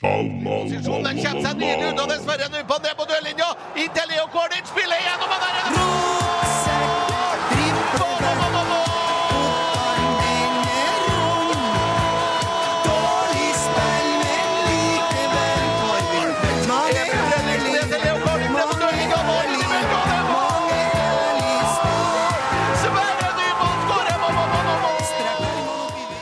Posisjonen kommer seg nydelig unna, dessverre. Nå på ned på dørlinja. Inntil Leo Cordic spiller gjennom og der er det mål! Mål, mål, mål, mål! Sverre Nymoen skårer! Mål, mål, mål, mål, mål!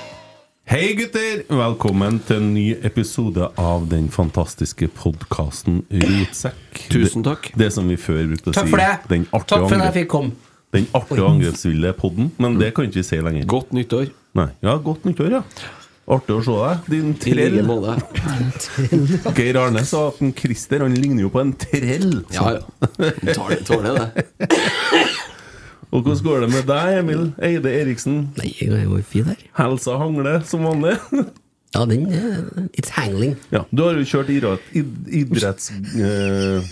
Hei, gutter! Velkommen til en ny episode av den fantastiske podkasten Rotsekk. Tusen takk. Det, det som vi før brukte å Takk si. for det. Den artige Takk for at jeg angrep- fikk komme. Den artige angrepsville podden, men det kan ikke vi si lenger. Godt nyttår. Nei. Ja, godt nyttår, ja. Artig å se deg, din I trell. like måte. Geir Arne sa at en Christer han ligner jo på en trell. Ja, ja. Tåler, tåler det. Og hvordan går det med deg, Emil Eide Eriksen? Nei, jeg er jo fin her. Helsa hangler som vanlig. Ja, den eh, It's hangling. Ja, du har jo kjørt idrett, id, idretts... eh,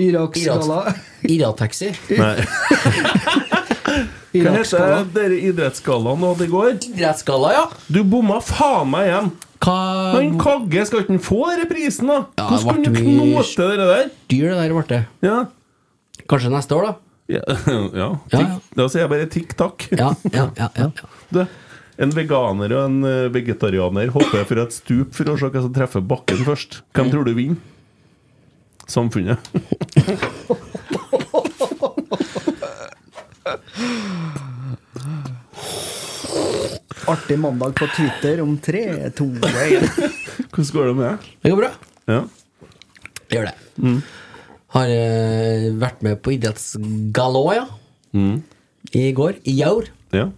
Irak-skala. Irak-taxi. nei. Hva heter dere idrettsgallaen du hadde i går? Irak-skala, ja. Du bomma faen meg igjen! Hva Han Kagge, skal ikke han få reprisen, da? Ja, Hvordan kan det du ble mye- knote det der? dyr det der ble? det. Ja. Kanskje neste år, da? Ja, ja. Ja, Tikk, ja. Da sier jeg bare tikk takk. Ja, ja, ja. ja, ja. Du, en veganer og en eh, vegetarianer hopper fra et stup for å se hva som treffer bakken først. Hvem tror du vinner? Samfunnet. Artig mandag på Twitter om tre, to, én. Hvordan går det med deg? Det går bra. Ja. Det gjør det. Har eh, vært med på idrettsgalla, ja. Mm. I går. I Jaur. ja.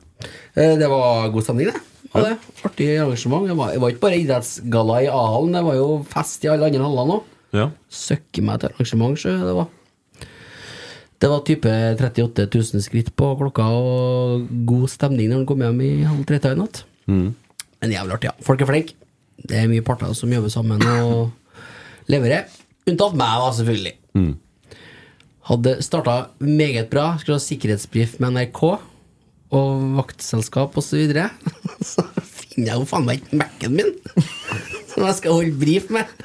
Eh, Det var god stemning, det. Og det. Artig arrangement. Det var, det var ikke bare idrettsgalla i A-hallen, det var jo fest i alle andre hallene òg. ja. Søkke meg til arrangement, sjø. Det var Det var type 38 000 skritt på klokka og god stemning når han kom hjem i halv tre-tida i natt. Men jævlig artig, ja. Folk er flinke. Det er mye parter som jobber sammen og leverer. Unntatt meg, da, selvfølgelig. Hadde starta meget bra. Skulle ha sikkerhetsbrief med NRK og vaktselskap osv. Så, videre. så finner jeg jo faen meg ikke Mac-en min som jeg skal holde brief med.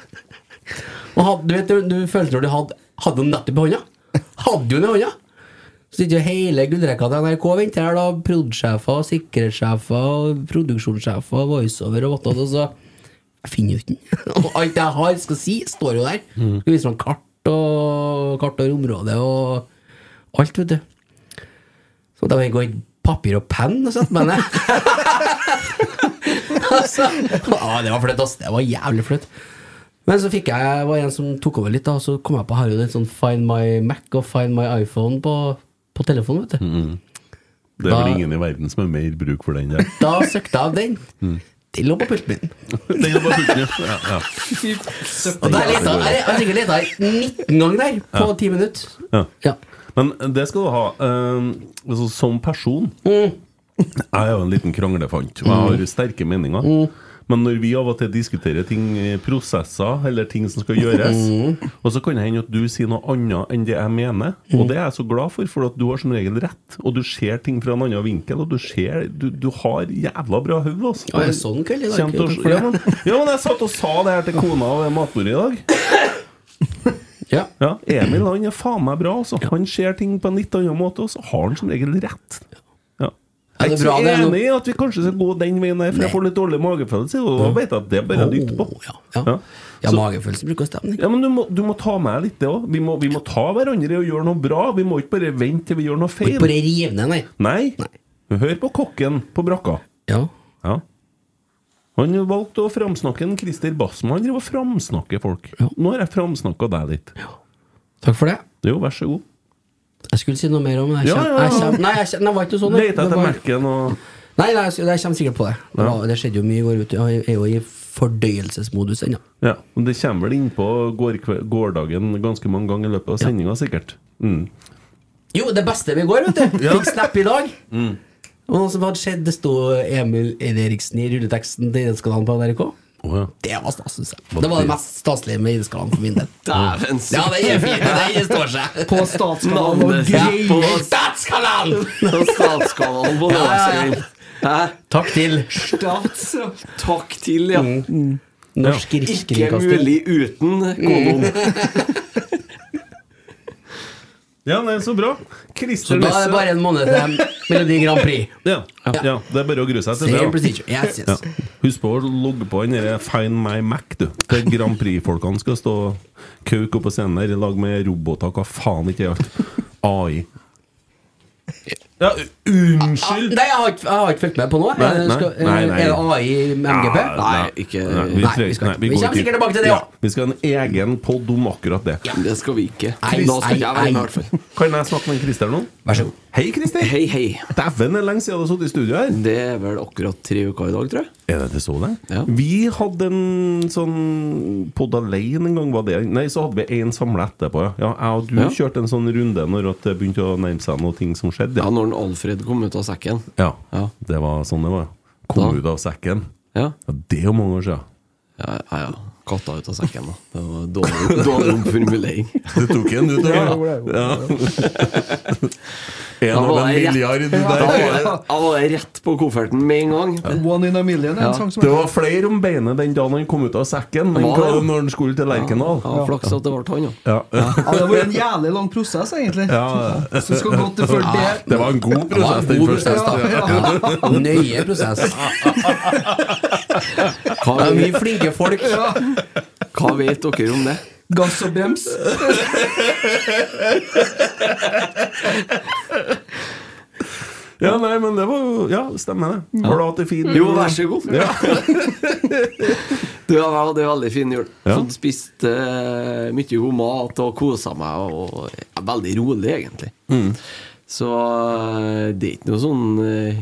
Og had, du vet, du, du følte når du hadde, hadde den nettopp i hånda. Hadde jo den i hånda! Så sitter jo hele gullrekka til NRK og venter her, da. Prod.sjefer, sikkerhetssjefer, og produksjonssjefer, voiceover og whatnot. Og så Jeg finner jo ikke den. Og alt jeg har, skal si, står jo der. Skal vise meg kart og kart over området og alt, vet du. Så da må jeg gå i papir og penn og sette meg ned. altså, ja, det var flaut, ass. Det var jævlig flaut. Men så fikk jeg, var en som tok over litt, da, og så kom jeg på Harald en sånn Find my Mac og Find my iPhone på, på telefonen. vet du. Det er vel Da- ingen i verden som har mer bruk for den der. Da søkte jeg av den. Det lå på pulten min. Den er bare fullt ned. Ja, ja. Og der leta, jeg har sikkert leta i 19 ganger der på 10 minutter. Ja. Ja. Mm. Men det skal du ha. eh, altså, som Ehm, person Jeg er jo en liten kranglefant, og jeg har jo sterke meninger. Mm. Men når vi av og til diskuterer ting, eh, prosesser eller ting som skal gjøres, Mm. og så kan det hende at du sier noe annet enn det jeg mener, og det er jeg så glad for, for at du har som regel rett, og du ser ting fra en annen vinkel, og du ser Du, du har jævla bra hode, altså. Ja, jeg så den kveld i dag, Kjent å- takk for det. ja, men, ja, men jeg satt og sa det her til kona ved matbordet i dag. Ja. Ja, Emil han er faen meg bra. Altså. Han ser ting på en litt annen måte, og så har han som regel rett. Ja. Jeg er Ja, det er ikke bra, så det er enig i at vi kanskje skal gå den veien der, for jeg får litt dårlig magefølelse. Og da vet jeg at det er bare å dytte på. Å, ja. Ja, Ja. ja Så- magefølelse bruker å stemme, Ja, men du må, du må ta med litt det òg. Vi, må- vi må ta hverandre og gjøre noe bra. Vi må ikke bare vente til vi gjør noe ikke feil. bare rive ned, nei. Nei. Hør på kokken på brakka. Ja. Ja. Han valgte å framsnakke en Christer Bassmann. Han driver og framsnakker folk. Ja. Nå har jeg framsnakka deg litt. Takk for det. Jo, vær så god. Jeg skulle si noe mer om det. Jeg Ja, kjem- ja, ja. jeg kjem- Nei, jeg kjem- nei, det var ikke sånn. det- Leter det etter var- merken og Nei, nei, jeg jeg kommer sikkert på det. Det, var, det skjedde jo mye i går. vet du. Jeg er jo i fordøyelsesmodus ennå. Ja, men Det kommer vel innpå går, gårdagen ganske mange ganger i løpet av sendinga, sikkert. Mm. Jo, det beste med i går, vet du. Fikk snap i dag. Og noe som hadde skjedd, det sto Emil Eriksen i rulleteksten til Idrettskanalen på NRK. Det var stas, syns jeg. Det var det mest staselige med Idrettskanalen for min del. Dæven! Ja, den er fin. Den står seg. På statskanalen og Navnet greier. på Statskanalen! på statskanalen på Nordlandsgrillen. Hæ? Takk til Mm. Stats... Takk til, ja. Mm. Norsk Ikke Rikskringkasting. mulig uten kolon. Mm. Ja, nei, så bra. Christer Så da er Nesse. det bare en måned til Melodi Grand Prix. Ja, ja. det er bare å grue seg til det. da. Same procedure. Yes, Ja. yes. Husk på å logge på den der Find My Mac, du. Der Grand Prix-folkene skal stå kauk oppe på scenen der i lag med roboter. Hva faen ikke er alt? AI. Ja, unnskyld! Ah, Nei, jeg har, ikke, jeg har ikke fulgt med på noe. Eh, Nei, nei, Skal- nei, nei. Er det AI med MGP? Ja, Nei, ikke- vi, Nei, trenger- vi skal ikke. Vi går kommer sikkert tilbake til det, Ja, ja. Vi skal ha en egen podd om akkurat det. Det skal vi ikke. Nei, Da skal nei, ikke jeg være med, i nei. hvert fall. Kan jeg snakke med en Christer nå? Vær så god. Hei, Christer! Hei, hei. Dæven, det er lenge siden du har sittet i studio her. Det er vel akkurat tre uker i dag, tror jeg. Er det det så lenge? Ja. Vi hadde en sånn pod alene en gang, var det Nei, så hadde vi én samla etterpå, ja. ja. Jeg og du Ja. kjørte en sånn runde når at det begynte å nærme seg noe ting som skjedde. Ja, når den Alfred kom ut av sekken. Ja. Ja. Det var sånn det var. Kom Da- ut av sekken. Ja, Ja, det er jo mange år siden. ja, ja. ja. Katta ut av sekken, da. Det var dårlig, dårlig omformulering. Du tok en, du, Ja, det gjorde jeg. En Da av var en jeg rett- milliard Da der. var jeg, da var jeg rett på kofferten med en gang. One in a million er Ja. en sang som Det var flere om beinet den dagen han kom ut av sekken, enn Var det? hva- når han skulle til Lerkendal. Ja, flaks at det ble han, ja. Ja. Ja, det har vært en jævlig lang prosess, egentlig. Ja. Så skal godt det før det. Det var en god Det var prosess, en den god første. prosess, da. Ja. Nøye prosess. Hva, Det er vet- mye flinke folk. hva vet dere om det? Gass og brems. Ja, nei, men det var jo Ja, stemmer det. Har du hatt det fint? Jo, vær så god. Ja. Det var det var veldig fin jul. Ja. Fått spist eh, mye god mat og kosa meg. Og er veldig rolig, egentlig. Så eh, det er ikke noe sånn eh,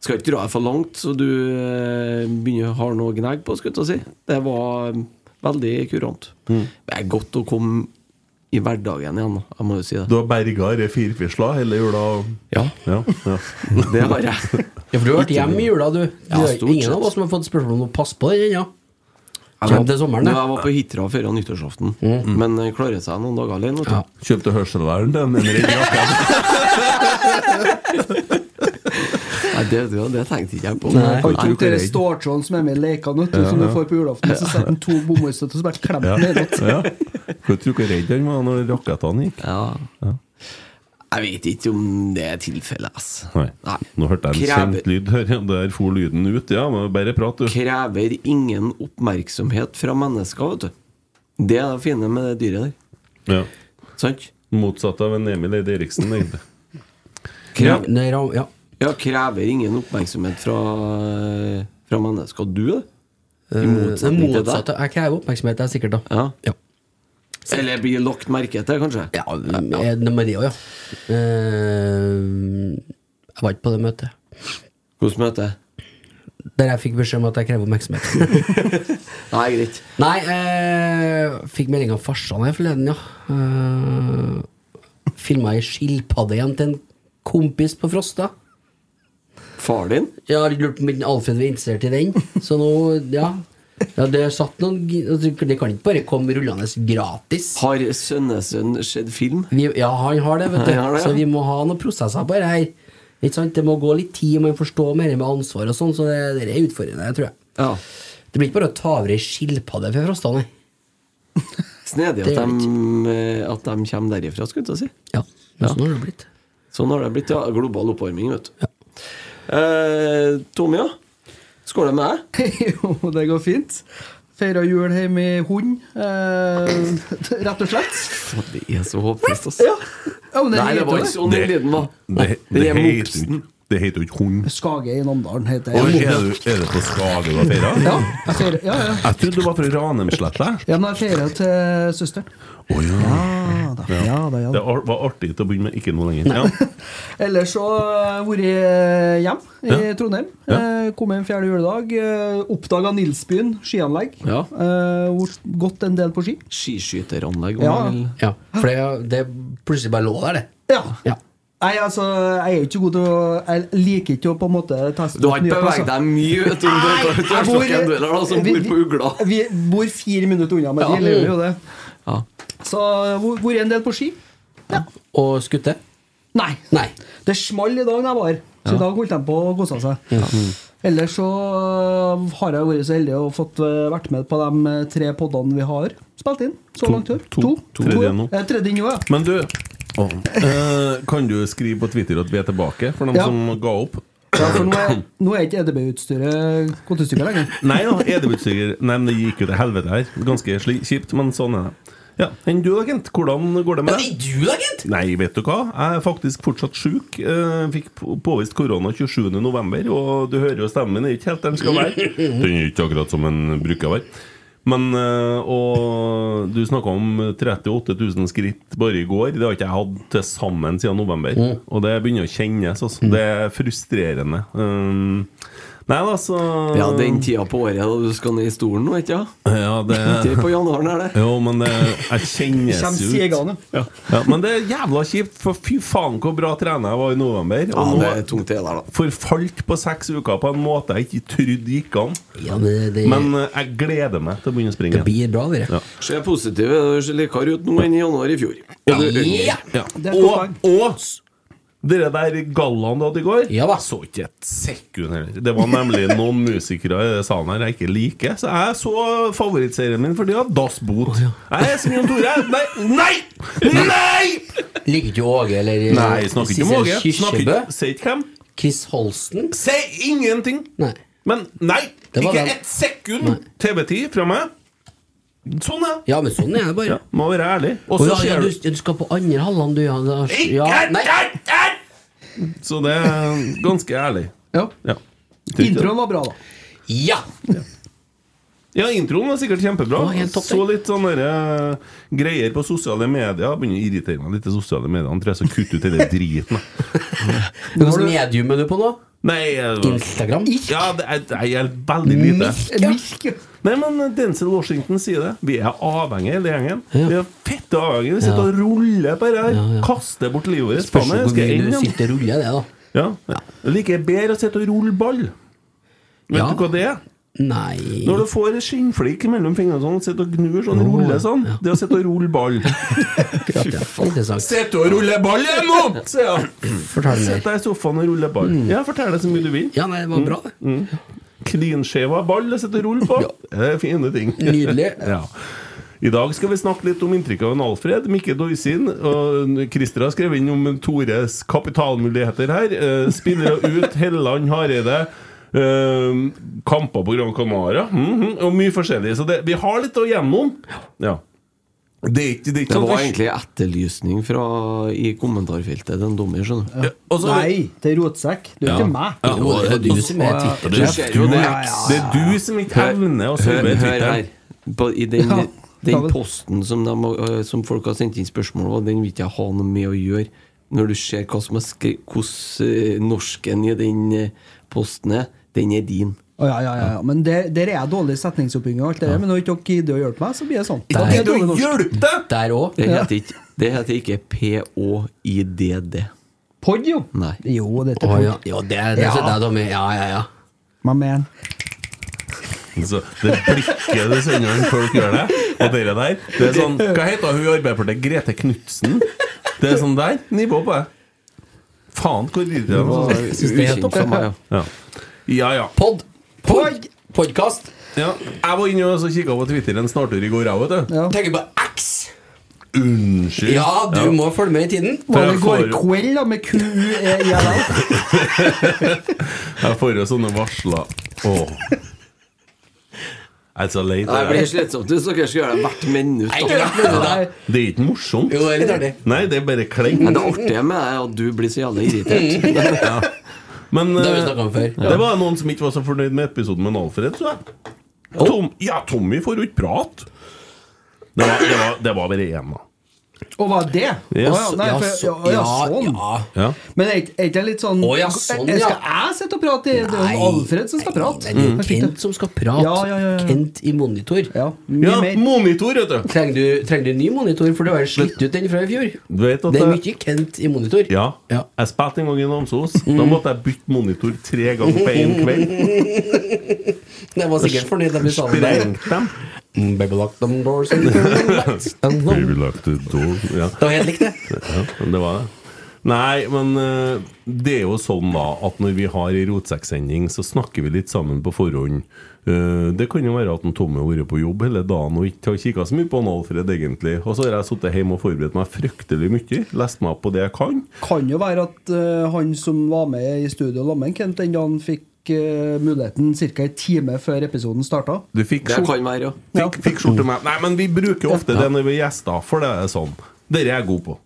Skal ikke dra det for langt, så du eh, begynner har noe gnegg på, skulle jeg til å si. Det var eh, veldig kurant. Det er godt å komme i hverdagen igjen, da. Jeg må jo si Du det. har berga disse firfisla hele jula? og- Ja, Ja, ja. det har jeg. Ja, for du har vært hjemme i jula, du. du Ja, har- stort ingen av sett. oss som har fått spørsmål om å passe på den ennå. Kjem til sommeren, Når det. Mm. jeg var på Hitra før nyttårsaften, men eh, klarer seg noen dager alene. vet du. Ja. Kjøpte hørselvern til en Henrik Jakken. Nei, det, det, det tenkte ikke jeg på. Nei. Han Nei, tok dere redd. ståltråden som er med i lekene, vet du, som du får på julaften. Så setter han to bomullsstøtter og så bare klemmer Ja. han ned. vet du. Ja. Jeg tror ikke redd han var når rakettene gikk. Ja. Jeg vet ikke om det er tilfellet, ass. Nei. Nå hørte jeg en Krever- kjent lyd her. ja, Der for lyden ut. Ja, men bare prat, du. Krever ingen oppmerksomhet fra mennesker, vet du. Det er det fine med det dyret der. Ja. Sant? Motsatt av en Emil Eide Eriksen. egentlig. Ja. Nei, ra- ja. Ja, krever ingen oppmerksomhet fra, fra mennesker. Du, det? I Eh, Det motsetning til deg. motsatte. Jeg krever oppmerksomhet, det er sikkert, da. Ja. Ja. Eller blir lagt merke til, kanskje. Ja, eh, det var det òg, ja. Eh, Jeg var ikke på det møtet. Hvordan møte? Der jeg fikk beskjed om at jeg krever oppmerksomhet. Nei, greit. Nei, eh, fikk melding av farsan her forleden, ja. Eh, Filma ei skilpadde igjen til en kompis på Frosta. Far din? Jeg har lurt på om ikke Alfred var interessert i den. Så nå, ja. ja det, er satt noen, gi- altså, det kan ikke bare komme rullende gratis. Har sønnesønn sett film? Vi, ja, han har det, vet du. Han har det, ja. Så vi må ha noen prosesser på det her. Ikke sant? Det må gå litt tid, man forstår mer med ansvar og sånn, så det, det er utfordrende, tror jeg. Ja. Det blir ikke bare å ta over ei skilpadde fra Frosta, nei. Snedig Det at er de, eh, at de kommer derifra, skulle jeg til å si. Ja, men sånn har det blitt. Sånn har det blitt, ja. Global oppvarming, vet du. Eh, Tommy, ja? Skål det med deg. Jo, det går fint. Feira jul hjemme i hund, eh, rett og slett. Faen, Det er så håpløst, ass. Ja. Ja, men det Nei, det heter var ikke det. sånn den lyden var. Det, Den det, er heter, mopsen. det heter jo ikke hund. Skage i Namdalen heter Og jeg. Er du- er det på Skage du har feira? Ja, jeg feirer, ja, ja. Jeg trodde du var fra Ranheimsletta. ja, men jeg feirer til søsteren. Å ja. Ja da, ja da. Ja, Det da. ar- var artig til å begynne med, ikke nå lenger. Ja. Ellers så har jeg vært hjemme i Ja. Trondheim. Ja. Eh, Kom hjem fjerde juledag. Oppdaga Nilsbyen skianlegg. Ja. Eh, Vært gått en del på ski. Skiskyteranlegg. Ja. var vel- Ja, for det, det plutselig bare lå der, det. Ja. Ja. Nei, altså, jeg er jo ikke god til å Jeg liker ikke å på en måte teste Du har ut nye ikke beveget plasser. deg mye vet du, om du Nei, har klart å jeg snakke en duell her, da, som vi- bor på Ugla. Vi bor fire minutter unna, men Ja. Mm. vi lever jo det. Ja. Så hvor- hvor er en del på ski? Og skutte? Nei. Nei. Det small i dag da jeg var her, så i dag holdt de på å kose seg. Ellers så øh, har jeg vært så heldig og fått øh, vært med på de øh, tre poddene vi har spilt inn. Så To- langt. her. to- To. to- ja. tredje nå. Eh, Tredje nå, ja. Men du, å, eh, kan du skrive på Twitter at vi er tilbake, for dem Ja. som ga opp? ja for nå er, nå er ikke E EDB-utstyret gått i stykker lenger. Nei E da, edebutstyrer. Nei, men det gikk jo til helvete her. Ganske sli- kjipt, men sånn er det. Ja, Enn du da, Kent? Hvordan går det med deg? du da, gitt! Nei, vet du hva? Jeg er faktisk fortsatt sjuk. Eh, Fikk på- påvist korona 27.11., og du hører jo stemmen min er ikke helt der den skal være. Den er ikke akkurat som den bruker å være. Men, eh, og du snakka om 38 000 skritt bare i går. Det har ikke jeg hatt til sammen siden november. Og det begynner å kjennes. Altså. Det er frustrerende. Um, nei da, så ja, den tida på året da du skal ned i stolen nå, vet du? Ja. Ja, Det er det på januaren, er det? Jo, men det jeg Kjem kjennes jo ut. sigende. Ja. Ja, men det er jævla kjipt, for fy faen hvor bra trener jeg var i november. Ja, Og det er nå tungt det der, da. forfalt på seks uker på en måte jeg ikke trodde gikk an. Ja, det, det, Men eh, jeg gleder meg til å begynne å det springe. blir bra, dere. Ja. Ser positiv du ser likere ut nå enn i januar i fjor. Ja. Og du er Ja. yngre. Ja. Det er et godt Og, og dere der gallaen du hadde i går, Ja da. så ikke et sekund heller. Det var nemlig noen musikere i salen her jeg ikke liker, så jeg så favorittserien min for de har Das Boot. Jeg er Simen Tore. Nei! Nei! Nei! Liker ikke Åge eller Nei, snakker ikke om Åge. Snakker Kirsebø. ikke- Sier ikke hvem. Chris Holsten. Sier ingenting. Nei. Men nei! Det var Ikke den. ett sekund TV-tid fra meg. Sånn, ja. Ja, men sånn er det bare. ja. Må være ærlig. Og Å, så ja, ja, ser du, du ja, du skal på andre halvland, du, ja. da- ja nei. Så det er ganske ærlig. Ja. Ja. Introen var bra, da. Ja! Ja, introen var sikkert kjempebra. Å, helt topp, så litt sånne der, eh, greier på sosiale medier. Jeg Begynner å irritere meg litt i sosiale medier. Han tror jeg skal kutte ut hele driten. jeg. Hvilket medium er du på nå? Nei, jeg, Instagram? ja, det er, jeg gjelder veldig lite. Mirk. Nei, men Denzil Washington sier det. Vi er avhengige, hele gjengen. Ja. Vi er fette avhengige. Vi sitter og ruller på det her. Ja, ja. Kaster bort livet vårt. Spørs Faen, jo jeg hvor skal mye inn du igjen. sitter og ruller, det, da. Ja. Jeg liker bedre å sitte og rulle ball. Vet Ja. du hva det er? Nei Når du får en skinnflik mellom fingrene sånn, sitter og gnur sånn, ruller sånn. Det er å sitte og rulle ball. akkurat, ja. Interessant. Sitte og rulle ball ja, nå! sier jeg. Fortell Sett mer. Mm. deg i sofaen og rulle ball. Ja, fortell deg så mye du vil. Mm. Ja, nei, det var bra, det. Cleanshava ball jeg sitter og ruller på. Det er fine ting. Nydelig. ja. I dag skal vi snakke litt om inntrykket av en Alfred, Mikke Dorsin. Og Christer har skrevet inn om Tores kapitalmuligheter her. Eh, Spillere ut, Helland, Hareide. eh, kamper på Gran Canaria mhm, og mye forskjellig. Så det, vi har litt å gjennom. Ja. Det er ikke, det er ikke Det sånn var at vi- egentlig etterlysning fra i kommentarfeltet til en dommer, skjønner du. Ja, og så- Nei, det er rotsekk. Det er Ja. ikke meg. Ja, Jo, det var du som er Twitter. Det er ser jo du- det. Det er du som ikke evner å Hør, servere hør Twitter. her. På, I den, Ja. Ja, den vel. posten som, de, har- eh, som folk har sendt inn spørsmål om, den vil ikke jeg ha noe med å gjøre. Når du ser hva som er skrevet, hvordan eh, norsken i den eh, posten er, den er din. Å, ja, ja, ja, ja. Men der, der er jeg dårlig i setningsoppbygging og alt det der, men når ikke dere gidder å hjelpe meg, så blir det sånn. Da blir jeg dårlig norsk. Hjelp deg! Der òg. Det heter ikke, det heter ikke POIDD. Pod, jo! Nei. Jo, dette Å er ja. pod. Jo, det, det Ja. sitter jeg, Tommy. Ja, ja, ja. My man. Så det blikket du sender når folk gjør det, og dere der Det er sånn Hva heter hun i Arbeiderpartiet? Grete Knutsen? Det er sånn der nivå på det. Faen, hvor irriterende. altså. Jeg synes det er helt for meg, ja. Ja. ja ja. Pod! Pod! Podkast! ja. Jeg var inne og kikka på Twitter en snartur i går, jeg, vet du. Ja. Tenker på X! Unnskyld. Ja, du må følge med i tiden. Var det jeg i går får- kveld, da, med eh, QEIL? Jeg får jo sånne varsler. Åh. Jeg er så lei. Nei, Det blir Det, slitsomt hvis dere skal gjøre det hvert minutt. Nei, da. ikke rart med det der. er- det er ikke morsomt. Jo, det er litt artig. Nei, det er bare Nei, kleint. det artige med det er at du blir så jævlig irritert. Men Det har vi eh, snakket om før. det var noen som ikke var så fornøyd med episoden med Alfred, så jeg. Tom, ja, Tommy får jo ikke prate. Det var, det var, det var bare én, da. Og var det? Yes. Å, ja, nei, Ja, for, så- ja, ja, sånn. ja. Ja. Men er ikke- er ikke jeg litt sånn Å, ja, sånn, jeg- Skal ja. jeg sitte og prate? Det er jo Alfred som skal prate. Nei, Jeg Det er fikk det. Kent som skal prate. Ja, ja, ja, ja. Kent i monitor. Ja, mye ja, mer. monitor, vet du. Trenger du, trenger du ny monitor, for du har jo slitt ut den fra i fjor? Du vet at Det er jeg- mye Kent i monitor. Ja. Ja. Mm. Jeg spilte en gang i Namsos. Da måtte jeg bytte monitor tre ganger på én kveld. Jeg var sikkert fornøyd da vi sa det. der. Sprengte dem. Mm, Baby lock them doors and turn them lights down low. Baby locked the door. Ja. Det var helt likt, det. Ja, men det var det. Nei, men eh, det er jo sånn da at når vi har ei rotsekksending, så snakker vi litt sammen på forhånd. Eh, det kan jo være at en Tommy har vært på jobb hele dagen og ikke har kikka så mye på han Alfred, egentlig. Og så har jeg sittet hjemme og forberedt meg fryktelig mye. Lest meg opp på det jeg kan. Kan jo være at eh, han som var med i studio sammen med Kent den dagen, fikk eh, muligheten ca. en time før episoden starta. Du fikk, Det skjort- kan være, ja. fikk, fikk skjorte med Nei, men vi bruker ofte det når vi er gjester, for det er sånn. Dere er jeg god på.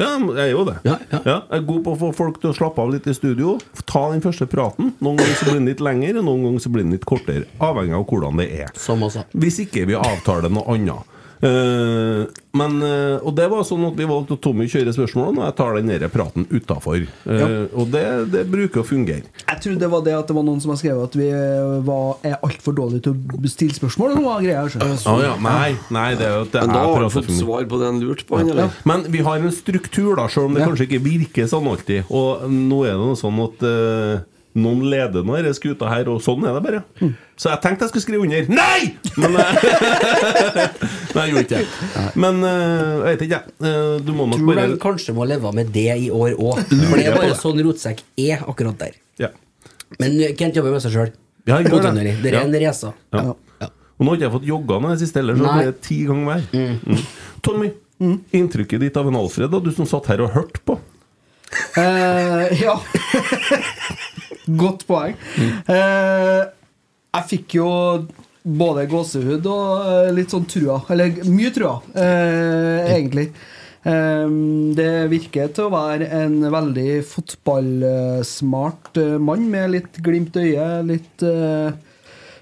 Ja, jeg er jo det. Ja, ja. jeg er god på å få folk til å slappe av litt i studio. Ta den første praten. Noen ganger så blir den litt lengre, og noen ganger så blir den litt kortere. Avhengig av hvordan det er. Som også. Hvis ikke vi avtaler noe annet. Eh, men, eh, og det var sånn at vi valgte å Tommy kjøre spørsmålene, og jeg tar den der praten utafor. Eh, Og det, det bruker å fungere. Jeg trodde det var det at det var noen som har skrevet at vi eh, var, er altfor dårlige til å stille spørsmål. Eller noe altså. greier, skjønner du. Å ja, nei, nei, det er jo at jeg Men da har du prater fått for mye. svar på det han lurte på, han, eller? Men vi har en struktur, da, selv om det Ja. kanskje ikke virker sånn alltid. Og nå er det noe sånn at eh, noen leder nå denne skuta her, og sånn er det bare. Mm. Så jeg tenkte jeg skulle skrive under. Nei! Men eh, Nei, jeg gjorde ikke det. Men eh, jeg vet ikke, jeg. Eh, du må nok Tror bare de kanskje må leve med det i år òg. For det er bare sånn rotsekk er akkurat der. ja. Men eh, Kent jobber med seg sjøl. Ja, jeg gjør det. er Ja. en racer. Ja. Og nå har ikke jeg fått jogga nå i det siste heller, så Nei. det er ti ganger hver. Mm. Tommy, Mm. inntrykket ditt av en Alfred, da, du som satt her og hørte på. Eh, ja. Godt poeng. Eh, jeg fikk jo både gåsehud og eh, litt sånn trua. Eller mye trua, eh, egentlig. Eh, det virker til å være en veldig fotballsmart eh, mann med litt glimt i øyet, litt eh,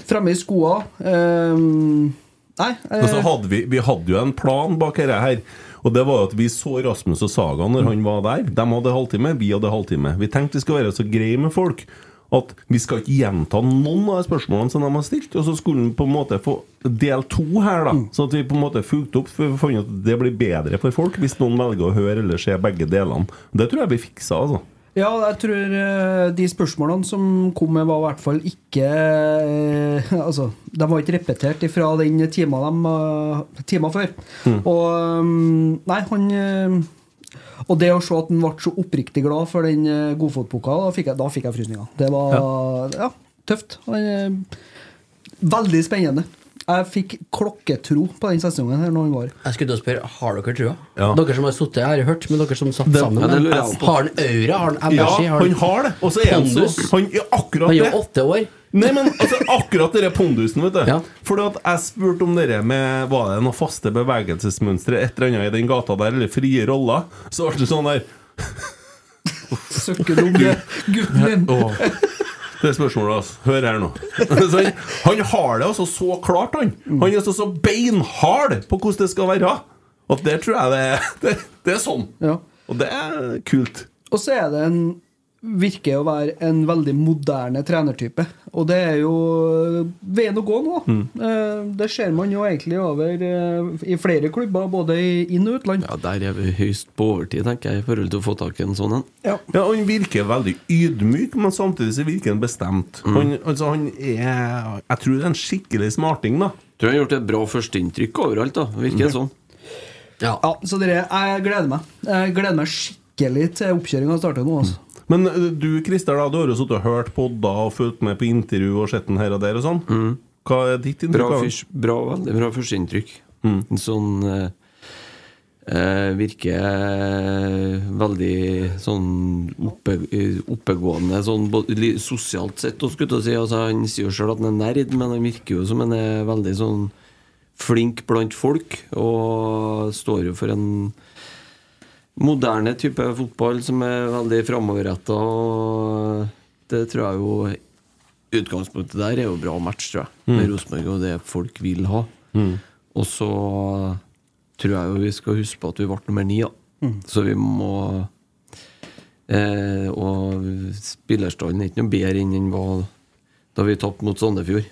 fremme i skoa. Eh, nei. eh, Og så hadde vi, vi hadde jo en plan bak dette her. Og det var jo at vi så Rasmus og Saga når han var der. De hadde halvtime, vi hadde halvtime. Vi tenkte vi skulle være så greie med folk at vi skal ikke gjenta noen av de spørsmålene som de har stilt. Og så skulle han på en måte få del to her, Mm. da. Så at vi på en måte fulgte opp. For vi fant at det blir bedre for folk hvis noen velger å høre eller se begge delene. Det tror jeg vi fiksa, altså. Ja, jeg tror eh, de spørsmålene som kom med, var i hvert fall ikke eh, Altså, de var ikke repetert fra den timen de eh, timen før. Mm. Og eh, Nei, han eh, Og det å se at han ble så oppriktig glad for den eh, godfotboka, da fikk jeg, da fikk jeg frysninger. Det var ja. tøft. Han, eh, veldig spennende. Jeg fikk klokketro på den sesongen her når han var her. Jeg skulle til å spørre, har dere trua? Ja. Dere som har sittet her, har hørt, men dere som satt sammen ja, det lurer jeg dem, også på. Har han aura? Har han Ja, energi? han har det. Og så er han så Pondus? han, ja, akkurat Han er det. jo åtte år. Nei, men altså, akkurat dere pondusen, vet du. Ja. Fordi at jeg spurte om dere med Var det noen faste bevegelsesmønstre et eller annet i den gata der, eller frie roller? Så ble det sånn der Søkkedumme gutten min. Åh. Det er spørsmålet, altså. Hør her nå. Så han, han har det altså så klart, han. Han er altså så beinhard på hvordan det skal være. Og det tror jeg det er Det, det er sånn. Ja. Og det er kult. Og så er det en virker å være en veldig moderne trenertype. Og det er jo veien å gå nå. Mm. Eh, Det ser man jo egentlig over eh, i flere klubber, både i inn- og utland. Ja, Der er vi høyst på overtid, tenker jeg, i forhold til å få tak i en sånn en. Ja, Han virker veldig ydmyk, men samtidig så virker han bestemt. Mm. Han, altså, han er Jeg tror det er en skikkelig smarting, da. Tror jeg har gjort et bra førsteinntrykk overalt, da. Virker det sånn. Ja. Ja, så dere, jeg gleder meg. Jeg gleder meg skikkelig til oppkjøringa starter nå. Mm. Altså. Men ø, du, Christer, da, du har jo sittet og hørt podder og fulgt med på intervju og sett den her og der og sånn. Hva er ditt Mm. inntrykk? Bra, av han? fyrs- bra, veldig bra førsteinntrykk. En sånn eh, eh, Virker eh, veldig sånn oppe, eh, oppegående, sånn bo- li- sosialt sett. Og skulle jeg til å si, altså, han sier jo sjøl at han er nerd, men han virker jo som han er veldig sånn flink blant folk, og står jo for en moderne type fotball som er veldig framoverretta, og det tror jeg jo Utgangspunktet der er jo bra match, tror jeg, med Rosenborg og det folk vil ha. Mm. Og så tror jeg jo vi skal huske på at vi ble nummer ni, da. Mm. Så vi må eh, Og spillerstanden er ikke noe bedre enn den var da vi tapte mot Sandefjord.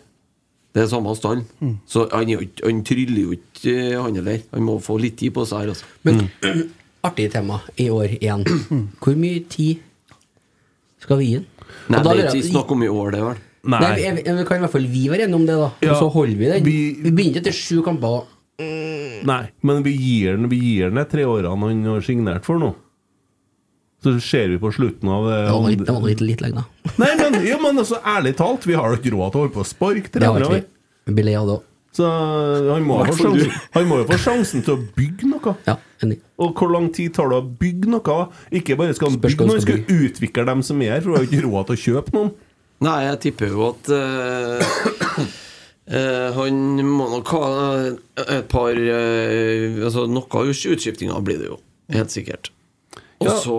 Det er samme stallen. Mm. Så han, er jo ikke- han tryller jo ikke, eh, han heller. Han må få litt tid på seg her, altså. Men Mm. artig tema i år igjen. Hvor mye tid skal vi gi den? Nei, Og da det er vil jeg- ikke snakk om i år, det, vel. Nei, Nei. vi, jeg- jeg- vi kan i hvert fall vi være enige om det, da. Ja, og så holder vi den. Vi, vi- begynte etter sju kamper. Nei, men vi gir den Vi gir den de tre årene han har signert for nå. Så ser vi på slutten av det Det var litt, andre- det var litt, litt lenge, da. Nei, men, ja, men altså, ærlig talt, vi har jo ikke råd til å holde på å sparke Det var trenere. vi. ikke vi. Vi ble lei av det òg. Så eh, han må, få Hvertfall sjansen, han må jo få sjansen til å bygge noe. Ja, enig. Og hvor lang tid tar det å bygge noe? Ikke bare skal han Spørs bygge hva han noe, han skal skal utvikle dem som er her, for du har jo ikke råd til å kjøpe noen. Nei, jeg tipper jo at eh, eh, han må nok ha et par eh, Altså Noe utskiftinger blir det jo, helt sikkert. Og Ja. så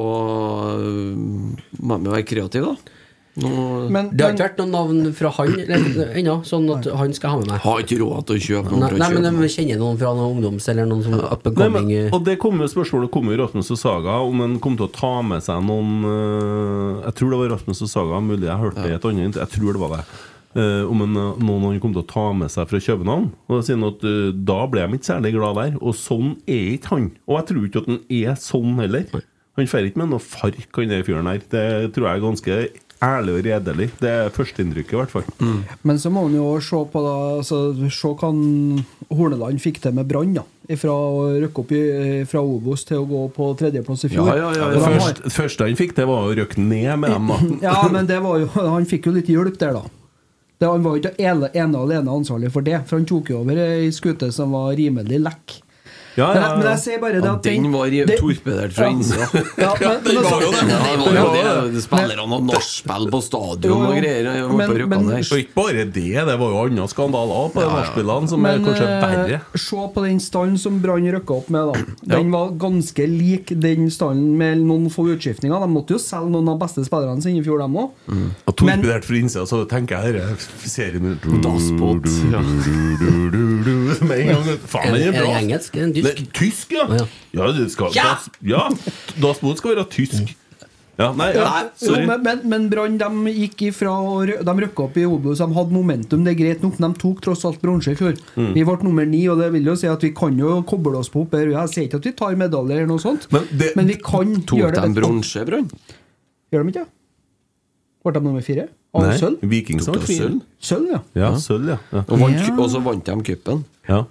eh, må vi være kreative, da. Nå Men, Det har men ikke vært noen navn fra han eller- ennå, sånn at han skal ha med meg. har ikke råd til å kjøpe noe. Nei, for å nei men kjøpe de kjenner noen fra noen ungdoms eller noen som up and Nei, men, coming eh, og det kom jo spørsmålet kom jo i Rasmus og Saga om han kom til å ta med seg noen eh, Jeg tror det var Rasmus og Saga, mulig jeg hørte det i et annet intervju, jeg tror det var det. eh, om en, eh, noen han kom til å ta med seg fra København. Og Da sier han at eh, da ble de ikke særlig glad der. Og sånn er ikke han. Og jeg tror ikke at han er sånn heller. Han fer ikke med noe fark, han der fyren her. Det tror jeg er ganske ærlig og redelig. Det er førsteinntrykket, i hvert fall. Men så må man jo også se på da, altså, se hva han- Horneland fikk til med Brann. da. Fra å rykke opp i, eh, fra Obos til å gå på tredjeplass i fjor. Ja, ja, ja, Det Og de har- første, første han fikk, det var å røkke ned med dem. da. Ja, men det var jo, han fikk jo litt hjelp der, da. Det, han var jo ikke ene, ene og alene ansvarlig for det, for han tok jo over ei skute som var rimelig lekk. Ja, Men, ja, jeg- men ja. jeg sier bare det Ja, at den var i- det- torpedert fra Ja. innsida. Ja, men, men, altså- Det Ja, var jo det. Spillerne hadde nachspiel på stadion og greier. og Men- var på men- røkkene der. Og ikke bare det, det var jo andre skandaler på ja, nachspielene som er Men kanskje eh, verre. se på den stallen som Brann røkka opp med. da Den var ganske lik den stallen med noen få utskiftninger. De måtte jo selge noen av beste spillerne sine i fjor, dem òg. Mm. Og men- torpedert fra innsida, så tenker jeg dette serien Dasspot, ja. Med en gang Faen, den Er er det bra! engelsk? Er det Det, tysk? tysk, ja! Å, ja. Ja, det skal Ja! Das- ja. Dasspot skal være tysk. Ja, nei, ja, Jo, sorry. men men, men Brann de gikk ifra å rø- De røkka opp i Obos. De hadde momentum, det er greit nok. De tok tross alt bronse i fjor. Mm. Vi ble nummer ni, og det vil jo si at vi kan jo koble oss på opp her. Jeg sier ikke at vi tar medaljer eller noe sånt, Men det- vi kan Tok gjøre det de bedre. bronse, Brann? Gjør de ikke? Ble de nummer fire? Av Nei, sølv? Viking som Tok var de fin. sølv? Sølv, ja. Ja, sølv, ja. ja. Og vant- og så vant de cupen. ja.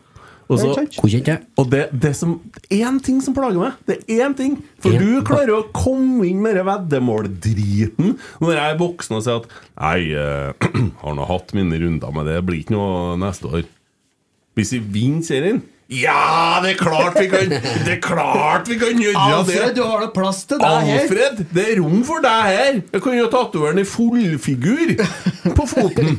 Og så Ikke sant? Hvor kjente jeg? Og det, det som Én ting som plager meg. Det er én ting. For Ja. du klarer å komme inn med den veddemåldriten når jeg er voksen og sier at Nei, eh, har nå hatt mine runder med det. Det blir ikke noe neste år. Hvis vi vinner serien Ja, det er klart vi kan Det er klart vi kan gjøre Alfred, du det! har da plass til deg her! Alfred, det er rom for deg her! Jeg kan jo tatovere den i fullfigur på foten.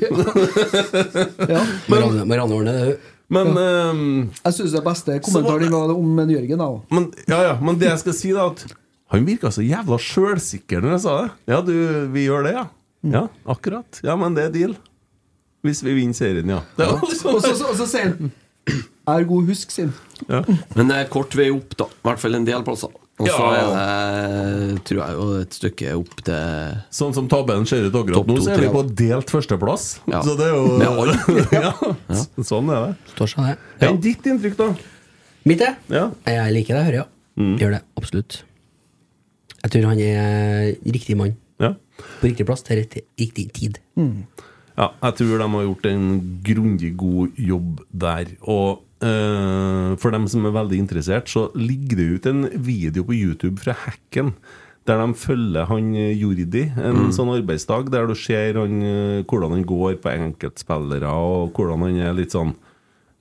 Ja. Marianne Marianne Orne, det er hun. Men ehm, Jeg syns det beste kommentaren din var om en Jørgen. da Men, ja, ja, men det jeg skal si, da at Han virka så jævla sjølsikker når jeg sa det. Ja, du, vi gjør det, ja. Mm. Ja, akkurat. Ja, men det er deal. Hvis vi vinner serien, ja. Det var liksom, Og så- så og så sier han Jeg har god husk, sin. ja. Men det er kort vei opp, da. I hvert fall en del plasser. Og så Ja. er det, tror jeg, jo et stykke opp til Sånn som tabellen ser ut akkurat Topp nå, to, så er vi tre. på delt førsteplass. Ja. Så det er jo Med alle. ja. Sånn er det. Står seg det. Enn ditt inntrykk, da? Mitt, det? Ja. Mm. Jeg liker det, hører jeg. Gjør det, absolutt. Jeg tror han er eh, riktig mann. Ja. På riktig plass til rett, riktig tid. ja. Jeg tror de har gjort en grundig god jobb der. Og eh, for dem som er veldig interessert, så ligger det ut en video på YouTube fra Hacken. Der de følger han eh, Jordi en Mm. sånn arbeidsdag, der du ser han, eh, hvordan han går på enkeltspillere, og hvordan han er litt sånn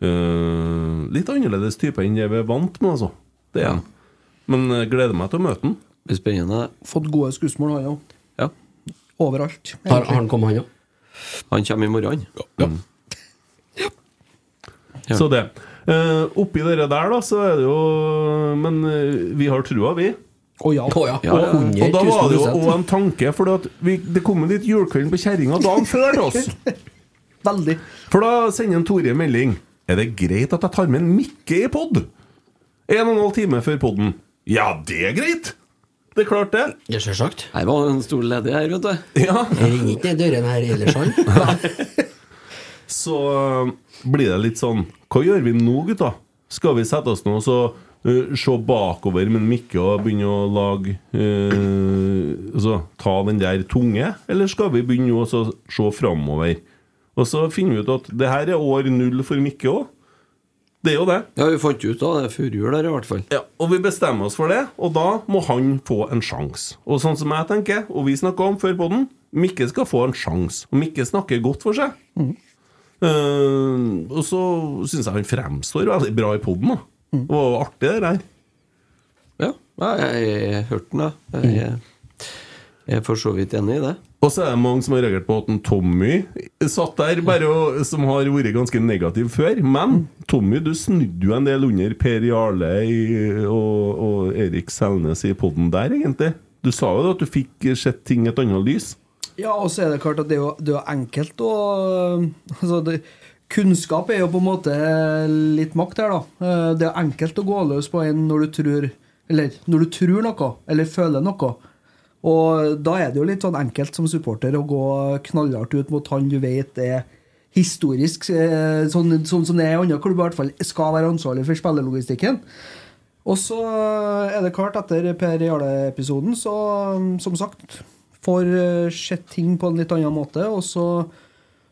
eh, Litt annerledes type enn det vi er vant med, altså. Det er han. Men jeg gleder meg til å møte han. Det blir spennende. Fått gode skussmål, han òg. Ja. Overalt. Har har han kommet, han òg? Han kommer i morgen. Mm. Ja. Så det. Eh, oppi det der, da, så er det jo Men eh, vi har trua, vi. Å ja. Å ja. Ja, ja. Og, og da var det jo 100 000 og en tanke, for at vi, det kom en litt julekvelden på kjerringa dagen før til oss. Veldig. For da sender en Tore en melding. Er det greit at jeg tar med en Mikke i pod? En og en halv time før podden. Ja, det er greit! Det er klart, det. Ja, Selvsagt. Her var det en stor ledig her, vet du. Ja. Jeg ringer ikke ned dørene her ellers, han. Så eh, blir det litt sånn Hva gjør vi nå, gutta? Skal vi sette oss nå og så eh, se bakover med en mikke og begynne å lage eh, Altså ta den der tunge? Eller skal vi begynne å så se framover? Og så finner vi ut at det her er år null for Mikke òg. Det er jo det. Ja, vi fant ut av det før jul her, i hvert fall. Ja, og vi bestemmer oss for det, og da må han få en sjanse. Og sånn som jeg tenker, og vi snakka om før på den, Mikke skal få en sjanse. Og Mikke snakker godt for seg. Mm. Eh, og så syns jeg han fremstår veldig bra i poden. Det var jo artig, det der. Ja, ja, jeg, jeg hørte den, Mm. da. Jeg, jeg, jeg er for så vidt enig i det. Og så er det mange som har reagert på at en Tommy satt der, bare og, som har vært ganske negativ før. Men Tommy, du snudde jo en del under Per Jarle i, og, og Erik Selnes i poden der, egentlig. Du sa jo det at du fikk sett ting i et annet lys. Ja, og så er det klart at det er jo, det er jo enkelt å altså det, Kunnskap er jo på en måte litt makt her, da. Eh, Det er enkelt å gå løs på en når du tror Eller når du tror noe, eller føler noe. Og da er det jo litt sånn enkelt som supporter å gå knallhardt ut mot han du vet er historisk, eh, sånn, sånn som det er i andre klubber, i hvert fall skal være ansvarlig for spillerlogistikken. Og så er det klart, etter Per Jarle-episoden, så um, som sagt Får eh, sett ting på en litt annen måte, og så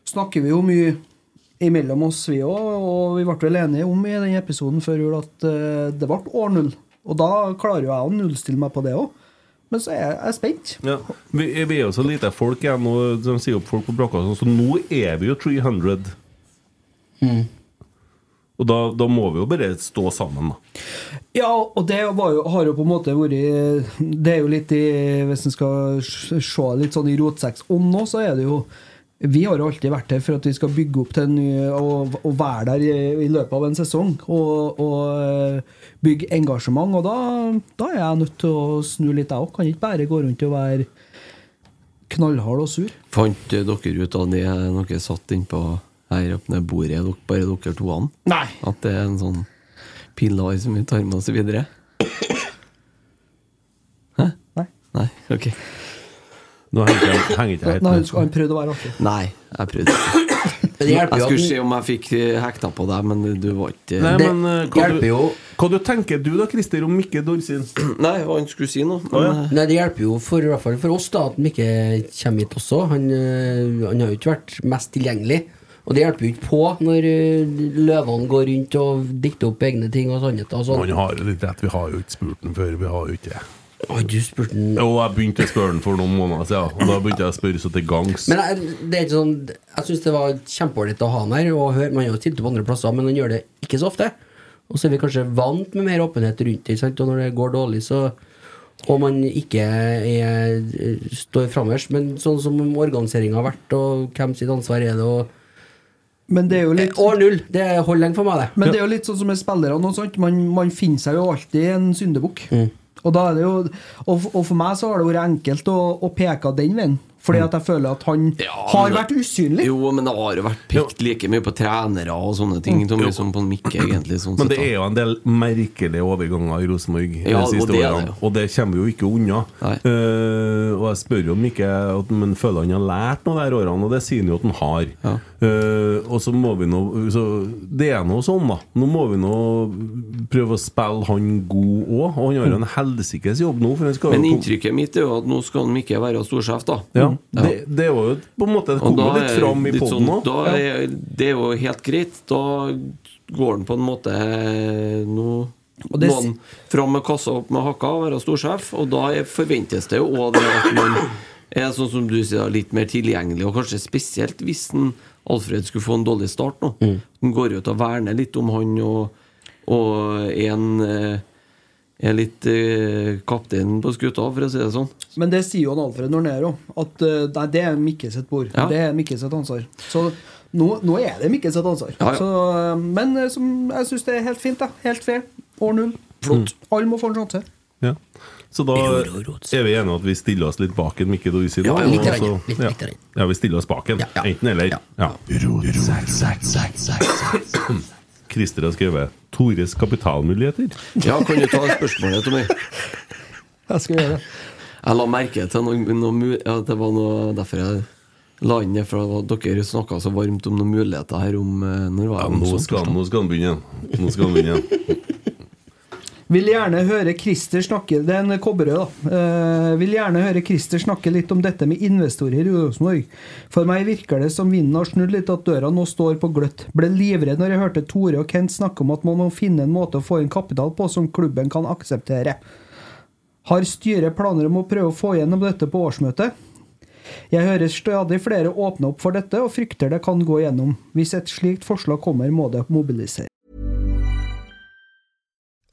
snakker vi jo mye imellom oss, vi òg. Og vi ble vel enige om i den episoden før jul at eh, det ble år null. Og da klarer jo jeg å nullstille meg på det òg. Men så er jeg, jeg er spent. Ja. Vi, vi er jo så lite folk igjen, og de sier opp folk på brakka, og sånn, så nå er vi jo 300. Mm. Og da, da må vi jo bare stå sammen, da. Ja, og det var jo, har jo på en måte vært Det er jo litt i Hvis en skal s- se litt sånn i rotsekksånd nå, så er det jo Vi har jo alltid vært her for at vi skal bygge opp til en ny og, og være der i, i løpet av en sesong. Og, og eh, bygge engasjement. Og da, da er jeg nødt til å snu litt, jeg òg. Kan ikke bare gå rundt og være knallhard og sur. Fant dere ut av det dere satt innpå her oppe ned bordet, dere- bare dere to an? Nei. At det er en sånn pilar som vi tar med oss videre? Hæ? Nei. Nei, ok. Nå henger ikke jeg- henger ikke jeg helt Nei, han med. skulle- han prøvde å være artig. Nei, jeg prøvde ikke. Men det Jeg hjelper jo at skulle se den- om jeg fikk eh, hekta på deg, men du var ikke Nei, Det men eh, hva hjelper du, jo. Hva du tenker du da, Christer, om Mikke Dorsin? Nei, hva han skulle si nå. Men, eh, Nei, det hjelper jo for, i hvert fall for oss da at han ikke kommer hit også. Han, øh, han har jo ikke vært mest tilgjengelig. Og det hjelper jo ikke på når øh, løvene går rundt og dikter opp egne ting og sånt. Og sånn. har jo litt rett, vi har jo ikke spurt ham før. Vi har jo ikke det. Oi, du spurte han Jo, jeg begynte å spørre ham for noen måneder siden, og da begynte jeg å spørre så til gangs. Men jeg, det er ikke sånn Jeg syns det var kjempeålreit å ha han her. Og høre, man har jo stilt opp andre plasser, men han gjør det ikke så ofte. Og så er vi kanskje vant med mer åpenhet rundt det. ikke sant? Og når det går dårlig, så Og man ikke er, står frammest. Men sånn som organiseringa har vært, og hvem sitt ansvar er det, og Eh, Men det er jo litt År null! Det holder lenge for meg, det. Men det er jo litt sånn som med spillere nå, sant? Man, man finner seg jo alltid en Mm. syndebukk. Og, da er det jo, og, f- og for meg så har det vært enkelt å, å peke den veien. Mm. Fordi at jeg føler at han Ja, har men- vært usynlig. Jo, men det har jo vært pekt like mye på trenere og sånne ting som liksom på Mikke, egentlig. Mm. Sånn Men det sett, da. er jo en del merkelige overganger i Rosenborg Ja, de siste og det er det årene. jo. Og det kommer vi jo ikke unna. Nei. Eh, og jeg spør jo om ikke at men føler han har lært noe de her årene, og det sier han jo at han har. Ja. Eh, og så må vi nå så Det er nå sånn, da. Nå må vi nå prøve å spille han god òg. Og han har jo en helsikes jobb nå. For han skal jo Men kom- inntrykket mitt er jo at nå skal Mikke være storsjef, da. ja, Ja. det, det var jo på en måte Det Og kom jo da litt er fram i litt poden sånn- òg. da er- Det er jo helt greit. Da går han på en måte eh, Nå Og det- må han fram med kassa opp med hakka og være storsjef, og da er- forventes det jo òg det at man er sånn som du sier, litt mer tilgjengelig, og kanskje spesielt hvis en Alfred skulle få en dårlig start nå. Mm. Han går ut og verner litt om han, og, og er en eh, er litt eh, kaptein på skuta, for å si det sånn. Men det sier jo han Alfred Nornero. At eh, nei, det er Mikke sitt bord. Ja. Det er Mikke sitt ansvar. Så nå, nå er det Mikke sitt ansvar. Ja, ja. Så, eh, men eh, som, jeg syns det er helt fint. Da. Helt fair. År null. Flott. Alle må få en sjanse. Ja. Mm. Så da er vi enige om at vi stiller oss litt bak en Mikke Doisi? da, Ja, og så- litt lenger, litt- ja. litt lenger. ja, vi stiller oss bak en. Ja, ja. Enten eller. Ja. Ja. Christer har skrevet 'Tores kapitalmuligheter'. Ja, kan du ta spørsmålet, Tommy? Jeg skal gjøre det. Jeg la merke til noe, noe, mu- ja, det var noe derfor jeg la inn det. For det var, dere snakka så varmt om noen muligheter her om eh, Når var Ja, det om nå, sånt? skal, nå skal han begynne igjen. Nå skal han begynne igjen. Vil gjerne høre Christer snakke Det er en kobberrød, da. Eh, vil gjerne høre Christer snakke litt om dette med investorer i Rosenborg. For meg virker det som vinden har snudd litt, at døra nå står på gløtt. Ble livredd når jeg hørte Tore og Kent snakke om at man må finne en måte å få inn kapital på som klubben kan akseptere. Har styret planer om å prøve å få gjennom dette på årsmøtet? Jeg hører stadig flere åpne opp for dette, og frykter det kan gå gjennom. Hvis et slikt forslag kommer, må det mobiliseres.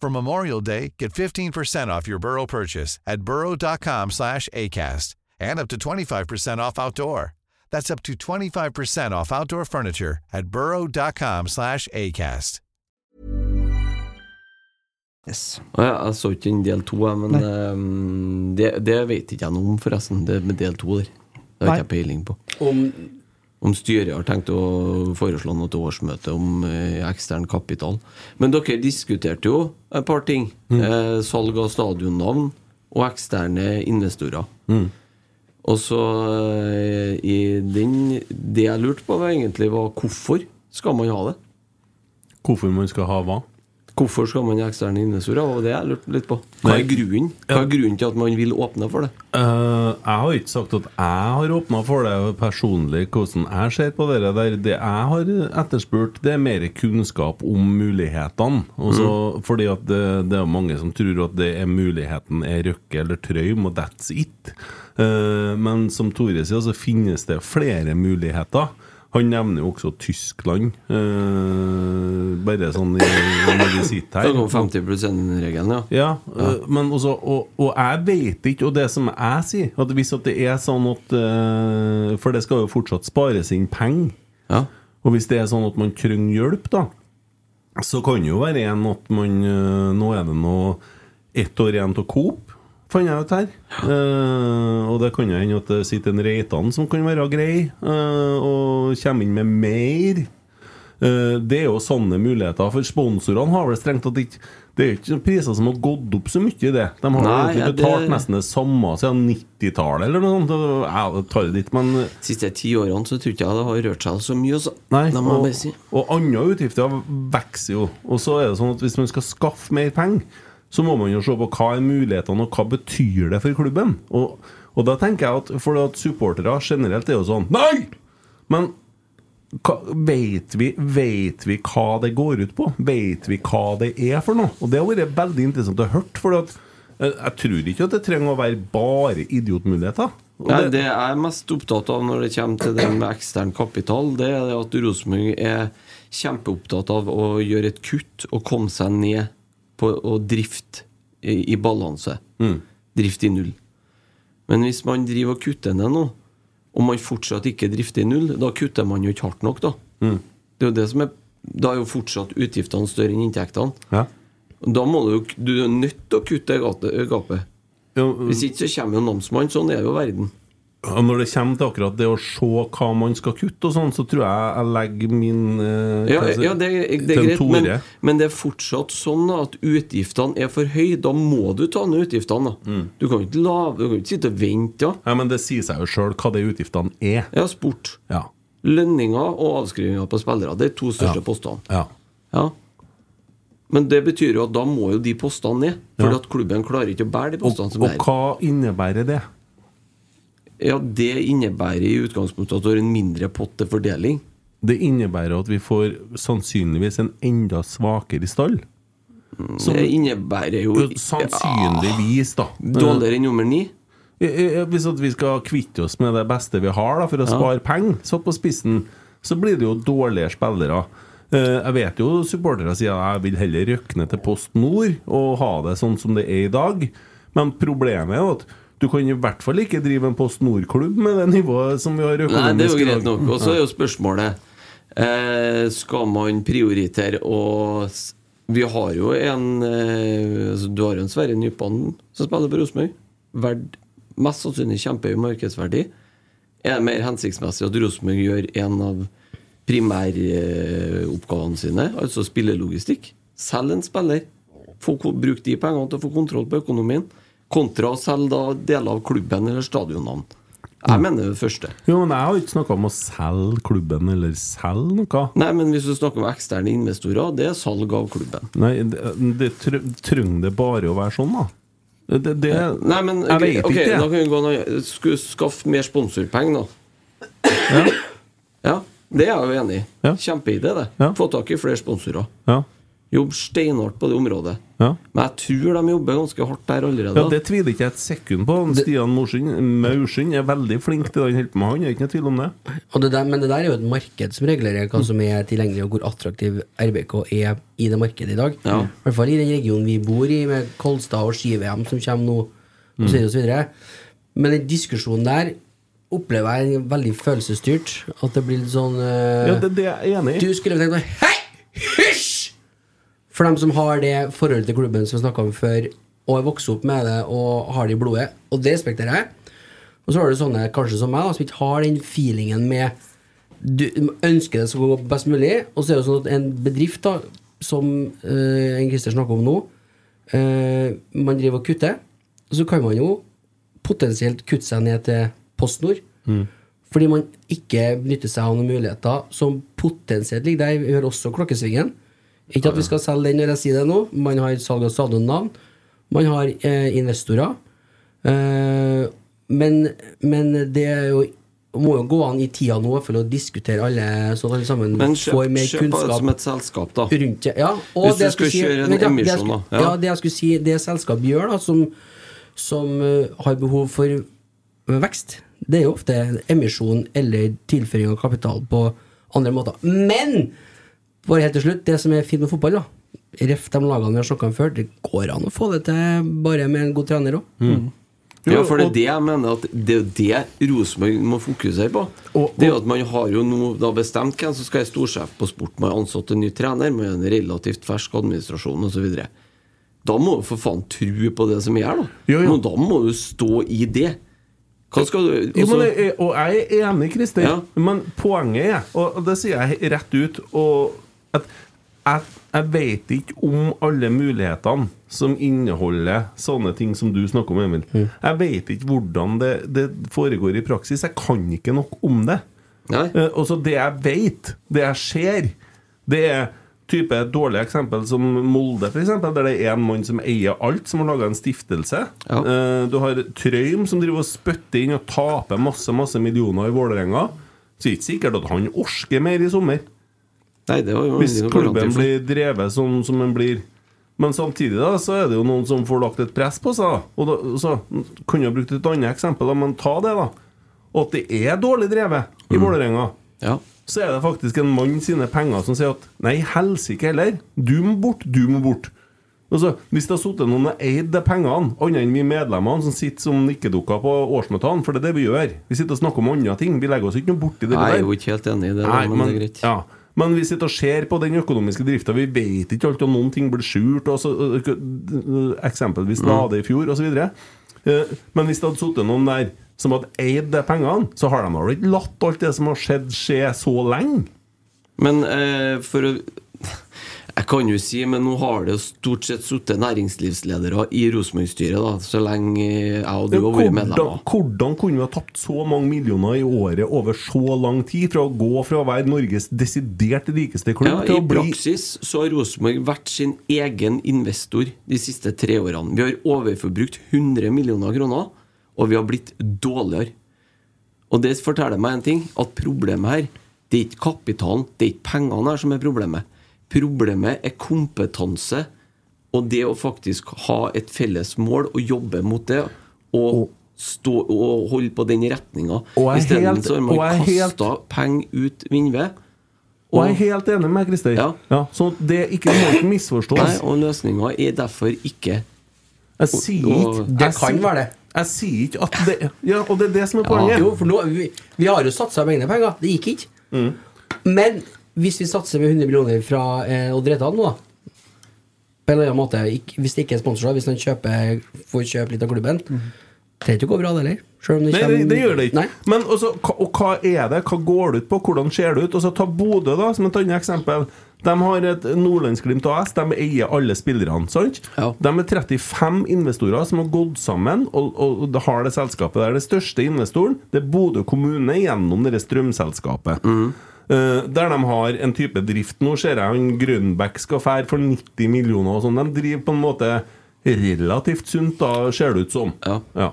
For Memorial Day, get 15% off your Burrow purchase at burrow.com slash ACAST and up to 25% off outdoor. That's up to 25% off outdoor furniture at burrow.com slash ACAST. Yes. Å ja, jeg så ikke den del to, jeg, men eh, det, det vet ikke jeg noe om, forresten. Det med del to der. Det har Nei. ikke jeg peiling på. Om Om styret har tenkt å foreslå noe til årsmøtet om eh, ekstern kapital. Men dere diskuterte jo et par ting. Mm. Eh, salg av stadionnavn og eksterne investorer. Og så eh, i den Det jeg lurte på, var egentlig var hvorfor skal man ha det? Hvorfor man skal ha hva? Hvorfor skal man ha eksterne investorer? Det var det jeg lurte litt på. Hva er Nei. grunnen Hva er grunnen til at man vil åpne for det? Eh, jeg har ikke sagt at jeg har åpna for det personlig, hvordan jeg ser på det der. Det jeg har etterspurt, det er mer kunnskap om mulighetene. Mm. Også Fordi at det, det er mange som tror at det er muligheten er Røkke eller Trøym, og that's it. Eh, men som Tore sier, så finnes det flere muligheter. Han nevner jo også Tyskland, eh, bare sånn i, når vi sitter her. Det går 50%-regelen, ja. Ja, øh, men også, og, og jeg vet ikke, og det som jeg sier at Hvis at det er sånn at øh, For det skal jo fortsatt spares inn penger. ja. Og hvis det er sånn at man trenger hjelp, da, eh, så kan det jo være en at man øh, Nå er det nå ett år igjen til Coop. fant jeg ut her. Eh, og det kan jo hende at det sitter en Reitan som kan være grei, eh, og kommer inn med mer. Eh, det er jo sånne muligheter, for sponsorene har vel strengt tatt ikke Det er jo ikke priser som har gått opp så mye i det. De har Nei, jo egentlig ja, det- betalt nesten det samme siden 90-tallet eller noe sånt. Jeg tar det dit, men siste ti årene så tror ikke jeg det har rørt seg så mye. Så. Nei, det må jeg og, bare si. og andre utgifter vokser jo. Og så er det sånn at hvis man skal skaffe mer penger, så må man jo se på hva er mulighetene, og hva betyr det for klubben. Og, og da tenker jeg at For at supportere generelt er jo sånn Nei! Men hva, vet, vi, vet vi hva det går ut på? Vet vi hva det er for noe? Og det har vært veldig interessant å høre. For at, eh, jeg tror ikke at det trenger å være bare idiotmuligheter. Og Nei, det- det jeg er mest opptatt av når det kommer til det med ekstern kapital, det er det at Rosenborg er kjempeopptatt av å gjøre et kutt og komme seg ned på å drifte i, i balanse. Mm. Drift i null. Men hvis man driver og kutter ned nå, og man fortsatt ikke drifter i null, da kutter man jo ikke hardt nok, da. Mm. Det er jo det som er Da er jo fortsatt utgiftene større enn inntektene. Ja. Da må du jo Du er nødt til å kutte gate- gapet. Hvis ikke så kommer jo namsmannen. Sånn er jo verden. Og når det kommer til akkurat det å se hva man skal kutte og sånn, så tror jeg jeg legger min eh, Ja, hva jeg sier, ja det, er- det er til en greit, men, toer. men det er fortsatt sånn at utgiftene er for høye. Da må du ta ned utgiftene. Da. Du kan jo ikke, la- du kan jo ikke sitte og vente. Da. Mm. Ja, men det sier seg jo sjøl hva de utgiftene er. Ja, sport. Ja. Lønninger og avskrivninger på spillere. Det er to største postene. Ja. Ja. Men det betyr jo at da må jo de postene ned. Fordi Ja. at klubben klarer ikke å bære de Og, postene som og er. hva innebærer det? Ja, det innebærer i utgangspunktet at du har en mindre pott til fordeling. Det innebærer at vi får sannsynligvis en enda svakere stall. Som- Mm, det innebærer jo Sannsynligvis, da. Dårligere enn nummer ni? Eh, Hvis at vi skal kvitte oss med det beste vi har da, for å spare penger, satt på spissen, så blir det jo dårligere spillere. Eh, Jeg vet jo supportere sier at jeg vil heller røkne til Post Nord og ha det sånn som det er i dag, men problemet er jo at du kan i hvert fall ikke drive en Post Nord-klubb med det nivået som vi har økonomisk Nei, det er jo i dag. greit nok. Og så er Ja. jo spørsmålet eh, Skal man prioritere å s- Vi har jo en eh, altså, Du har jo en Sverre Nypan som spiller på Rosenborg. Verd- Mest sannsynlig kjempehøy markedsverdi. Er det mer hensiktsmessig at Rosenborg gjør en av primæroppgavene sine, altså spillelogistikk? Selg en spiller. Få ko- Bruk de pengene til å få kontroll på økonomien. Kontra å selge da deler av klubben eller stadionnavn. Jeg mener det første. Jo, men jeg har jo ikke snakka om å selge klubben eller selge noe. Nei, men hvis du snakker om eksterne investorer, det er salg av klubben. Nei, det, det tr- trenger det bare å være sånn, da. Det, det, Nei, men jeg vet ok, ikke. da kan vi gå noe, Skulle skaffe mer sponsorpenger, da. Ja. det er jeg jo enig i. Kjempeidé, det. Få tak i flere sponsorer. Ja. Jobb steinhardt på det området. Ja. Men jeg tror de jobber ganske hardt der allerede. Ja, Det tviler ikke jeg et sekund på. Han Stian Morsund- Maursund er veldig flink til det han holder på med. Han er ikke noe tvil om det. Og det der, men det der er jo et marked som regulerer hva som er tilgjengelig, og hvor attraktiv RBK er i det markedet i dag. Ja. I hvert fall i den regionen vi bor i, med Kolstad og Ski-VM som kommer nå, og så videre og så videre. Men den diskusjonen der opplever jeg er veldig følelsesstyrt. At det blir litt sånn eh, Ja, det, det er jeg enig i. Du skulle tenkt meg Hei! Hysj! For dem som har det forholdet til klubben som vi snakka om før, og er vokst opp med det og har det i blodet, og det respekterer jeg. Og så har du sånne kanskje som meg, da, som ikke har den feelingen med Du ønsker det skal gå best mulig, og så er det sånn at en bedrift, da, som eh, en Christer snakker om nå, eh, man driver og kutter, så kan man jo potensielt kutte seg ned til Post Nord. Hmm. Fordi man ikke benytter seg av noen muligheter som potensielt ligger der. Vi hører også Klokkesvingen. Ikke at vi skal selge den når jeg sier det nå. Man har salg av stadionnavn. Man har eh, investorer. Eh, men, men det er jo må jo gå an i tida nå for å diskutere alle, sånn at alle sammen Men får kjøp, mer kjøp kunnskap. det som et selskap, da. Rundt det, ja. Og Hvis du det skal jeg skulle si- kjøre en Vent, ja, det jeg emisjon, skulle- da. Ja. Ja, det jeg skulle si, det selskapet gjør, da, som, som eh, har behov for vekst, det er jo ofte emisjon eller tilføring av kapital på andre måter. Men bare helt til slutt, det som er fint med fotball, da. Ref de lagene vi har snakka om før, det går an å få det til bare med en god trener òg. Mm. Ja, for det er det jeg mener at det er jo det Rosenborg må fokusere på. det er jo at Man har jo nå da bestemt hvem som skal være storsjef på sport. Man har ansatt en ny trener, man har en relativt fersk administrasjon osv. Da må du for faen tro på det som er her, da. Men da må du stå i det. Hva skal du Jo, men, altså- jeg- og jeg er enig, Christer, Ja. men poenget er, og det sier jeg rett ut, og at jeg, jeg vet ikke om alle mulighetene som inneholder sånne ting som du snakker om, Emil. Jeg vet ikke hvordan det, det foregår i praksis. Jeg kan ikke nok om det. Eh, Og så det jeg vet, det jeg ser, det er type et dårlig eksempel som Molde, for eksempel, der det er en mann som eier alt, som har laga en stiftelse. Eh, Du har Trøim, som driver og spytter inn og taper masse masse millioner i Vålerenga. Så det er ikke sikkert at han orker mer i sommer. Nei, det var jo Hvis ingen garanti klubben for. blir drevet sånn som den blir. Men samtidig da, så er det jo noen som får lagt et press på seg. da. Og da, så Kunne jeg brukt et annet eksempel, da, men ta det, da. Og at det er dårlig drevet Mm. i Vålerenga. Så er det faktisk en mann sine penger som sier at nei, helsike heller. Du må bort, du må bort. Altså, Hvis det har sittet noen og eid de pengene, annet enn vi medlemmene som sitter som nikkedukker på årsmøtene, for det er det vi gjør Vi sitter og snakker om andre ting. Vi legger oss ikke noe borti det Nei, jeg er der. jo ikke helt enig i det, Nei, men, det er greit. Ja. Men vi sitter og ser på den økonomiske drifta. Vi vet ikke alltid om noen ting blir skjult. Og så, ø- ø- Mm. eksempelvis Lade i fjor, osv. Eh, Men hvis det hadde sittet noen der som hadde eid de pengene, så har de vel ikke latt alt det som har skjedd, skje så lenge? Men eh, for å Jeg kan jo si, men nå har det jo stort sett sittet næringslivsledere i Rosenborg-styret, da, så lenge jeg og du har vært medlemmer. Hvordan, hvordan kunne vi ha tapt så mange millioner i året over så lang tid? Fra å gå fra å være Norges desidert rikeste Ja, klubb I til å bli praksis så har Rosenborg vært sin egen investor de siste tre årene. Vi har overforbrukt 100 millioner kroner, og vi har blitt dårligere. Og det forteller meg en ting, at problemet her, det er ikke kapitalen, det er ikke pengene her som er problemet. Problemet er kompetanse, og det å faktisk ha et felles mål og jobbe mot det, og, stå, og holde på den retninga. Og jeg er Isteden helt- så har og jeg man er helt- kasta penger ut vinduet. Og jeg er helt enig med Christer. Ja. så det er ikke må ikke misforstås. Nei, og løsninga er derfor ikke Jeg sier ikke jeg sier- Jeg sier ikke at det Ja, og det er det som er poenget. Jo, for nå, vi, vi har jo satsa egne penger. Det gikk ikke. Mm. Men hvis vi satser med 100 millioner fra eh, Odd Reitan nå, da På en eller annen måte, ikke, hvis det ikke er sponsor, da, hvis han kjøper, får kjøpe litt av klubben Trenger ikke å gå bra, det heller. Selv om det Mm. Nei, kommer det, det gjør det ikke. Men også, hva- og hva er det? Hva går det ut på? Hvordan ser det ut? Og så Ta Bodø da, som et annet eksempel. De har et Nordlandsglimt AS. De eier alle spillerne. sant? De er 35 investorer som har gått sammen og, og, og det har det selskapet der. Det største investoren det er Bodø kommune gjennom det strømselskapet. Eh, der de har en type drift nå, ser jeg han Grønbæk skal fære for 90 millioner og sånn. De driver på en måte relativt sunt, da, ser det ut som. Ja.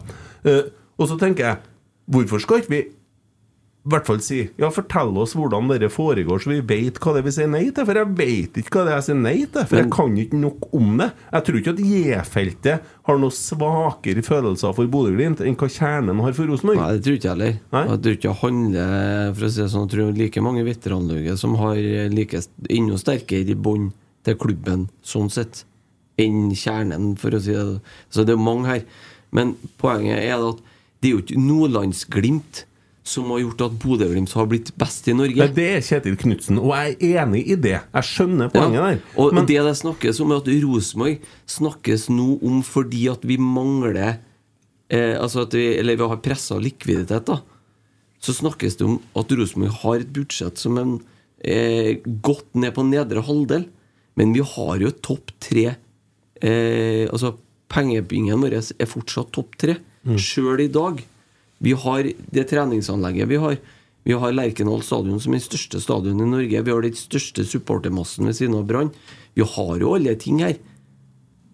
Eh, og så tenker jeg, hvorfor skal ikke vi i hvert fall si Ja, fortell oss hvordan dette foregår, så vi vet hva det er vi sier nei til. For jeg vet ikke hva det er jeg sier nei til, for jeg kan ikke nok om det. Jeg tror ikke at J-feltet har noe svakere følelser for Bodø-Glimt enn hva kjernen har for Rosenborg. Nei, det tror ikke jeg heller. Og Jeg tror ikke jeg handler For å si det sånn, jeg tror like mange veteranlaget som har like, enda sterkere bånd til klubben sånn sett, enn kjernen, for å si det Så det er mange her. Men poenget er at det er jo ikke Nordlandsglimt som har gjort at Bodø-Glimt har blitt best i Norge. Nei, det er Kjetil Knutsen, og jeg er enig i det. Jeg skjønner poenget Ja, der. Og det det snakkes om, er at Rosenborg snakkes nå om fordi at vi mangler eh, Altså at vi, eller vi har pressa likviditet, da. Så snakkes det om at Rosenborg har et budsjett som er eh, godt ned på nedre halvdel. Men vi har jo topp tre eh, Altså pengebingen vår er fortsatt topp tre, Mm. sjøl i dag. Vi har det treningsanlegget vi har. Vi har Lerkendal stadion som er den største stadion i Norge. Vi har den største supportermassen ved siden av Brann. Vi har jo alle ting her.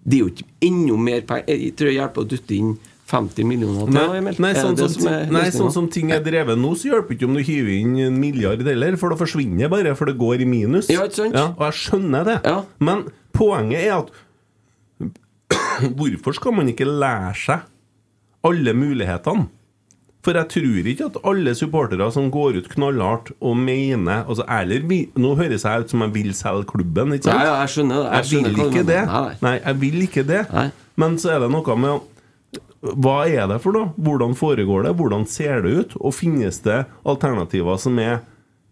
Det er jo ikke enda mer penger Jeg tror det hjelper å dytte inn 50 millioner til. Nei, Emil. nei, Er det sånn, det som, som er nei løsningen? sånn som ting er drevet nå, så hjelper ikke om du hiver inn en milliard heller, for da forsvinner det bare, for det går i minus. Ja, ikke sant? og jeg skjønner det. Men poenget er at Hvorfor skal man ikke lære seg alle mulighetene? For jeg tror ikke at alle supportere som går ut knallhardt og mener altså, eller, vi- Nå høres jeg ut som jeg vil selge klubben, ikke sant? Nei, ja, jeg skjønner det. Jeg skjønner vil hva du ikke det. mener. Nei, nei. Nei, jeg vil ikke det. Men så er det noe med å- Hva er det for noe? Hvordan foregår det? Hvordan ser det ut? Og finnes det alternativer som er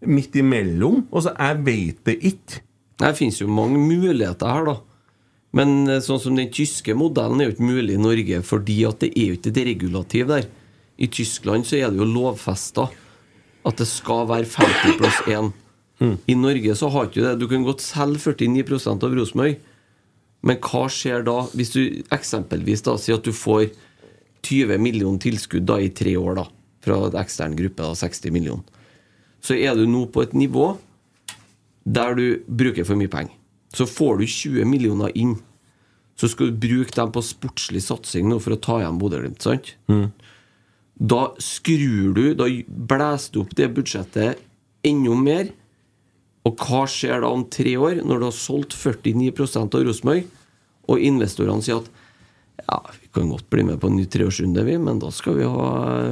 midt imellom? Altså, jeg vet det ikke. Nei, Det finnes jo mange muligheter her, da. Men eh, sånn som den tyske modellen er jo ikke mulig i Norge, fordi at det er jo ikke et regulativ der. I Tyskland så er det jo lovfesta at det skal være 50 pluss 1. Mm. I Norge så har ikke du det. Du kan godt selge 49 av Rosenborg, men hva skjer da hvis du eksempelvis da sier at du får 20 millioner tilskudd da i tre år da fra en ekstern gruppe, da 60 millioner? Så er du nå på et nivå der du bruker for mye penger. Så får du 20 millioner inn. Så skal du bruke dem på sportslig satsing nå for å ta igjen Bodø-Glimt. sant? Mm. Da skrur du, da blæser du opp det budsjettet enda mer. Og hva skjer da om tre år, når du har solgt 49 av Rosenborg, og investorene sier at ja, vi kan godt bli med på en ny treårsrunde, vi, men da skal vi ha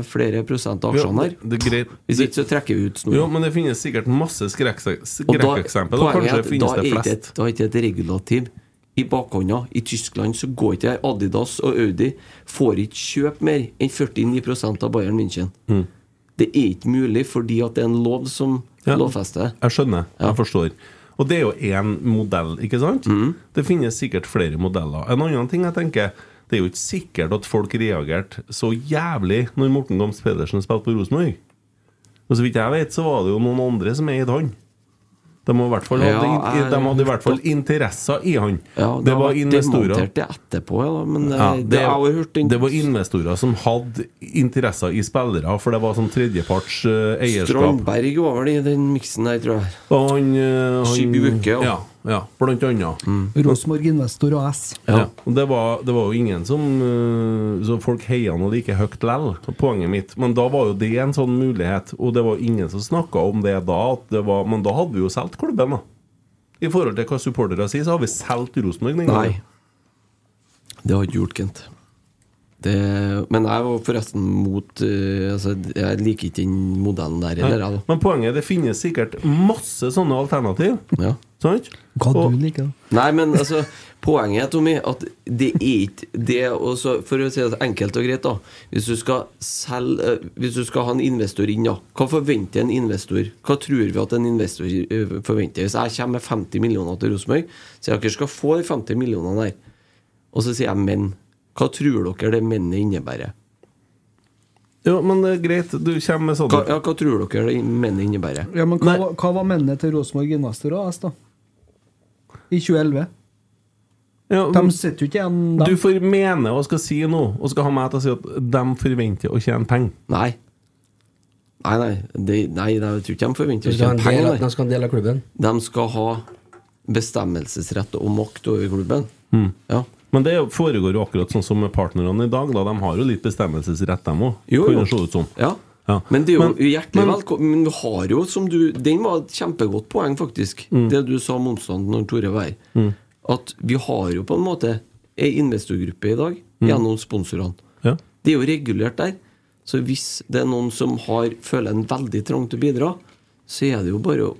flere prosent av aksjene her. Ja, det er greit. Hvis ikke så trekker vi ut snoren. Jo, men det finnes sikkert masse skrekkeksempler. Og da- Skrekkeksempel, og poenget er kanskje at finnes da det er ikke flest. et- Da er ikke et regulativ i bakhånda. I Tyskland så går ikke Adidas og Audi får ikke kjøpe mer enn 49 av Bayern München. Mm. Det er ikke mulig fordi at det er en lov som Ja. lovfester det. Jeg skjønner. Jeg forstår. Og det er jo én modell, ikke sant? Mm. Det finnes sikkert flere modeller. En annen ting jeg tenker Det er jo ikke sikkert at folk reagerte så jævlig når Morten Gams Pedersen spilte på Rosenborg. Og så vidt jeg vet, så var det jo noen andre som eide han. De, må i hvert fall Ja, hadde, jeg- de hadde i hvert fall interesser i han. Ja, det var investorer demontert det etterpå, ja, da, men ja, eh, det, det, jeg har jo hørt den det var investorer som hadde interesser i spillere, for det var sånn tredjeparts eh, eierskap. Strandberg var vel i den miksen der, tror jeg. Og han, eh, han Skibuke, ja. ja. ja. Blant annet. Rosenborg Investor AS. Mm. Ja. Og det, var, det var jo ingen som eh, Så folk heia nå like høyt lell, poenget mitt. Men da var jo det en sånn mulighet, og det var ingen som snakka om det da. At det var, men da hadde vi jo solgt klubben, da. I forhold til hva supportere sier, så har vi solgt Rosenborg den gangen. Nei. Det har ikke gjort, Kent. Det, men jeg var forresten mot eh, altså, Jeg liker ikke den modellen der heller. jeg, da. Men poenget er det finnes sikkert masse sånne alternativ. Ja. Sant? Hva du liker, da? Nei, men altså, poenget er, Tommy, at det er ikke det og så- For å si det enkelt og greit, da. Hvis du skal selge eh, Hvis du skal ha en investor inn, da. Hva forventer en investor? Hva tror vi at en investor eh, forventer? Hvis jeg kommer med 50 millioner til Rosenborg, sier jeg dere skal få de 50 millionene der. Og så sier jeg men. Hva tror dere det mennet innebærer? Jo, men det er greit. Du kommer med Hva, sånne. ja, hva tror dere det mennet innebærer? Ja, men hva, var- hva var mennene til Rosenborg Investor AS, da? I 2011? Ja, De sitter jo ikke igjen Du dem. får mene og skal si noe, og skal ha meg til å si at de forventer å tjene penger. Nei. Nei, nei, det, nei, nei jeg tror ikke de forventer De å skal ha en tjene del, penger. av- nei. de skal ha en del av klubben. De skal ha bestemmelsesrett og makt over klubben. Mm. Ja. Men det foregår jo akkurat sånn som med partnerne i dag. Da. De har jo litt bestemmelsesrett, de òg. Jo, Kan jo. det se ut som. ja. Ja. Men det er jo Men- hjertelig men- velkommen. Men du har jo, som du Den var et kjempegodt poeng, faktisk. Mm. Det du sa om onsdag når Tore var her. At vi har jo på en måte ei investorgruppe i dag gjennom sponsorene. Mm. Ja. Det er jo regulert der. Så hvis det er noen som har, føler en veldig trang til å bidra, så er det jo bare å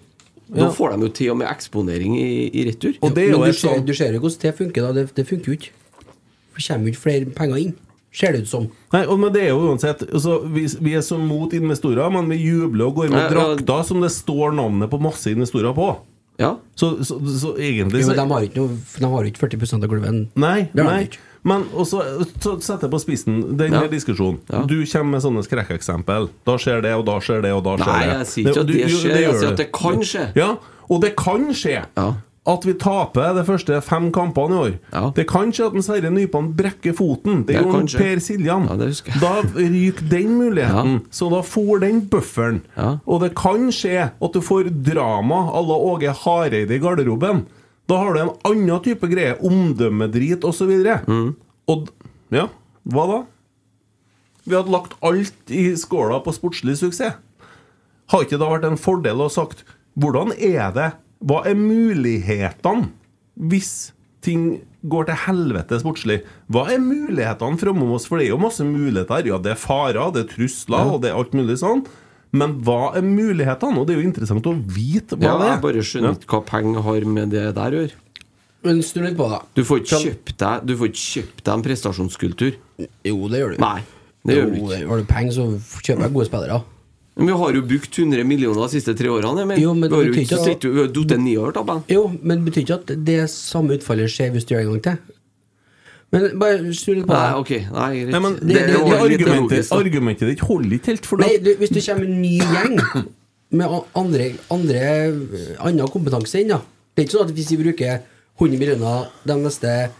Da Ja. får de jo til og med eksponering i, i retur. Og det er jo Men du et ser, sånn du ser jo hvordan det funker. da Det, det funker jo ikke. For Det kommer jo ikke flere penger inn, ser det ut som. Nei, og, men det er jo uansett altså, vi, vi er så mot investorer, men vi jubler og går med Nei, ja. drakter som det står navnet på masse investorer på. Ja. Så, så, så, egentlig Jo, så Mm. men de har jo ikke, noe- de har jo ikke 40 av klubben. Nei, Det har de nei. ikke. Men også, så setter jeg på spissen den Ja. her diskusjonen. Ja. Du kommer med sånne skrekkeksempel. Da skjer det, og da skjer det, og da skjer Nei, det. jeg sier ikke at du- det jo, skjer, jeg gjør sier du. at det kan skje. Ja, og det kan skje. Ja. At vi taper de første fem kampene i år. Ja. Det kan skje at en Sverre Nypan brekker foten. Det Det gjorde kan en skje. Per Siljan. Ja, det husker jeg. da ryker den muligheten. Ja. Så da får den bufferen. Ja. Og det kan skje at du får drama à la Åge Hareide i garderoben. Da har du en annen type greie. Omdømmedrit osv. Mm. Og d- ja, hva da? Vi hadde lagt alt i skåla på sportslig suksess. Har ikke det vært en fordel å ha sagt Hvordan er det? Hva er mulighetene hvis ting går til helvete sportslig? Hva er mulighetene framom oss? For det er jo masse muligheter. Ja, det er farer, det er trusler, og det er alt mulig sånn. Men hva er mulighetene? Og det er jo interessant å vite hva ja, det jeg er. bare skjønner Ja. ikke hva penger har med det der å gjøre. Men snu litt på det. Du får ikke Kan- kjøpt deg Du får ikke kjøpt deg en prestasjonskultur. Jo, det gjør du. Nei, det gjør du Jo, ikke. Har du penger, så kjøper jeg gode spillere. Men vi har jo brukt 100 millioner de siste tre årene. Men Jo, men vi har det jo betyr ikke ikke at- sittet- vi har datt ni år, da. Jo, men det betyr ikke at det samme utfallet skjer hvis du gjør det en gang til. Men bare snu litt på det. Nei, ok. Nei, greit. Nei, men Det- det, det, det- det var litt argumentet, logisk, da. argumentet ditt holder ikke helt. For det. Nei, du, hvis du kommer med en ny gjeng med a- andre, andre annen kompetanse inn, da. Det er ikke sånn at hvis vi bruker 100 millioner de neste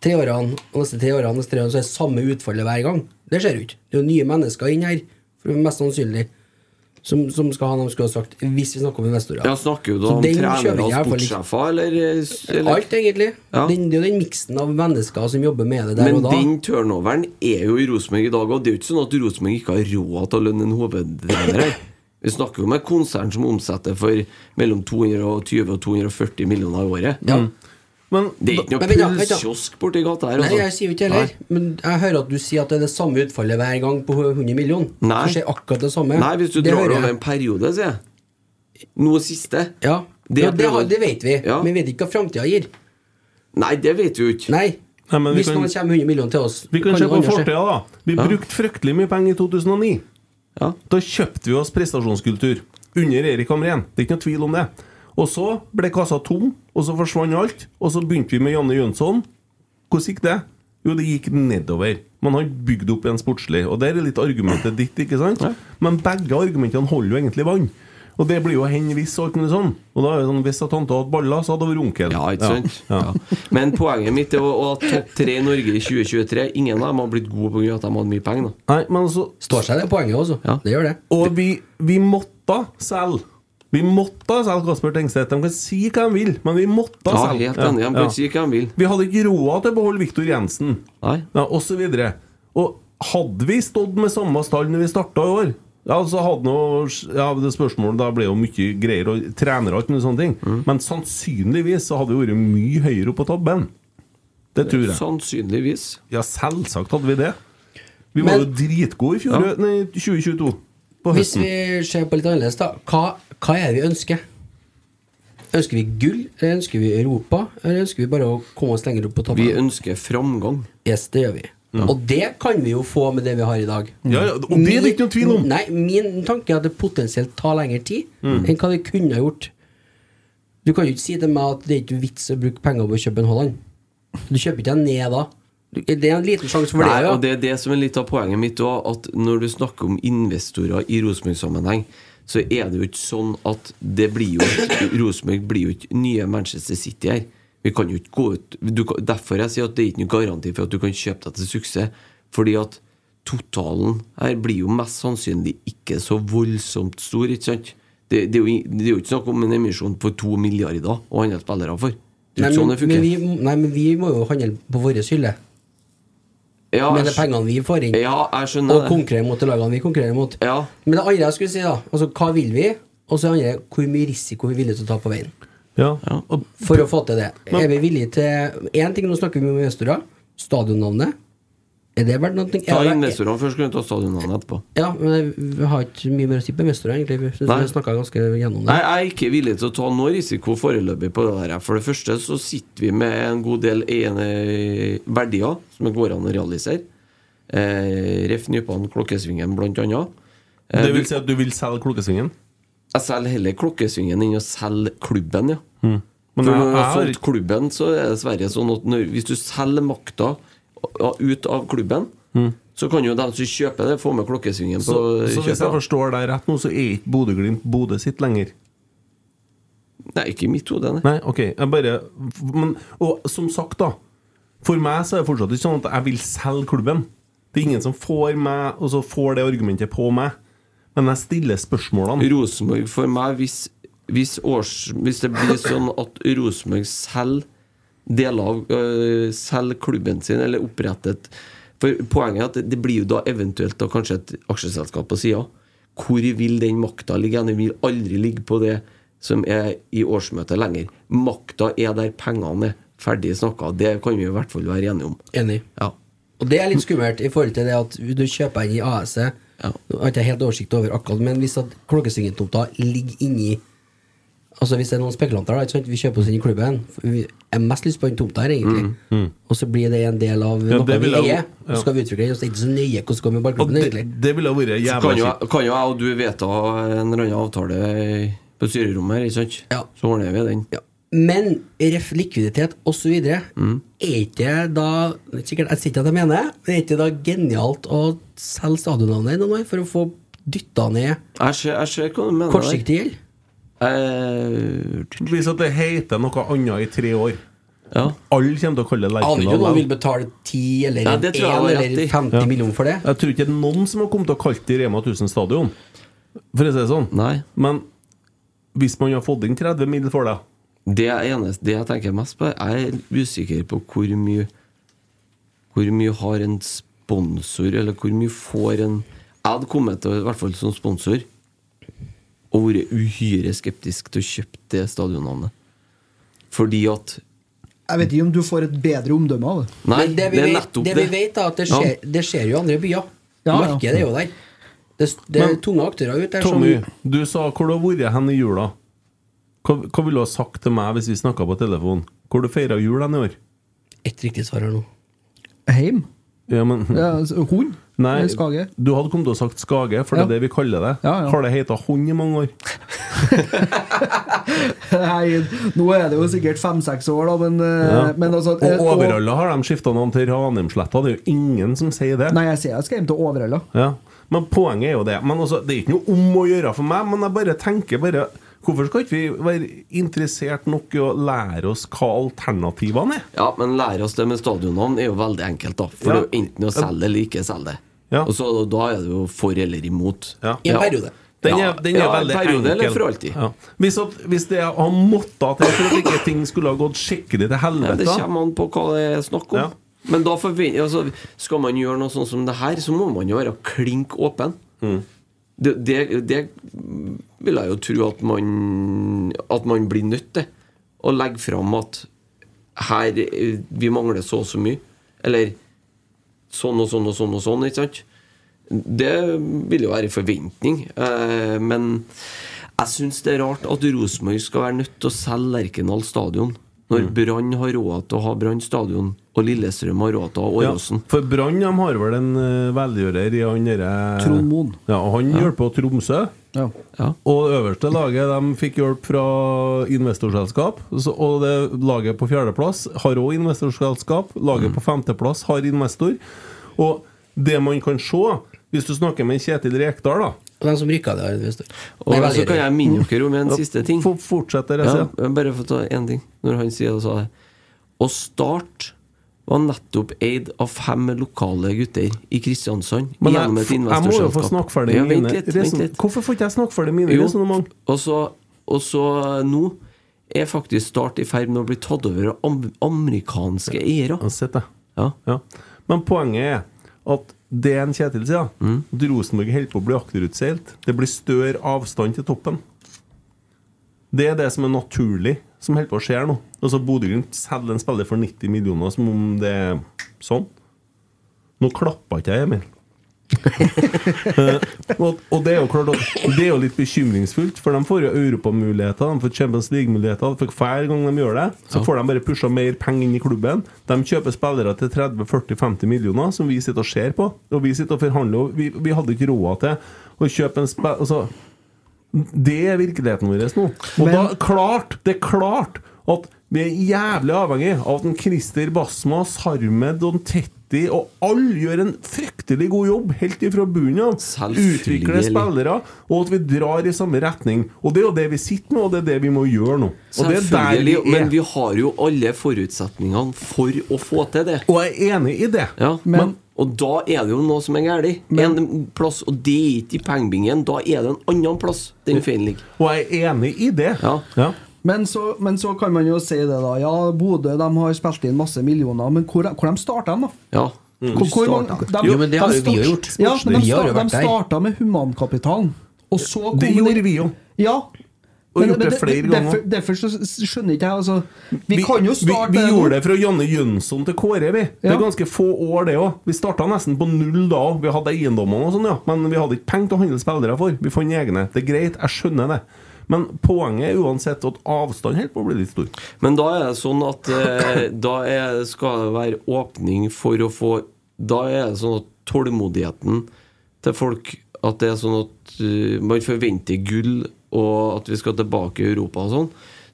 tre årene, og neste tre årene, neste tre årene, så er det samme utfallet hver gang. Det skjer jo ikke. Det er jo nye mennesker inn her, for mest sannsynlig, som, som skal ha noe de skulle ha sagt, hvis vi snakker om investorer. Ja, Snakker jo da Så om den kjøper trenere og jeg i hvert fall ikke. sportssjefer, eller, eller Alt, egentlig. Ja. Den, det er jo den miksen av mennesker som jobber med det der Men og da. den turnoveren er jo i Rosenborg i dag, og det er jo ikke sånn at Rosenborg ikke har råd til å lønne en hovedtrener her. Vi snakker jo om et konsern som omsetter for mellom 220 og 240 millioner i året. Mm. det er ikke Men noe vent da, vent da. pulskiosk borti gata her. Nei, altså. jeg sier jo ikke heller. Men jeg hører at du sier at det er det samme utfallet hver gang på 100 millioner. Nei. Så skjer akkurat det samme. Nei, hvis du det drar hører det over jeg. en periode, sier jeg. Noe siste. Ja, Det det, jeg det, har- prøver- det vet vi. Ja. Men vi vet ikke hva framtida gir. Nei, det vet vi jo ikke. Nei. Nei, men vi Hvis kan- noen kommer med 100 millioner til oss Vi kan kan se det på andre skje. fortida, da. Vi brukte fryktelig mye penger i 2009. Ja. Da kjøpte vi oss prestasjonskultur under Erik Hamren. Det er ikke noe tvil om det. Og så ble kassa tom, og så forsvant alt. Og så begynte vi med Janne Jønsson. Hvordan gikk det? Jo, det gikk nedover. Man har bygd opp en sportslig. Og der er litt argumentet ditt, ikke sant? Men begge argumentene holder jo egentlig vann. Og det blir jo hen hvis og alt mulig sånn. Og da er det sånn, hvis at tante hadde baller, så hadde det vært onkel. Ja, ikke sant? Ja. Men poenget mitt er å å ha topp tre i Norge i 2023. Ingen av dem har blitt gode pga. at de hadde mye penger. da Nei, men altså Står seg det poenget, altså. Ja. Det gjør det. Og vi, vi måtte selge. Vi måtte selge Kasper Tengstedt. De kan si hva de vil, men vi måtte Ja, selge. helt enig. De kan si hva de vil. Vi hadde ikke råd til å beholde Viktor Jensen, Nei. ja, osv. Og hadde vi stått med samme stall når vi starta i år ja, så hadde noe, ja, det spørsmålet Da ble jo mye greier og trenere og alt mulig sånne ting. Mm. Men sannsynligvis så hadde vi vært mye høyere oppe på tabben. Det tror jeg. Sånn. Sannsynligvis. Ja, selvsagt hadde vi det. Vi var Men- jo dritgode i fjor, nei, 2022. På Hvis høsten. vi ser på litt annerledes, da. Hva, hva er det vi ønsker? Ønsker vi gull? Eller ønsker vi Europa? Eller ønsker vi bare å komme oss lenger opp på Vi toppen? ønsker framgang. Yes, det gjør vi. Mm. Og det kan vi jo få med det vi har i dag. Mm. Ja, ja, og det er det ikke noe tvil om. Nei, Min tanke er at det potensielt tar lengre tid Mm. enn hva det kunne ha gjort. Du kan jo ikke si til meg at det er ikke vits å bruke penger på å kjøpe en Haaland. Du kjøper ikke en ned da. Du- Det er en liten sjanse for Nei, det. og Ja. det er det som er litt av poenget mitt òg, at når du snakker om investorer i Rosenborg-sammenheng, så er det jo ikke sånn at det blir jo ikke- Rosenborg blir jo ikke nye Manchester City her. Vi kan jo ikke gå ut du, kan- Derfor jeg sier at det er ikke noen garanti for at du kan kjøpe deg til suksess. Fordi at totalen her blir jo mest sannsynlig ikke så voldsomt stor, ikke sant? Det, det, er, jo, i- det er jo ikke snakk om en emisjon for to milliarder og andre spillere for. Det er Nei, jo ikke sånn men, det men, vi, funker. nei, men vi må jo handle på vår hylle. Ja, Med de jeg skj- pengene vi får inn. ja, jeg skjønner og det. konkurrere mot de lagene vi konkurrerer mot. eh, Ja. Men det andre jeg skulle si, da Altså, hva vil vi? Og så det andre, hvor mye risiko vi er villige til å ta på veien. Ja. Og For å få til det. er vi villige til Én ting, nå snakker vi om investorer. Stadionnavnet. Er det verdt noe? Ta Er det- investorene først, kunne du ta stadionnavnet etterpå. Ja, men vi har ikke mye mer å si på investorer, egentlig. Vi synes Nei. vi snakket ganske gjennom Nei, det. jeg er ikke villig til å ta noe risiko foreløpig på det der. For det første så sitter vi med en god del ene verdier som det går an å realisere. Eh, Ref. Nypan, Klokkesvingen blant annet. Eh, Det vil du- si at du vil selge Klokkesvingen? Jeg selger heller Klokkesvingen enn å selge klubben, ja. Mm. Men jeg- For når du har jeg har solgt klubben, så er det dessverre sånn at når, hvis du selger makta ja, ut av klubben, så kan jo de som kjøper det, få med Klokkesvingen på Mm. Så, så hvis jeg kjøpet. forstår deg rett nå, så er ikke Bodø-Glimt Bodø sitt lenger? Nei, ikke i mitt hode, nei. Nei, ok. Jeg bare men, Og som sagt, da. For meg så er det fortsatt ikke sånn at jeg vil selge klubben. Det er ingen som får meg Og så får det argumentet på meg. Men jeg stiller spørsmålene. Rosenborg for meg hvis, hvis, års, hvis det blir sånn at Rosenborg selger deler av øh, Selger klubben sin, eller oppretter et For poenget er at det blir jo da eventuelt da kanskje et aksjeselskap på sida. Hvor vil den makta ligge? Den vil aldri ligge på det som er i årsmøtet lenger. Makta er der pengene er. Ferdig snakka. Det kan vi i hvert fall være enige om. Enig. Ja. Og det er litt skummelt i forhold til det at du kjøper inn i AS-et. Ja. Nå har ikke jeg helt oversikt over akkurat, men hvis at Klokkesvingen-tomta ligger inni Altså Hvis det er noen spekulanter, da, ikke sant? vi kjøper oss inn i klubben. For Vi jeg har mest lyst på den tomta her, egentlig. Og så blir det en del av Mm. Ja, noe det vi vil jeg jo- eier. Og så skal vi utvikle den, og så er det ikke så nøye hvordan det går med ballklubben, egentlig. Det ville vært Så jævla kan jo, kjipt. kan jo jeg og du vedta en eller annen avtale på styrerommet her, ikke sant? Så ordner vi den. Men ref likviditet osv. Mm. Er ikke da det er sikkert, Jeg sier ikke at jeg mener men er ikke da genialt å selge stadionnavnet noen år for å få dytta ned Jeg ser, jeg ser hva du mener. der. Eh, kortsiktig gjeld? Hvis at det heter noe annet i tre år Alle kommer til å kalle det Aner ikke om Lerkendal. noen vil betale 10 eller Ja, 1 det tror jeg har rett eller i. 50 Ja. millioner for det. Jeg tror ikke det er noen som har kommet til å kalle det Rema 1000 Stadion. For å si det sånn. Men hvis man har fått inn 30 middel for det Det er eneste det jeg tenker mest på. Jeg er usikker på hvor mye Hvor mye har en sponsor, eller hvor mye får en Jeg hadde kommet til, i hvert fall som sponsor, og vært uhyre skeptisk til å kjøpe det stadionnavnet. Fordi at Jeg vet ikke om du får et bedre omdømme av det. Nei, Men det vi, det er vet, nettopp det vi det. vet, da, at det Ja. skjer, det skjer jo i andre byer. Ja, ja. Markedet er jo der. Det, det er Men- tunge aktører ute sånn- der som Tommy, du sa hvor du har vært hen i jula. Hva, hva ville du ha sagt til meg hvis vi snakka på telefon? Hvor du feira jul hen i år? Ett riktig svar her nå. Heim? Ja, men Ja, altså, hund? Nei, Eller skage? du hadde kommet til å sagt Skage, for det er Ja. det vi kaller det. Ja, ja. Har det heta Hund i mange år? Nei, nå er det jo sikkert fem-seks år, da, men, eh, Ja. men altså eh, og overalla har de skifta navn til Ranheimsletta. Det er jo ingen som sier det. Nei, jeg sier jeg skal hjem til Overhalla. Ja. Men poenget er jo det. Men altså, det er ikke noe om å gjøre for meg, men jeg bare tenker bare Hvorfor skal ikke vi være interessert nok i å lære oss hva alternativene er? Ja, men lære oss det med stadionnavn er jo veldig enkelt, da. For Ja. det er jo enten å selge eller ikke selge det. Og så da er det jo for eller imot. I en periode. Den er, den er ja, veldig en periode enkel. eller for alltid. Ja. Hvis, at, hvis det har måtta til for at ikke ting skulle ha gått skikkelig til Ja, helvete det kommer an på hva det er snakk om. Men da forventer altså, Skal man gjøre noe sånn som det her, så må man jo være klink åpen. Det, det, det vil jeg jo tro at man At man blir nødt til å legge fram at her eh, Vi mangler så og så mye. Eller sånn og sånn og sånn og sånn, ikke sant? Det vil jo være en forventning. Eh, men jeg syns det er rart at Rosenborg skal være nødt til å selge Lerkendal stadion. Når Brann har råd til å ha Brann stadion, og Lillestrøm har råd til å ha Ja, Åråsen. for Brann de har vel en eh, velgjører i han derre Trond Moen. Ja, og han hjelper på Tromsø. Og det øverste laget de fikk hjelp fra investorselskap. Så, og det laget på fjerdeplass har òg investorselskap. Laget Mm. på femteplass har investor. Og det man kan se, hvis du snakker med Kjetil Rekdal, da Hvem som rykka det, har investor. Og så kan jeg minne dere om en siste ting. Få fortsette, Ja, Reze. bare få ta én ting. Når han sier det, sa det. Og Start var nettopp eid av fem lokale gutter i Kristiansand. Men jeg- gjennom et jeg må jo få investorselskap. snakke ferdig ja, mine vent litt, reson- vent litt. Hvorfor får ikke jeg snakke ferdig mine resonnement? Og så, og så nå er faktisk Start i ferd med å bli tatt over av am amerikanske eiere. Ja. Men poenget er at det en Kjetil sier, Mm. at Rosenborg holder på å bli akterutseilt. Det blir større avstand til toppen. Det er det som er naturlig, som holder på å skje nå. Altså Bodø-Glimt selger en spiller for 90 millioner, som om det er sånn. Nå klappa ikke jeg, Emil. Eh, og, og det er jo klart at Det er jo litt bekymringsfullt, for de får jo europamuligheter, de får Champions League-muligheter. For hver gang de gjør det, så Ja. får de bare pusha mer penger inn i klubben. De kjøper spillere til 30-40-50 millioner, som vi sitter og ser på. Og vi sitter og forhandler, og vi, vi hadde ikke råd til å kjøpe en spiller altså, Det er virkeligheten vår nå. Og da klart, det er klart at vi er jævlig avhengig av at en Christer Basmas, Harmed, Don Tetti og alle gjør en fryktelig god jobb helt ifra bunnen av. Utvikler spillere, og at vi drar i samme retning. Og det er jo det vi sitter med, og det er det vi må gjøre nå. Og det er der vi Selvfølgelig, er. men vi har jo alle forutsetningene for å få til det. Og jeg er enig i det. Ja, men, og da er det jo noe som er galt. En plass, og det er ikke i pengebingen. Da er det en annen plass den feilen ligger. Og jeg er enig i det. Ja. Men så, men så kan man jo si det, da. Ja, Bodø de har spilt inn masse millioner, men hvor, hvor de starta de, da? Ja. Hvor, hvor mange, de, Jo, men det har de jo vi start- jo gjort. Ja, men de, Vi har jo sta- vært de der. starta med humankapitalen. Og så kom Det gjorde vi jo. Ja. Og gjort det flere ganger. Derfor, derfor så skjønner ikke jeg altså, Vi, kan jo starte vi, vi gjorde det fra Janne Jønsson til Kåre, vi. Det er ganske få år, det òg. Vi starta nesten på null da òg. Vi hadde eiendommene og sånn, ja. Men vi hadde ikke penger til å handle spillere for. Vi fant egne. Det er greit, jeg skjønner det. Men poenget er uansett at avstanden holder på å bli litt stor. Men da er det sånn at eh, da er, skal det være åpning for å få Da er det sånn at tålmodigheten til folk At det er sånn at eh, man forventer gull, og at vi skal tilbake i Europa og sånn.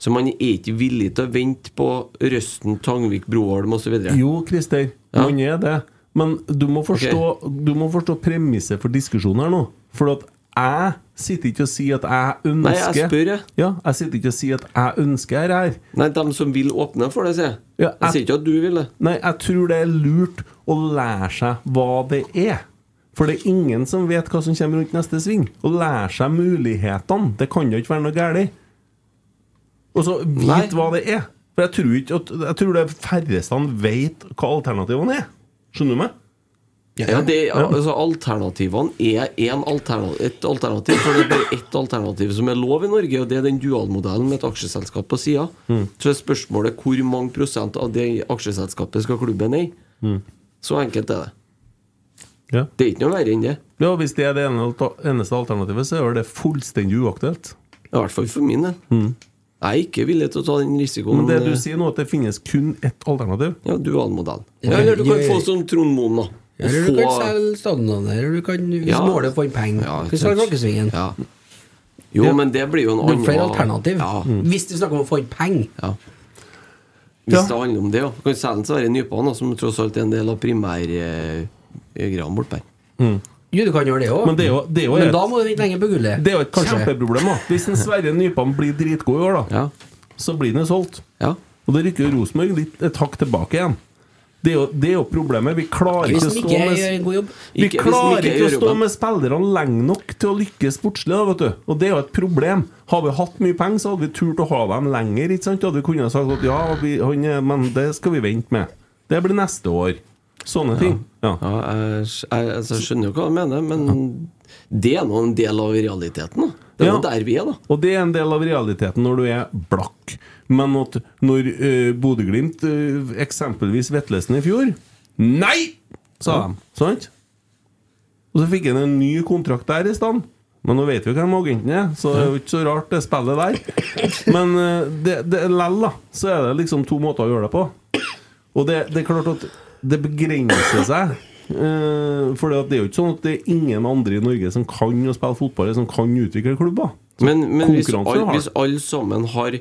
Så man er ikke villig til å vente på Røsten, Tangvik, Broholm osv. Jo, Christer, Ja. man er det. Men du må forstå, du må forstå premisset for diskusjonen her nå. For at jeg sitter ikke og sier at jeg ønsker Nei, jeg spør, jeg. Ja, jeg sitter ikke og sier at jeg ønsker her. her. Nei, de som vil åpne for det, sier jeg. Ja, Jeg sier jeg- ikke at du vil det. Nei, jeg tror det er lurt å lære seg hva det er. For det er ingen som vet hva som kommer rundt neste sving. Å lære seg mulighetene, det kan jo ikke være noe galt. Og så Nei. vite hva det er. For jeg tror, ikke at, jeg tror det er færreste han vet hva alternativene er. Skjønner du meg? Ja, det, altså Alternativene er en alterna- et alternativ, for det er bare ett alternativ som er lov i Norge, og det er den dualmodellen med et aksjeselskap på sida. Mm. Så er spørsmålet hvor mange prosent av det aksjeselskapet skal klubben eie. Så enkelt er det. Ja. Det er ikke noe verre enn det. Ja, Hvis det er det ene alter- eneste alternativet, så er det fullstendig uaktuelt. Mm. I hvert fall for min del. Jeg er ikke villig til å ta den risikoen. Men det du eh, sier nå, at det finnes kun ett alternativ Ja, dualmodellen. Ja, Ja, eller du kan jeg- få som Trond Moen, da. Og Eller du kan få- selge stadionene, eller du kan Hvis Ja. målet får en penger, Ja, ja, kan du selge Klokkesvingen. Ja. Jo, men det blir jo en Det er annen flere alternativ. Ja. Hvis du snakker om å få en penger. Ja. Hvis Ja. det handler om det, ja. Kan Sælen så være nypene, som tross alt er en del av eh, primærgreiene bortpå her. Jo, du kan gjøre det òg, Men det er jo, det er jo men et, da må du vente lenge på gullet. det er jo et Kanskje. kjempeproblem. da Hvis en Sverre Nypan blir dritgod i år, da, Ja. så blir den jo solgt. ja. Og da rykker jo Rosenborg litt et hakk tilbake igjen. Det er jo, det er jo problemet. Vi klarer Hvis ikke de å ikke stå med gjør en god jobb. vi Ikke- hvis de klarer ikke ikke, gjør å stå jobben. med spillerne lenge nok til å lykkes sportslig. Da, vet du. Og det er jo et problem. Har vi hatt mye penger, så hadde vi turt å ha dem lenger. Ikke sant? Da Hadde vi kunnet sagt at ja, vi, han, er- men det skal vi vente med. Det blir neste år. Sånne ting. Ja. ja jeg, skj- jeg, altså, jeg skjønner jo hva du mener, men det er nå en del av realiteten. da Det er Ja. jo der vi er, da. Og det er en del av realiteten når du er blakk. Men at når uh, Bodø-Glimt, eh, eksempelvis Vetlesen i fjor Nei! sa de. Sant? Og så fikk han en ny kontrakt der i stand. Men nå vet vi jo hvem agenten er, så det er jo ikke så rart det spillet der. Men eh, det, det lell, da, så er det liksom to måter å gjøre det på. Og det, det er klart at det begrenser seg. for det er jo ikke sånn at det er ingen andre i Norge som kan å spille fotball, eller som kan utvikle klubber. Men, men hvis, konkurransen all, har- hvis alle sammen har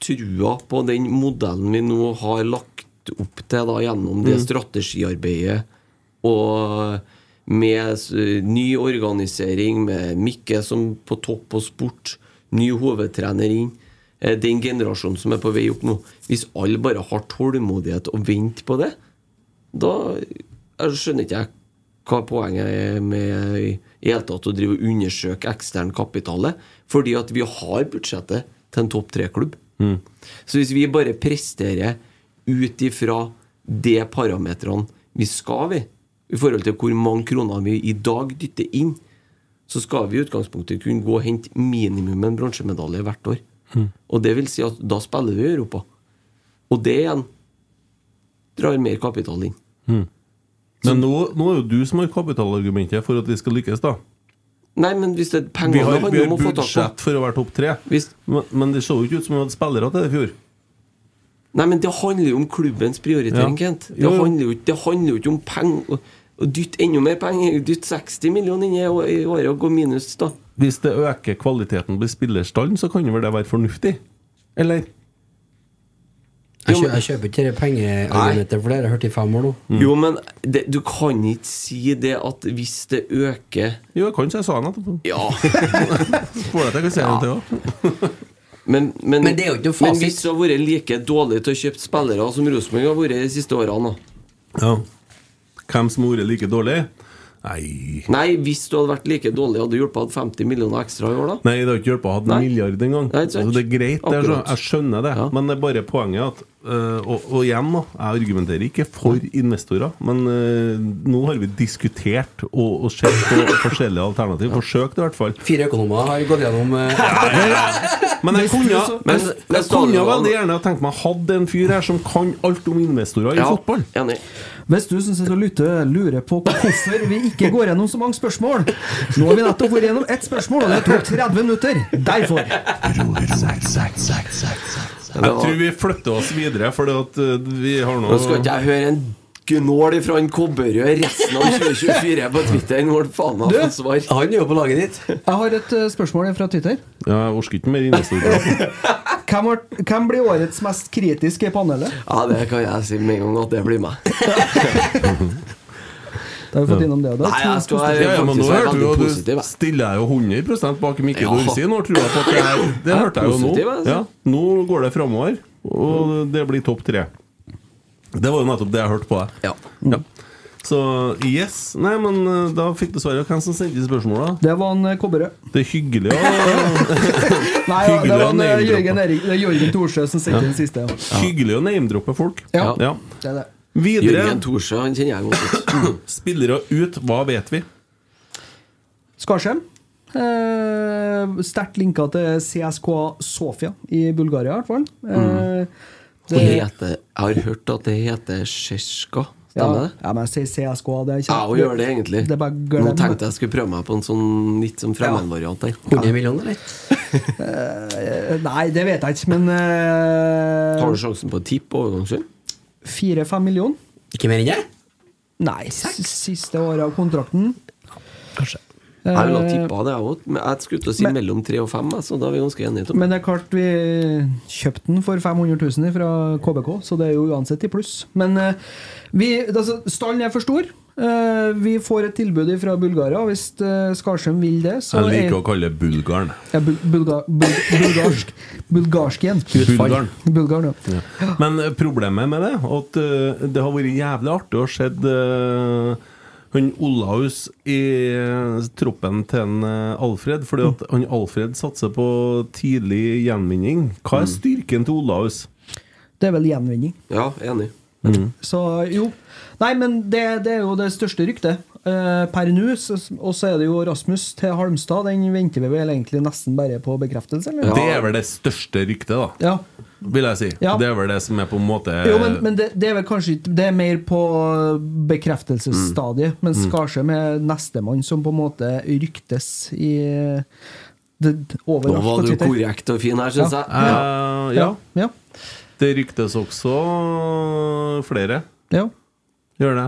trua på den modellen vi nå har lagt opp til da, gjennom det strategiarbeidet og med s- ny organisering, med Mikke som på topp på sport, ny hovedtrener inn eh, Den generasjonen som er på vei opp nå Hvis alle bare har tålmodighet og venter på det, da jeg skjønner ikke jeg hva poenget er med i hele tatt å drive og undersøke ekstern kapital. er, Fordi at vi har budsjettet til en topp tre-klubb. Mm. Så hvis vi bare presterer ut ifra de parametrene vi skal, vi, i forhold til hvor mange kroner vi i dag dytter inn, så skal vi i utgangspunktet kunne gå og hente minimum en bronsemedalje hvert år. Mm. Og det vil si at da spiller vi i Europa. Og det igjen drar mer kapital inn. Mm. Men nå, nå er jo du som har kapitalargumentet for at vi skal lykkes, da. Nei, men hvis det er Vi pengene har, handler vi har om å få tak på budsjett for å være topp tre. hvis, Men, men det så jo ikke ut som vi hadde spillere til det i fjor. Nei, men det handler jo om klubbens prioritering, Ja. Kent. Det Jo, jo. handler, jo, ikke- det handler jo ikke om penger. Å dytte enda mer penger. Dytte 60 millioner inn i å- i året og gå minus, da. Hvis det øker kvaliteten på spillerstallen, så kan jo vel det være fornuftig? Eller? Jeg, kjø, jeg kjøper ikke det pengeargumentet for det, har jeg hørt i fem år nå. Mm. Jo, men det, du kan ikke si det at hvis det øker Jo, jeg kan si jeg sa han etterpå. Ja. Får jeg til å si det til også. Men, men, Men det er jo ikke noe men fasit. hvis det har vært like dårlig til å kjøpe spillere som Rosenborg har vært de siste årene, da. Ja. Hvem som har vært like dårlig? Nei Nei, hvis du hadde vært like dårlig, hadde det hjulpet å ha 50 millioner ekstra i år, da? Nei, det har ikke hjulpet å ha en Nei. milliard engang. Nei, ikke sant. Altså, det er greit, det er så, Akkurat. jeg skjønner det. Ja. Men det er bare poenget at øh, og, og igjen, da. Jeg argumenterer ikke for investorer, men øh, nå har vi diskutert og, og sett på forskjellige alternativ. Forsøkt, i hvert fall. Fire økonomer har gått gjennom eh, Men jeg kunne, jeg, Men- men jeg kunne stadion- veldig gjerne ha tenkt meg hadde en fyr her som kan alt om investorer i Ja, fotball. enig. Hvis du som sitter og lytter, lurer på hvorfor vi ikke går gjennom så mange spørsmål. Nå har vi nettopp vært gjennom ett spørsmål, og det tok 30 minutter. Derfor. Jeg tror vi flytter oss videre, for vi har nå Nå skal ikke jeg høre en gnål fra en kobberrød resten av 2024 på Twitter når faen har fått svar. Han er jo på laget ditt. Jeg har et eh, spørsmål fra Twitter. Ja, Jeg orker ikke mer innestående. Hvem, har, hvem blir årets mest kritiske i panelet? Ja, det kan jeg si med en gang at det blir meg. Da har vi fått innom det. og det. Nei, jeg skal Ja, ja, men nå faktisk være hørte du veldig jo positiv. du jeg. stiller jeg jo 100 bak Mikke Ja. Dorsin. Nå tror jeg på at det er Det Ja, hørte jeg jo positiv, nå. altså. Ja, nå går det framover, og det blir topp tre. Det var jo nettopp det jeg hørte på deg. Ja. Ja. Så yes. Nei, men eh, da fikk du svaret. Hvem som sendte spørsmåla? Det var en eh, kobberrød. Det er hyggelig å Nei, ja, Hyggelig det var å en eh, name-droppe. Jørgen, Erik, det er Jørgen Thorsjø som sendte den siste. Ja. Hyggelig å name-droppe folk. Ja. Ja. Det er det. Videre Jørgen Thorsø, han kjenner jeg godt. spillere ut. Hva vet vi? Skarsheim. Eh, Sterkt linka til CSKA Sofia i Bulgaria, i hvert fall. Mm. Eh, Det heter, jeg har hørt at det heter Sjeska. ja, Stemmer det? ja, men jeg sier CSKA. Det er Ja, og gjør det egentlig. Det er bare glem. Nå tenkte jeg skulle prøve meg på en sånn litt sånn fremmedvariant der. 100 millioner, eller? Eh, Nei, det vet jeg ikke, men eh, Tar du sjansen på et tipp på overgangssum? Fire-fem millioner? Ikke mer enn det? Nei, s- siste året av kontrakten. Kanskje. Jeg ville Eh, ha tippa det, jeg òg. Men jeg skulle til å si mellom tre og fem, jeg, så da er vi ganske enige. Tom. Men det er klart vi kjøpte den for 500 000 fra KBK, så det er jo uansett i pluss. Men eh, vi, altså, stallen er for stor. Eh, vi får et tilbud fra Bulgaria hvis eh, Skarsheim vil det. Så Jeg liker er, å kalle det bulgaren. ja, bul bulga bul bulgarsk Bulgarsk igjen. Bulgaren. Bulgaren, ja. Men eh, problemet med det at eh, det har vært jævlig artig å se eh, han Olaus i eh, troppen til en eh, Alfred. Fordi at han Alfred satser på tidlig gjenvinning. Hva er styrken til Olaus? Mm. Det er vel gjenvinning. Ja, enig. Så jo. Nei, men det, det er jo det største ryktet eh, per nå. så- Og så er det jo Rasmus til Halmstad. Den venter vi vel egentlig nesten bare på bekreftelse, eller? Det er vel det største ryktet, da. Ja. Vil jeg si. Ja. Det er vel det som er på en måte Eh, Jo, men, men det, det er vel kanskje ikke- Det er mer på bekreftelsesstadiet. Mm. Men Skarsheim er nestemann som på en måte ryktes i det, Nå Overalt på var du Twitter. korrekt og fin her, syns jeg. Eh, ja. Ja. ja, Det ryktes også flere. ja. Gjør det.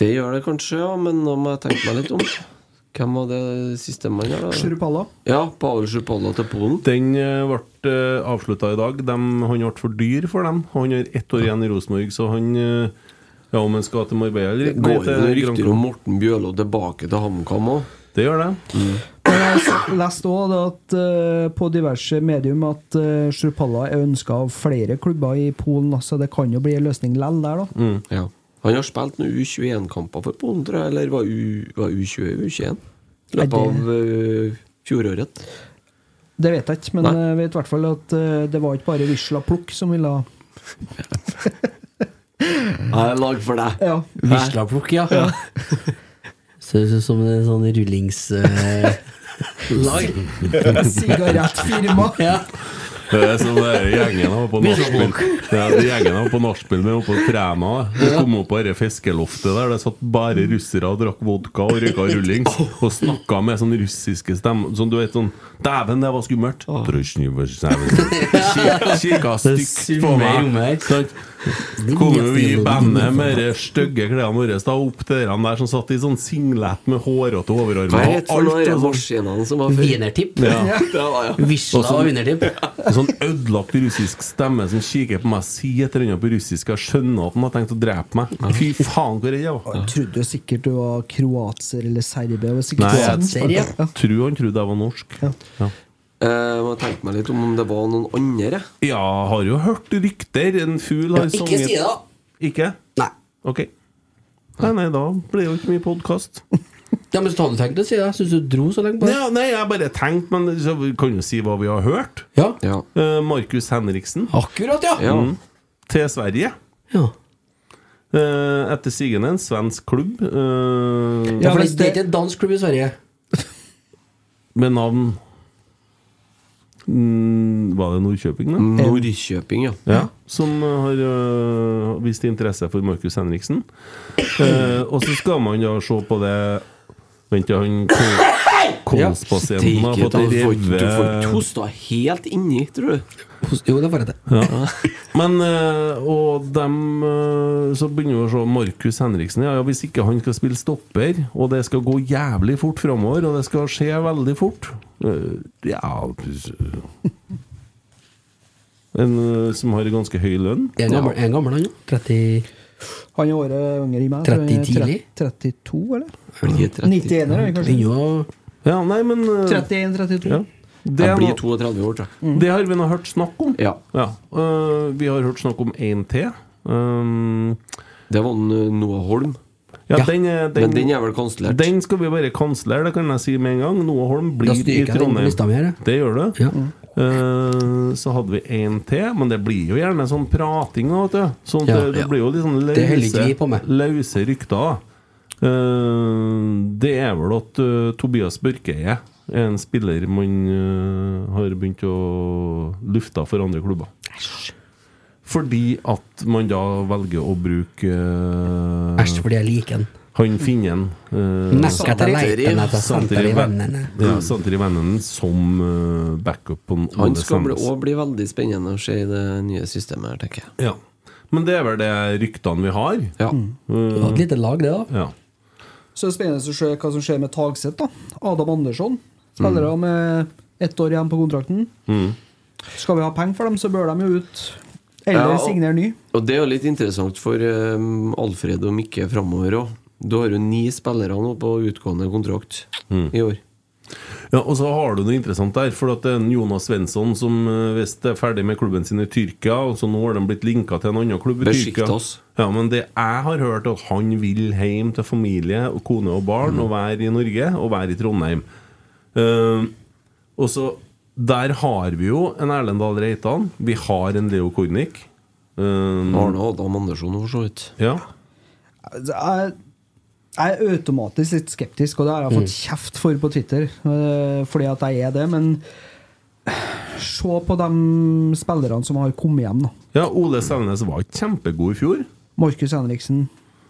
Det gjør det kanskje, ja, men nå må jeg tenke meg litt om. Hvem var det siste mann her, da? Sjurupalla. Ja, Pavel Sjupalla til Polen. Den eh, ble uh, avslutta i dag. Dem- han ble for dyr for dem. Han har ett år igjen i Rosenborg, så han eh, Ja, om han skal til Marbella eller Det går til jo noen Gran rykter Canaria. om Morten Bjørlo tilbake til HamKam òg. Det gjør det. Mm. Men jeg s- leste òg at eh, på diverse medium at uh, Sjurupalla er ønska av flere klubber i Polen, så det kan jo bli en løsning lell der, da. Mm. Ja. Han har spilt noen U21-kamper for Polen, tror jeg. Eller var, U, var U20 U21? I Nei, løpet det- av eh, fjoråret. Det vet jeg ikke, men Nei. jeg vet i hvert fall at eh, det var ikke bare Wisla Plukk som ville ha Jeg er lag for deg. ja. Vislaplukk, ja. Ser ut som en sånn rullings... eh, lag. sigarettfirma. ja. Det er som det er gjengen var på nachspiel. Ja, de gjengen var på nachspiel med oppe og trena. Vi kom opp på dette fiskeloftet der det satt bare russere og drakk vodka og røyka rullings og snakka med sånn russiske stemmer. Sånn, du vet sånn Dæven, det var skummelt! Kik- Kikka stygt på summer i meg. rommet Sant? Kommer vi i bandet med de stygge klærne våre da opp til dem der som satt i sånn singlet med hårete Hva overarmer het og for noen av alt. de og sånn- maskinene som var før? Wienertipp. Ja. Det var, ja. Visla og wienertipp. En sånn ødelagt russisk stemme som kikker på meg, sier et eller annet på russisk. Jeg skjønner at han har tenkt å drepe meg. Fy faen, hvor redd jeg var. Jeg trodde jo sikkert du var kroatser eller serber. Jeg var sikkert Nei, jeg svensk. Serie? tror han trodde jeg var norsk. Ja. Eh, Jeg må tenke meg litt om om det var noen andre. Ja, har jo hørt rykter. En fugl har Ikke si det, da! Ikke? Nei. Ok. Nei, nei, da blir det jo ikke mye podkast. Ja, men så tar du tenkt å si det. Jeg syns du dro så lenge på det. Ja, nei, jeg bare tenkte, men så vi kan jo si hva vi har hørt. Ja. Ja. Eh, Markus Henriksen Mm. Akkurat, ja. ja. til Sverige. ja. Eh, etter sigende en svensk klubb eh, Ja, for men det, det er ikke en dansk klubb i Sverige. med navn mm, Var det Nordkjøping, da? Nordkjøping, ja. Ja, som eh, har øh, vist interesse for Markus Henriksen. Eh, og så skal man da se på det Vent, ja, han kol- kolspasienten har Steike fått ta, du får- Du får ikke revet hosta helt inni, tror du. Jo, det får jeg til. ja. Men eh, Og dem eh, Så begynner vi å se Markus Henriksen. Ja, ja, hvis ikke han skal spille stopper, og det skal gå jævlig fort framover, og det skal skje veldig fort eh, Ja En eh, som har ganske høy lønn. Er han gammel, er han gammel, han nå? 30 Han er året yngre i meg. tror jeg 30 tidlig? 32, eller? Jeg blir 30. 91 er han kanskje. Begynner jo å- Ja, nei, men eh, 31-32. ja. Det er Jeg blir noe- 32 år, tror jeg. Det har vi nå hørt snakk om. Ja. Øh, vi har hørt snakk om én til. Um, Det var en, uh, Noah Holm. ja, Ja, Den, er- Men den er vel kansellert. Den skal vi bare kansellere, det kan jeg si med en gang. Noah Holm blir Da i stryker jeg den på Trondheim. lista mi her. jeg. Det gjør du. Ja. Eh, så hadde vi én til, men det blir jo gjerne sånn prating. da, Vet du. Sånn, at Ja, det, det ja. blir jo litt sånn Det holder ikke vi løse, på med. løse rykter. Eh, det er vel at eh, Tobias Børkeie er en spiller man eh, har begynt å lufte for andre klubber. Fordi at man da velger å bruke eh, Æsj, fordi jeg liker den. han finnen eh, Nekka til leiten etter senter i Ven- vennene. Ja, Santer i vennene som eh, backup på Ole Han skal bli, Sandnes. også bli veldig spennende å se i det nye systemet her, tenker jeg. Ja. Men det er vel det ryktene vi har. Eh, Ja. Det var et lite lag, det, da. Ja. Så det er spennende å se hva som skjer med Tagseth. da. Adam Andersson. Mm. Spillere med ett år igjen på kontrakten. Mm. Skal vi ha penger for dem, så bør de jo ut. Eller Ja, og- signere ny. Og det er jo litt interessant for um, Alfred og Mikke framover òg. Du har jo ni spillere nå på utgående kontrakt Mm. i år. ja, Og så har du noe interessant der. For at det er en Jonas Svensson som eh, hvis det er ferdig med klubben sin i Tyrkia og så Nå har de blitt linka til en annen klubb i Tyrkia. Besiktas. Ja, men det jeg har hørt, at han vil hjem til familie, og kone og barn, Mm. og være i Norge, og være i Trondheim. Eh, og så Der har vi jo en Erlend Dahl Reitan. Vi har en Leo Kornic. Eh, Arne Adam Andersson for så vidt. ja. Altså, Jeg, jeg er automatisk litt skeptisk, og det har jeg Mm. fått kjeft for på Twitter. eh, Fordi at jeg er det, men se på de spillerne som har kommet hjem, da. ja, Ole Selnes var ikke kjempegod i fjor. Markus Henriksen,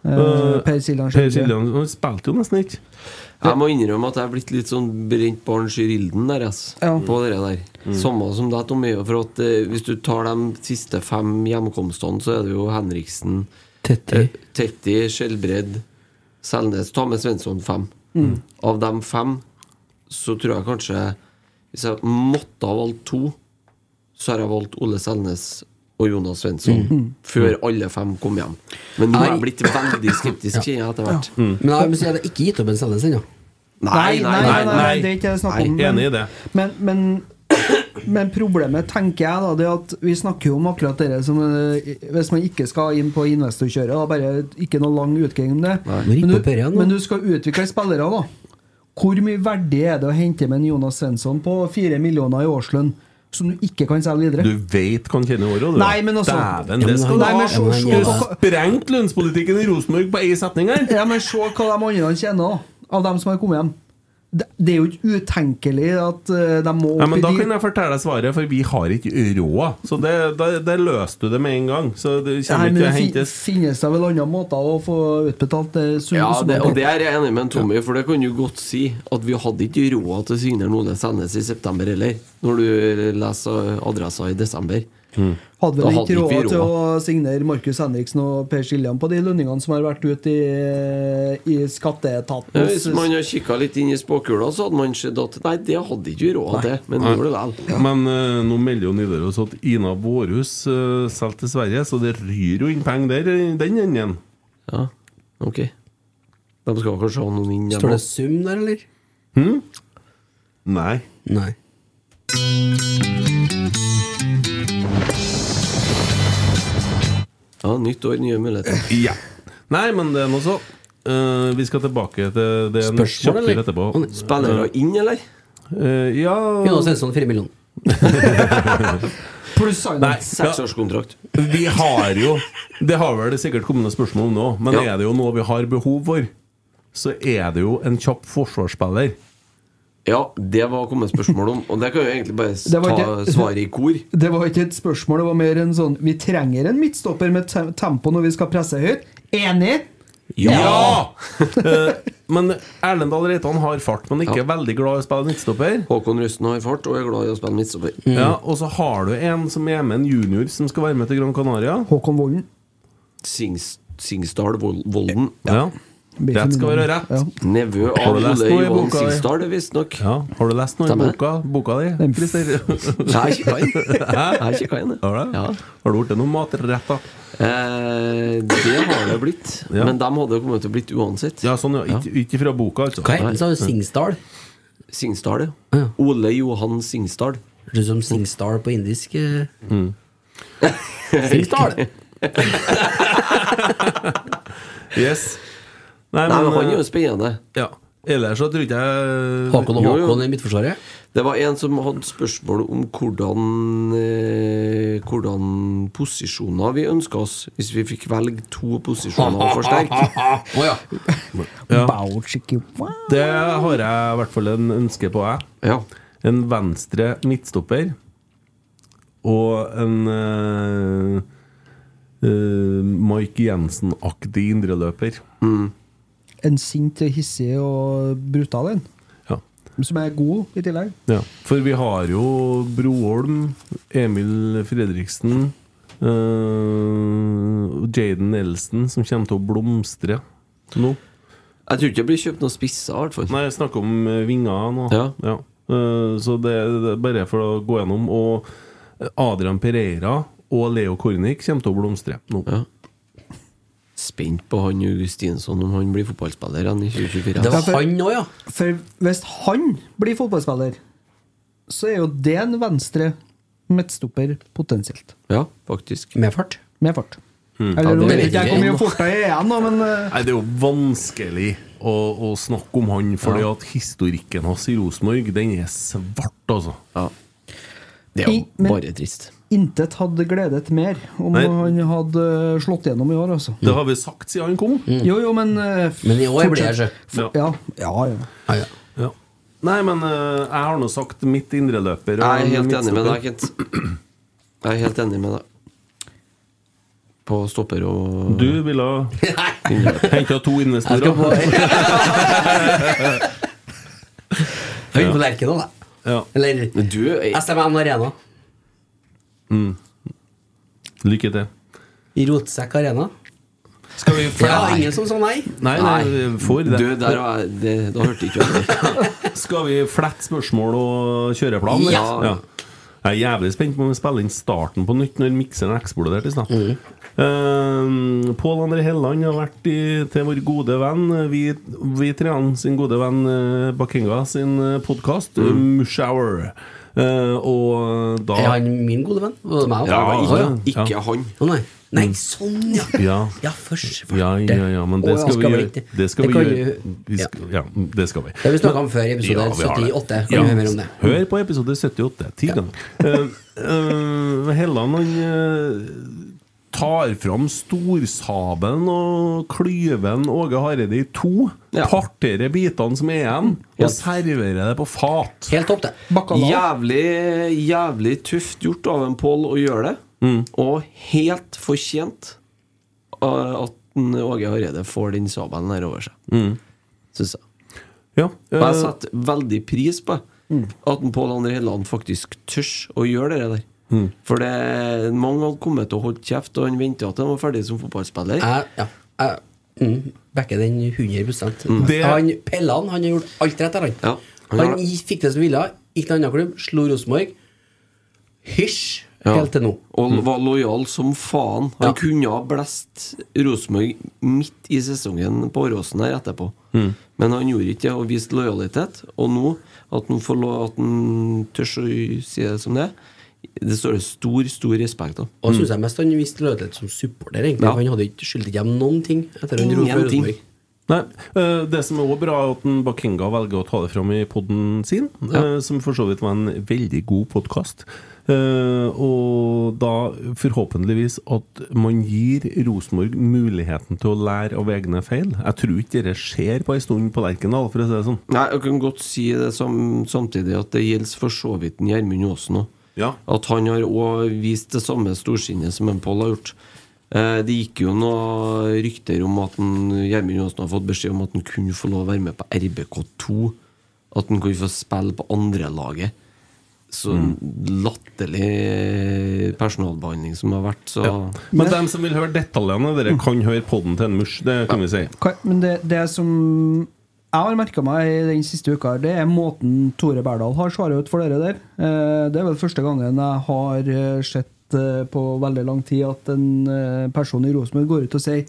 eh, Eh, Per Siljan Per Skjelbred. Siljan han spilte jo nesten ikke. Jeg må innrømme at jeg er blitt litt sånn brent barn skyr ilden der, ass. Ja. På det der. Samme som deg, Tommy. For at eh, hvis du tar de siste fem hjemkomstene, så er det jo Henriksen, eh, Tetti. Tetti, Skjelbred, Selnes Ta med Svensson fem. Av de fem så tror jeg kanskje Hvis jeg måtte ha valgt to, så har jeg valgt Ole Selnes og Jonas Svensson før alle fem kom hjem. Men nå er jeg blitt veldig skeptisk, kjenner jeg etter hvert. Men jeg må si at jeg ikke gitt opp en Selnes ennå. Nei, nei, nei, nei, Mm. nei. det er ikke det jeg snakker om. Nei, enig i det. Men, men, men problemet, tenker jeg, da, det er at vi snakker jo om akkurat det som eh, Hvis man ikke skal inn på investorkjøret, da, bare ikke noe lang utgang om det. Må rippe Men opp her du, igjen, da. men du skal utvikle spillere, da. Hvor mye verdi er det å hente med en Jonas Svensson på fire millioner i årslønn som du ikke kan selge videre? Du veit hva han tjener i året, du. Nei, men altså- Dæven, det skal du Nei, men ha! se, men se, Du på, sprengte lønnspolitikken i Rosenborg på én setning her! ja, men se hva de andre tjener, da. Av dem som har kommet hjem. Det, det er jo ikke utenkelig at eh, de må Ja, men Da i de- kan jeg fortelle deg svaret, for vi har ikke råd. Så det, der, der løste du det med en gang. Så det Nei, kommer ikke til men det å fin- hentes finnes da vel andre måter å få utbetalt eh, sum- Ja, summer det, på. og det er jeg enig med en Tommy, for det kan du godt si. At vi hadde ikke råd til å signere Ole Sandnes i september heller, når du leser adressa i desember. Hadde Da vel hadde ikke ikke vi råd til råd. å signere Markus Henriksen og Per Siljan på de lønningene som har vært ute i, i skatteetaten. Ja, Hvis man hadde kikka litt inn i spåkula, så hadde man sett at nei, det hadde ikke vi råd til, men nå gjorde det vel. Men eh, nå melder jo Nidaros at Ina Vårhus uh, selger til Sverige, så det ryr jo inn penger der i den enden. Ja, ok. De skal kanskje ha noen inn hjemme. Står det sum der, eller? Nei. Nei. Ja, nytt år, nye muligheter. Ja. Nei, men det er nå så. Eh, vi skal tilbake til det en Spørsmål, kjapp tur eller? etterpå. Spillere inn, eller? Eh, ja Jonas Svensson, 4 Sånn millioner. Pluss Nei, ja. Seksårskontrakt. Vi har jo Det har vel det sikkert kommet noen spørsmål om nå, men Ja. er det jo noe vi har behov for, så er det jo en kjapp forsvarsspiller. Ja, det var kommet spørsmål om, og det kan jo egentlig bare s- Det var ta ikke- svaret i kor. Det var ikke et spørsmål, det var mer en sånn Vi trenger en midtstopper med te tempo når vi skal presse høyt. Enig? Ja! Eh, men Erlend Dahl Reitan har fart, men ikke veldig glad i å spille midtstopper. Håkon Rusten har fart og er glad i å spille midtstopper. Mm. Ja, og så har du en som er med en junior som skal være med til Gran Canaria. Håkon Volden. Sings, Singsdal Vol- Volden. Ja. Rett skal være rett. Ja. Nevø Har av du lest Ole noe i Johan boka di? Singsdal, visstnok. Ja. Har du lest noe i Stemmer. boka, boka di? Den- Christer? Nei, ikke kan jeg. Nei, ikke kan jeg. Har du det? Ja. Har du blitt noen matretter? Eh, det har det blitt. Ja. Men dem hadde kommet til å blitt uansett. Ja, sånn, ja. Ikke, ikke fra boka, altså. Hva heter den, sa du? Singsdal? Singsdal, ja. Ja. Ole Johan Singsdal. Hørtes ut som Singstar på indisk. eh. Singstar! Yes. Nei, Nei, men han er eh, jo spennende. ja. Ellers så tror ikke jeg Håkon og Jo, jo. Håkon i Midtforsvaret. Det var en som hadde spørsmål om hvordan, eh, hvordan posisjoner vi ønska oss hvis vi fikk velge to posisjoner å forsterke. Å ja. Ja. Bauchiki. Det har jeg i hvert fall en ønske på, jeg. Ja. En venstre midtstopper og en eh, eh, Mike Jensen-aktig indreløper. En sint, hissig og brutal en. Ja. Som er god i tillegg. ja. For vi har jo Broholm, Emil Fredriksen eh, og Jaden Elsen, som kommer til å blomstre nå. Jeg tror ikke det blir kjøpt noen spisser, i hvert fall. Nei, jeg snakker om eh, vinger nå. Ja. Eh, Så det det er bare for å gå gjennom. Og Adrian Pereira og Leo Kornic kommer til å blomstre nå. Ja. Spent på han Augustinsson om han blir fotballspiller igjen i 2024. Det var han òg, ja. For hvis han blir fotballspiller, så er jo det en venstre midtstopper potensielt. Ja, faktisk. Med fart. Med fart. Eller Mm. Ja, nå det vet vet ikke jeg jeg hvor mye ennå. fort jeg er igjen, da, men eh, Nei, det er jo vanskelig å, å snakke om han, fordi at historikken hans i Rosenborg, den er svart, altså. Ja. Det er jo I- men- bare trist. intet hadde gledet mer om Nei. han hadde eh, slått gjennom i år, altså. Det har vi sagt siden han kom. Mm. Jo, jo, men eh, f- Men i år blir fortsett. jeg sjø. Ja. Ja, ja, ja. Ja, ja. Ja. Nei, men eh, jeg har nå sagt mitt indreløper. og Jeg er helt enig med midtstopper. deg, Kent. Jeg er helt enig med deg. På stopper og Du ville henta to Jeg skal på investorer. Jeg vil på Lerkendal, jeg. Ja. Eller Du er SMN Arena. Lykke til. I Rotsekk Arena. Skal vi For det var ingen som sa nei. Nei, nei, for det. Du, der var jeg det, Da hørte ikke jeg det. Skal vi flette spørsmål og kjøre plan? eller? Ja. Jeg er jævlig spent på om vi spiller inn starten på nytt når mikseren eksploderte i stad. Mm. Eh, Pål André Helland har vært i, til vår gode venn, vi, vi treene sin gode venn eh, Bakenga sin podkast, Mushower. Eh, og da Mm. Er han min gode venn? Var det meg? Ja, Å, Ikke, ja. Mm. ikke han. Å, nei. nei, sånn, ja. Ja. Ja, først ja, ja, ja, men det Å, ja, skal vi skal vi gjøre. ikke- Det skal det vi kan gjøre. jo- Vi ja. skal, ja, det skal vi. Det har vi snakket om før i episode vi har det. 78. Kan du høre mer om det? Hør på episode 78. Ti ganger. Eh, eh, Helland han eh, tar fram storsaben og klyven Åge Hareide i to. Ja. Parterer bitene som er igjen, og serverer det på fat. Helt topp, det. Bacalao. Jævlig, jævlig tøft gjort av en Pål å gjøre det. Og helt fortjent uh, at en Åge Hareide får den sabelen her over seg. Synes jeg. Mm. Ja. Og jeg eh, setter veldig pris på at en Pål André Helland faktisk tør å gjøre det der. For det, mange hadde kommet til å holde kjeft, og han venta at han var ferdig som fotballspiller. Jeg, ja, Eh, jeg mm, backer den 100 Det- Han Pellan han har gjort alt rett der, han. Ja, han han har det. gi- fikk det som ville, gikk til en annen klubb, slo Rosenborg. Hysj! Ja. Helt til nå. Mm. Og var lojal som faen. Han Ja. kunne ha blest Rosenborg midt i sesongen på Åråsen her etterpå. Mm. Men han gjorde ikke det og viste lojalitet. Og nå, at han, får lov, at han tør å si det som det er, det står det stor, stor respekt av. Og synes jeg mest han viste lojalitet som supporter, egentlig. Mm. Ja. Han hadde ikke skyldt ikke dem noen ting etter han dro fra Ingenting. Rosenborg. Nei, eh, Det som er også bra, er at en Bakenga velger å ta det fram i poden sin, eh, som for så vidt var en veldig god podkast. Eh, og da forhåpentligvis at man gir Rosenborg muligheten til å lære av egne feil. Jeg tror ikke det skjer på ei stund på Lerkendal, for å si det sånn. Nei, jeg kan godt si det sam- samtidig at det gjelder for så vidt en Gjermund Aasen òg. Ja. At han har òg vist det samme storsinnet som en Pål har gjort. Eh, Det gikk jo noen rykter om at en Gjermund Aasen har fått beskjed om at han kunne få lov å være med på RBK2. At han kunne få spille på andrelaget. Så Mm. latterlig personalbehandling som har vært, så Men dem som vil høre detaljene, dere kan høre podden til en murs. Det kan vi si. Hva- Men det, det som jeg har merka meg i den siste uka, her, det er måten Tore Berdal har svart ut for dere der. Eh, Det er vel første gangen jeg har eh, sett eh, på veldig lang tid at en eh, person i Rosenborg går ut og sier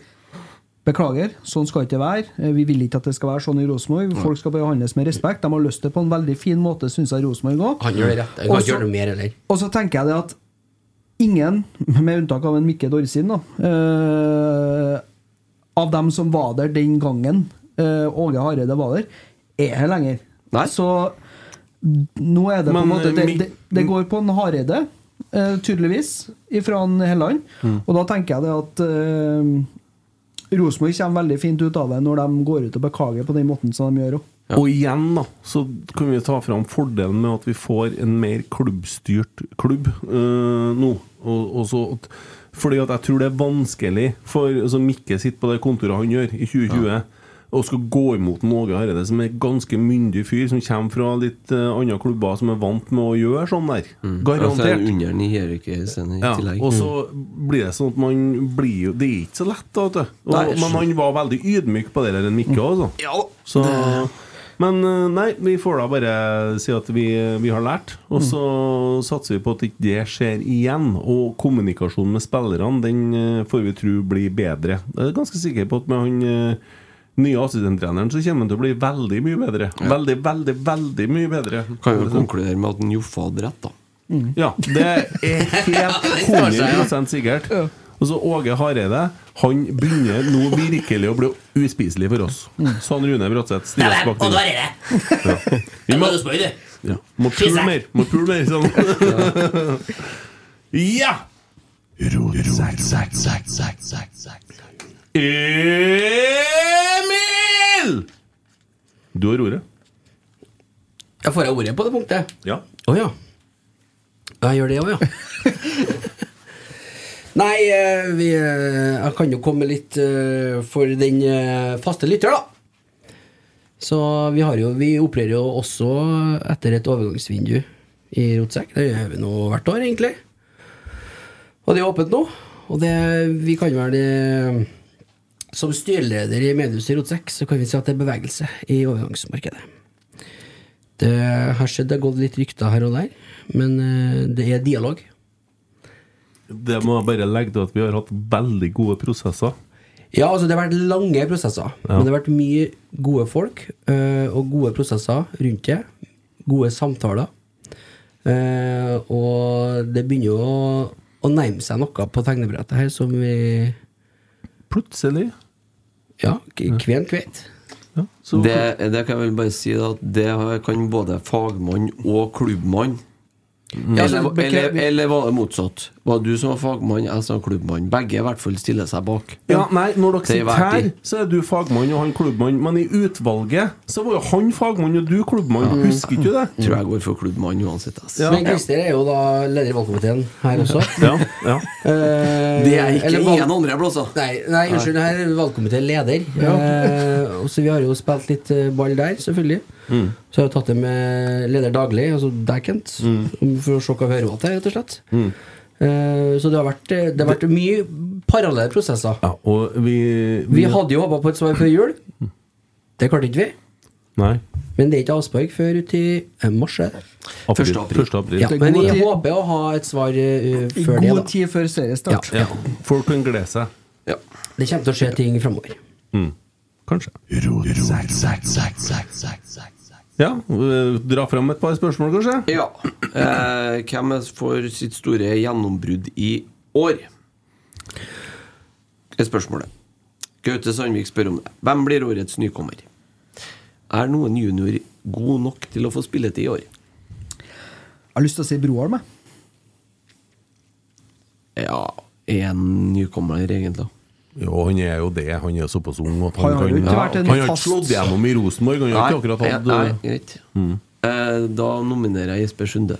Beklager, sånn skal det ikke være. Eh, Vi vil ikke at det skal være sånn i Rosenborg. Folk skal behandles med respekt. De har lyst til det på en veldig fin måte, syns jeg Rosenborg òg. Han gjør det rett. Han kan Og ikke så- gjøre noe mer heller. Og så tenker jeg det at ingen, med unntak av en Mikke Dorsin, da, eh, av dem som var der den gangen eh, Åge Hareide var der, er her lenger. Nei. Så nå er det på Men, eh, en måte Det, Mik- det, det går på en Hareide, eh, tydeligvis, fra Helland. Mm. Og da tenker jeg det at eh, Rosenborg kommer veldig fint ut av det når de går ut og beklager på den måten som de gjør. også. Og igjen da, så kan vi ta fram fordelen med at vi får en mer klubbstyrt klubb eh, nå. Og, og så, at- fordi at jeg tror det er vanskelig for altså Mikke sitter på det kontoret han gjør i 2020, og skal gå imot en Åge Hareide som er en ganske myndig fyr, som kommer fra litt eh, andre klubber som er vant med å gjøre sånn der. Altså, Garantert. under den i hierarkiet i Ja, tillegg. Mm. og så blir det sånn at man blir jo Det er ikke så lett, da, vet du. Og, Nei, men han var veldig ydmyk på det der, en Mikke også. Så, men eh, nei, vi får da bare si at vi, vi har lært, Mm. og så satser vi på at ikke det skjer igjen. Og kommunikasjonen med spillerne, den eh, får vi tro blir bedre. Jeg er ganske sikker på at med han eh, nye assistenttreneren så kommer han til å bli veldig mye bedre. Veldig, veldig, veldig mye bedre. Kan jo konkludere med at en Joffe hadde rett, da. Ja, det er helt 100 sikkert. Og så Åge Hareide Han begynner nå virkelig å bli uspiselig for oss. Sånn Rune Bratseth stiller oss bak Og til. da er det! Ja. Vi må, Må du spørre, du? ja. må pule mer! Må pule mer sånn. Ja! Emil! Du har ordet. Jeg får jeg ordet på det punktet? Ja. Å ja. Ja, Jeg gjør det òg, ja. Nei, eh, vi, eh, jeg kan jo komme litt eh, for den eh, faste lytter, da. Så vi har jo Vi opererer jo også etter et overgangsvindu i Rotsekk. Det gjør vi nå hvert år, egentlig. Og det er åpent nå. Og det Vi kan vel eh, Som styreleder i mediehuset i Rotsekk, så kan vi si at det er bevegelse i overgangsmarkedet. Det har skjedd, det har gått litt rykter her og der, men eh, det er dialog. Det må jeg bare legge til at vi har hatt veldig gode prosesser. Ja, altså det har vært lange prosesser, men det har vært mye gode folk eh, og gode prosesser rundt det. Gode samtaler. Eh, og det begynner jo å, å nærme seg noe på tegnebrettet her som vi Plutselig Ja, kven kveit. ja, så Det, det kan jeg vel bare si da, at det har- kan både fagmann og klubbmann. altså, Eller, eller, eller var det motsatt? Var det du som var fagmann, jeg som var klubbmann? Begge i hvert fall stiller seg bak. Ja, nei, Når dere Det er sitter verdt her, det. så er du fagmann og han klubbmann, men i utvalget så var jo han fagmann og du klubbmann. Husker ikke du det? Tror jeg går for klubbmann uansett. ass. Ja. Men Christer er jo da leder i valgkomiteen her også. Ja, ja. Eh, Det er ikke eller valg- ingen andre plasser. Nei, nei unnskyld, her er valgkomitéleder. Eh, og så vi har jo spilt litt eh, ball der, selvfølgelig. Mm. Så har vi tatt det med leder daglig, altså deg, Kent, for å se hva vi hører til, rett og slett. Mm. Eh, så det har vært, eh, det har vært mye parallelle prosesser. ja og vi, Vi hadde jo håpa på et svar før jul. Det klarte ikke vi. Nei. Men det er ikke avspark før uti eh, mars. er det? April. Første april. Første april. Ja, Det er men god vi tid. håper å ha et svar eh, I før det. god da tid før seriestart. Ja. Folk kan glede seg. Ja. Det kommer til å skje ting framover. Mm. Kanskje. Ja, øh, dra fram et par spørsmål, kanskje? ja. Eh, hvem er for sitt store gjennombrudd i år? Er spørsmålet. Gaute Sandvik spør om det. Hvem blir årets nykommer? Er noen junior god nok til å få spilletid i år? Jeg har lyst til å si Broholm, jeg. Ja, er han nykommer der, egentlig? Jo, han er jo det. Han er såpass ung at Han han, har jo kan ikke vært en Han har ikke fast- slått gjennom i Rosenborg. Han har ikke akkurat hatt nei, greit. Eh, da nominerer jeg Jesper Sunde.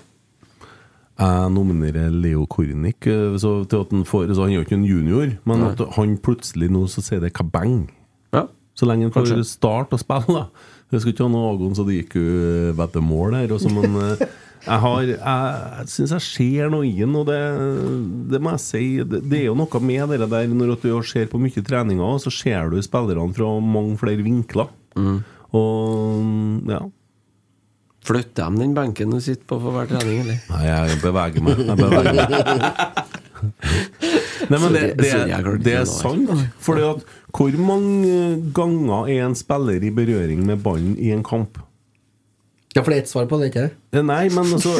Jeg nominerer Leo Kornic eh, så til at han får Så han er jo ikke en junior, men at han plutselig nå så sier det kabang. Ja. Så lenge han får Kanskje. start å spille, da. Jeg skal ikke ha noe Agon så det gikk jo eh, vet det mål her. Også, men eh, jeg, har, jeg syns jeg ser noe i ham, og det, det må jeg si. Det, det er jo noe med det der når at du ser på mye treninger, så ser du spillerne fra mange flere vinkler. Mm. Og ja. Flytter de den benken du sitter på for hver trening, eller? Nei, jeg beveger meg. Jeg beveger meg. Nei, men det, Sorry, det, sorry, jeg det, klarte ikke er å sant. Fordi at hvor mange ganger er en spiller i berøring med ballen i en kamp? Ja, for det er ett svar på det, ikke det? Eh, Nei, men altså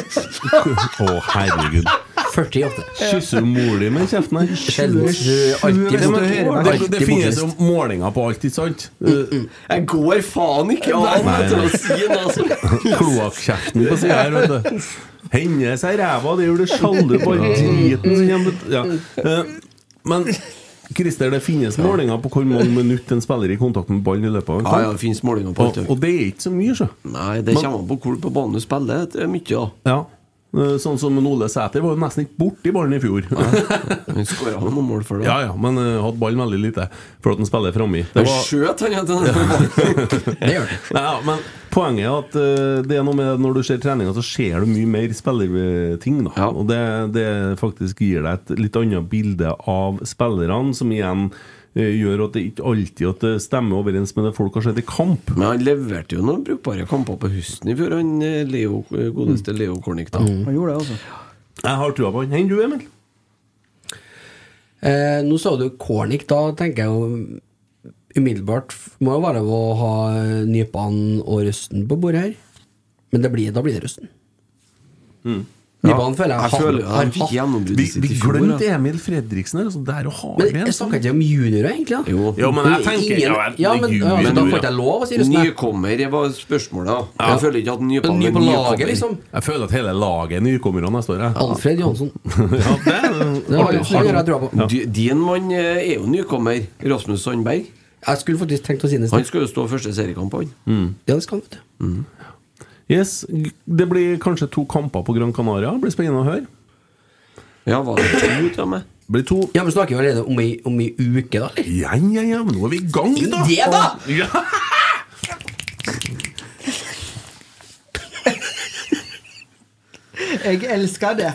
Å, herregud. 48. Kysser du mor di med kjeften her? Sjelden. Det, Alltid men, det, det Alltid Mm, finnes jo bortreist. målinger på alt, ikke sant? Eh, Jeg går faen ikke an Nei, nei. til å si det, altså! Kloakkjeften på sida her, vet du. Hender seg i ræva, det gjør det sjaldu på all driten som kommer ut. ja. Eh, Men Christer, det finnes målinger på hvor mange minutter en spiller er i kontakt med ballen i løpet av en Ja, ja, kamp. det finnes målinger på Og, alt. ja. og det er ikke så mye, så. Nei, det Men- kommer an på hvor på banen du spiller. Det er mye, da. Ja. Eh, Sånn som Ole Sæter var jo nesten ikke borti ballen i fjor. Han skåra noen mål for det. Ja ja, men eh, hadde ballen veldig lite, for at han spiller framme. Det var... Skjøt han etter den Det gjør det. Nei, ja, men poenget er at eh, det er noe med når du ser treninga, så ser du mye mer spillerting. da Ja. Og det, det faktisk gir deg et litt annet bilde av spillerne, som igjen eh, gjør at det ikke alltid at det stemmer overens med det folk har sett i kamp. Men han leverte jo noen brukbare kamper på høsten i fjor, han eh, Leo, eh, godeste Leo Kornik, da. Han gjorde det, altså. Mm. Jeg har trua på han. Enn du, Emil? Eh, nå sa du Cornic, da tenker jeg jo umiddelbart f- Må jo være å ha nypene og røsten på bordet her. Men det blir, da blir det røsten. Nypene føler jeg, Mm. Jeg føler jo har, han fikk har hatt. Vi, gjennombruddet sitt i vi fjor. glemte da. Emil Fredriksen her. Altså, der har Men vi en jeg snakker ikke om juniorer, egentlig. Da. Jo. Jo, men jeg tenker- Ingen, ja, jeg- ja, men, ja, men da får ikke jeg lov å si røsten. jeg. Nykommer det var spørsmålet. da Jeg føler ikke at nypene Ny er på laget, nykommer. liksom. Jeg føler at hele laget er nykommere neste år. jeg. Alfred Johansson. Ja, det er Det har, det har jeg trua på. Du- Din mann eh, er jo nykommer. Rasmus Sandberg. Jeg skulle faktisk tenkt å si det. i Han sted. skal jo stå første seriekamp, han. Ja, det skal han, vet du. Mm. Yes, Det blir kanskje to kamper på Gran Canaria. Det blir spennende å høre. Ja, var det to til meg? Det blir to Ja, men snakker vi allerede om ei, om ei uke, da? eller? Ja, ja, ja, men nå er vi i gang, da! Det, da! Ja. Jeg elsker det.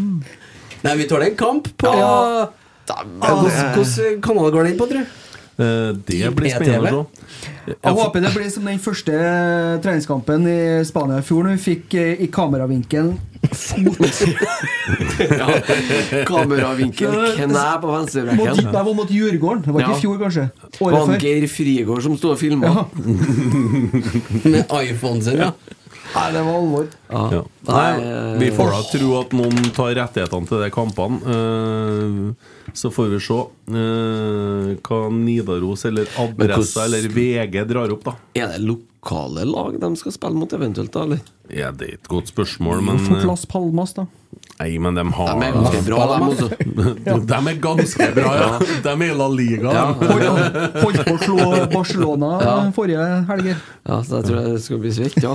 Nei, vi tar det en kamp på Ja. Ja, Hvordan hvordan kanal går den på, tror du? Eh, Det blir spennende å se. Ja, Jeg for- håper det blir som den første eh, treningskampen i Spania i fjor, når vi fikk eh, i kameravinkel Ja. Kameravinkel, kne på mot, venstrebekken. Det var mot Djurgården. Det var ikke Ja. i fjor, kanskje. Året Var før. Geir Frigård som sto og filma? Ja. Med iPhonen sin, ja. Nei, det var alvor. ja. Nei, eh, vi får da tro at noen tar rettighetene til de kampene. Eh, Så får vi se eh, hva Nidaros eller Adressa hvordan- eller VG drar opp, da. Er det lokale lag de skal spille mot eventuelt, da? eller? Ja, det er et godt spørsmål, men Få eh, plass Palmas, da. Nei, men de har De er ganske bra, de altså. også. De er ganske bra, ja. De er i La Liga. de. Holdt holdt på å slå Barcelona eh, forrige helger. Ja, så jeg tror jeg skal bli svett, ja.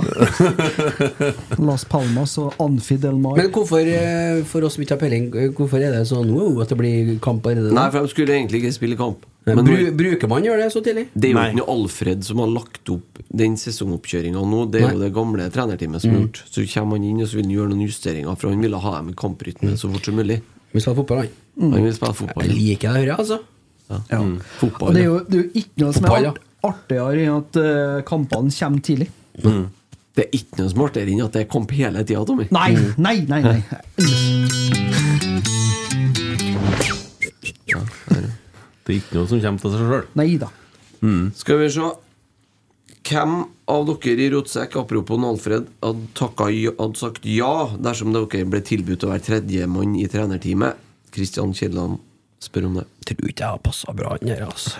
Las Palmas og Anfi del Mar. Men hvorfor, eh, for oss som ikke har peiling, eh, hvorfor er det sånn wow, at det blir kamp allerede? Nei, nå? for de skulle egentlig ikke spille kamp. Men Men Bru, bruker man gjøre det så tidlig? det er jo Nei. ikke noe Alfred som har lagt opp den sesongoppkjøringa nå. Det er jo Nei. Mm. det gamle trenerteamet som har gjort. Så kommer han inn og så vil han gjøre noen justeringer, for han ville ha dem i kamprytme så fort som mulig. Mm. Vi skal ha fotball, Mm. han. Han vil spille Jeg fotball. Mm. liker det, hører jeg, altså. Ja. Og Fotball. det er jo, det er jo ikke noe som er Fotball, ja. art, artigere enn at eh, kampene kommer tidlig. Mm. Det er ikke noe smartere enn at det er kamp hele tida, Tommy. Nei, Mm. nei, nei! nei. Det er ikke noe som kommer til seg Mm. sjøl. Nei da. Skal vi se Hvem av dere i Rotsekk, apropos Alfred, hadde, takka, ja- hadde sagt ja dersom dere ble tilbudt å være tredjemann i trenerteamet? Kristian Kielland spør om det. Tror ikke jeg har passa bra inn her, altså.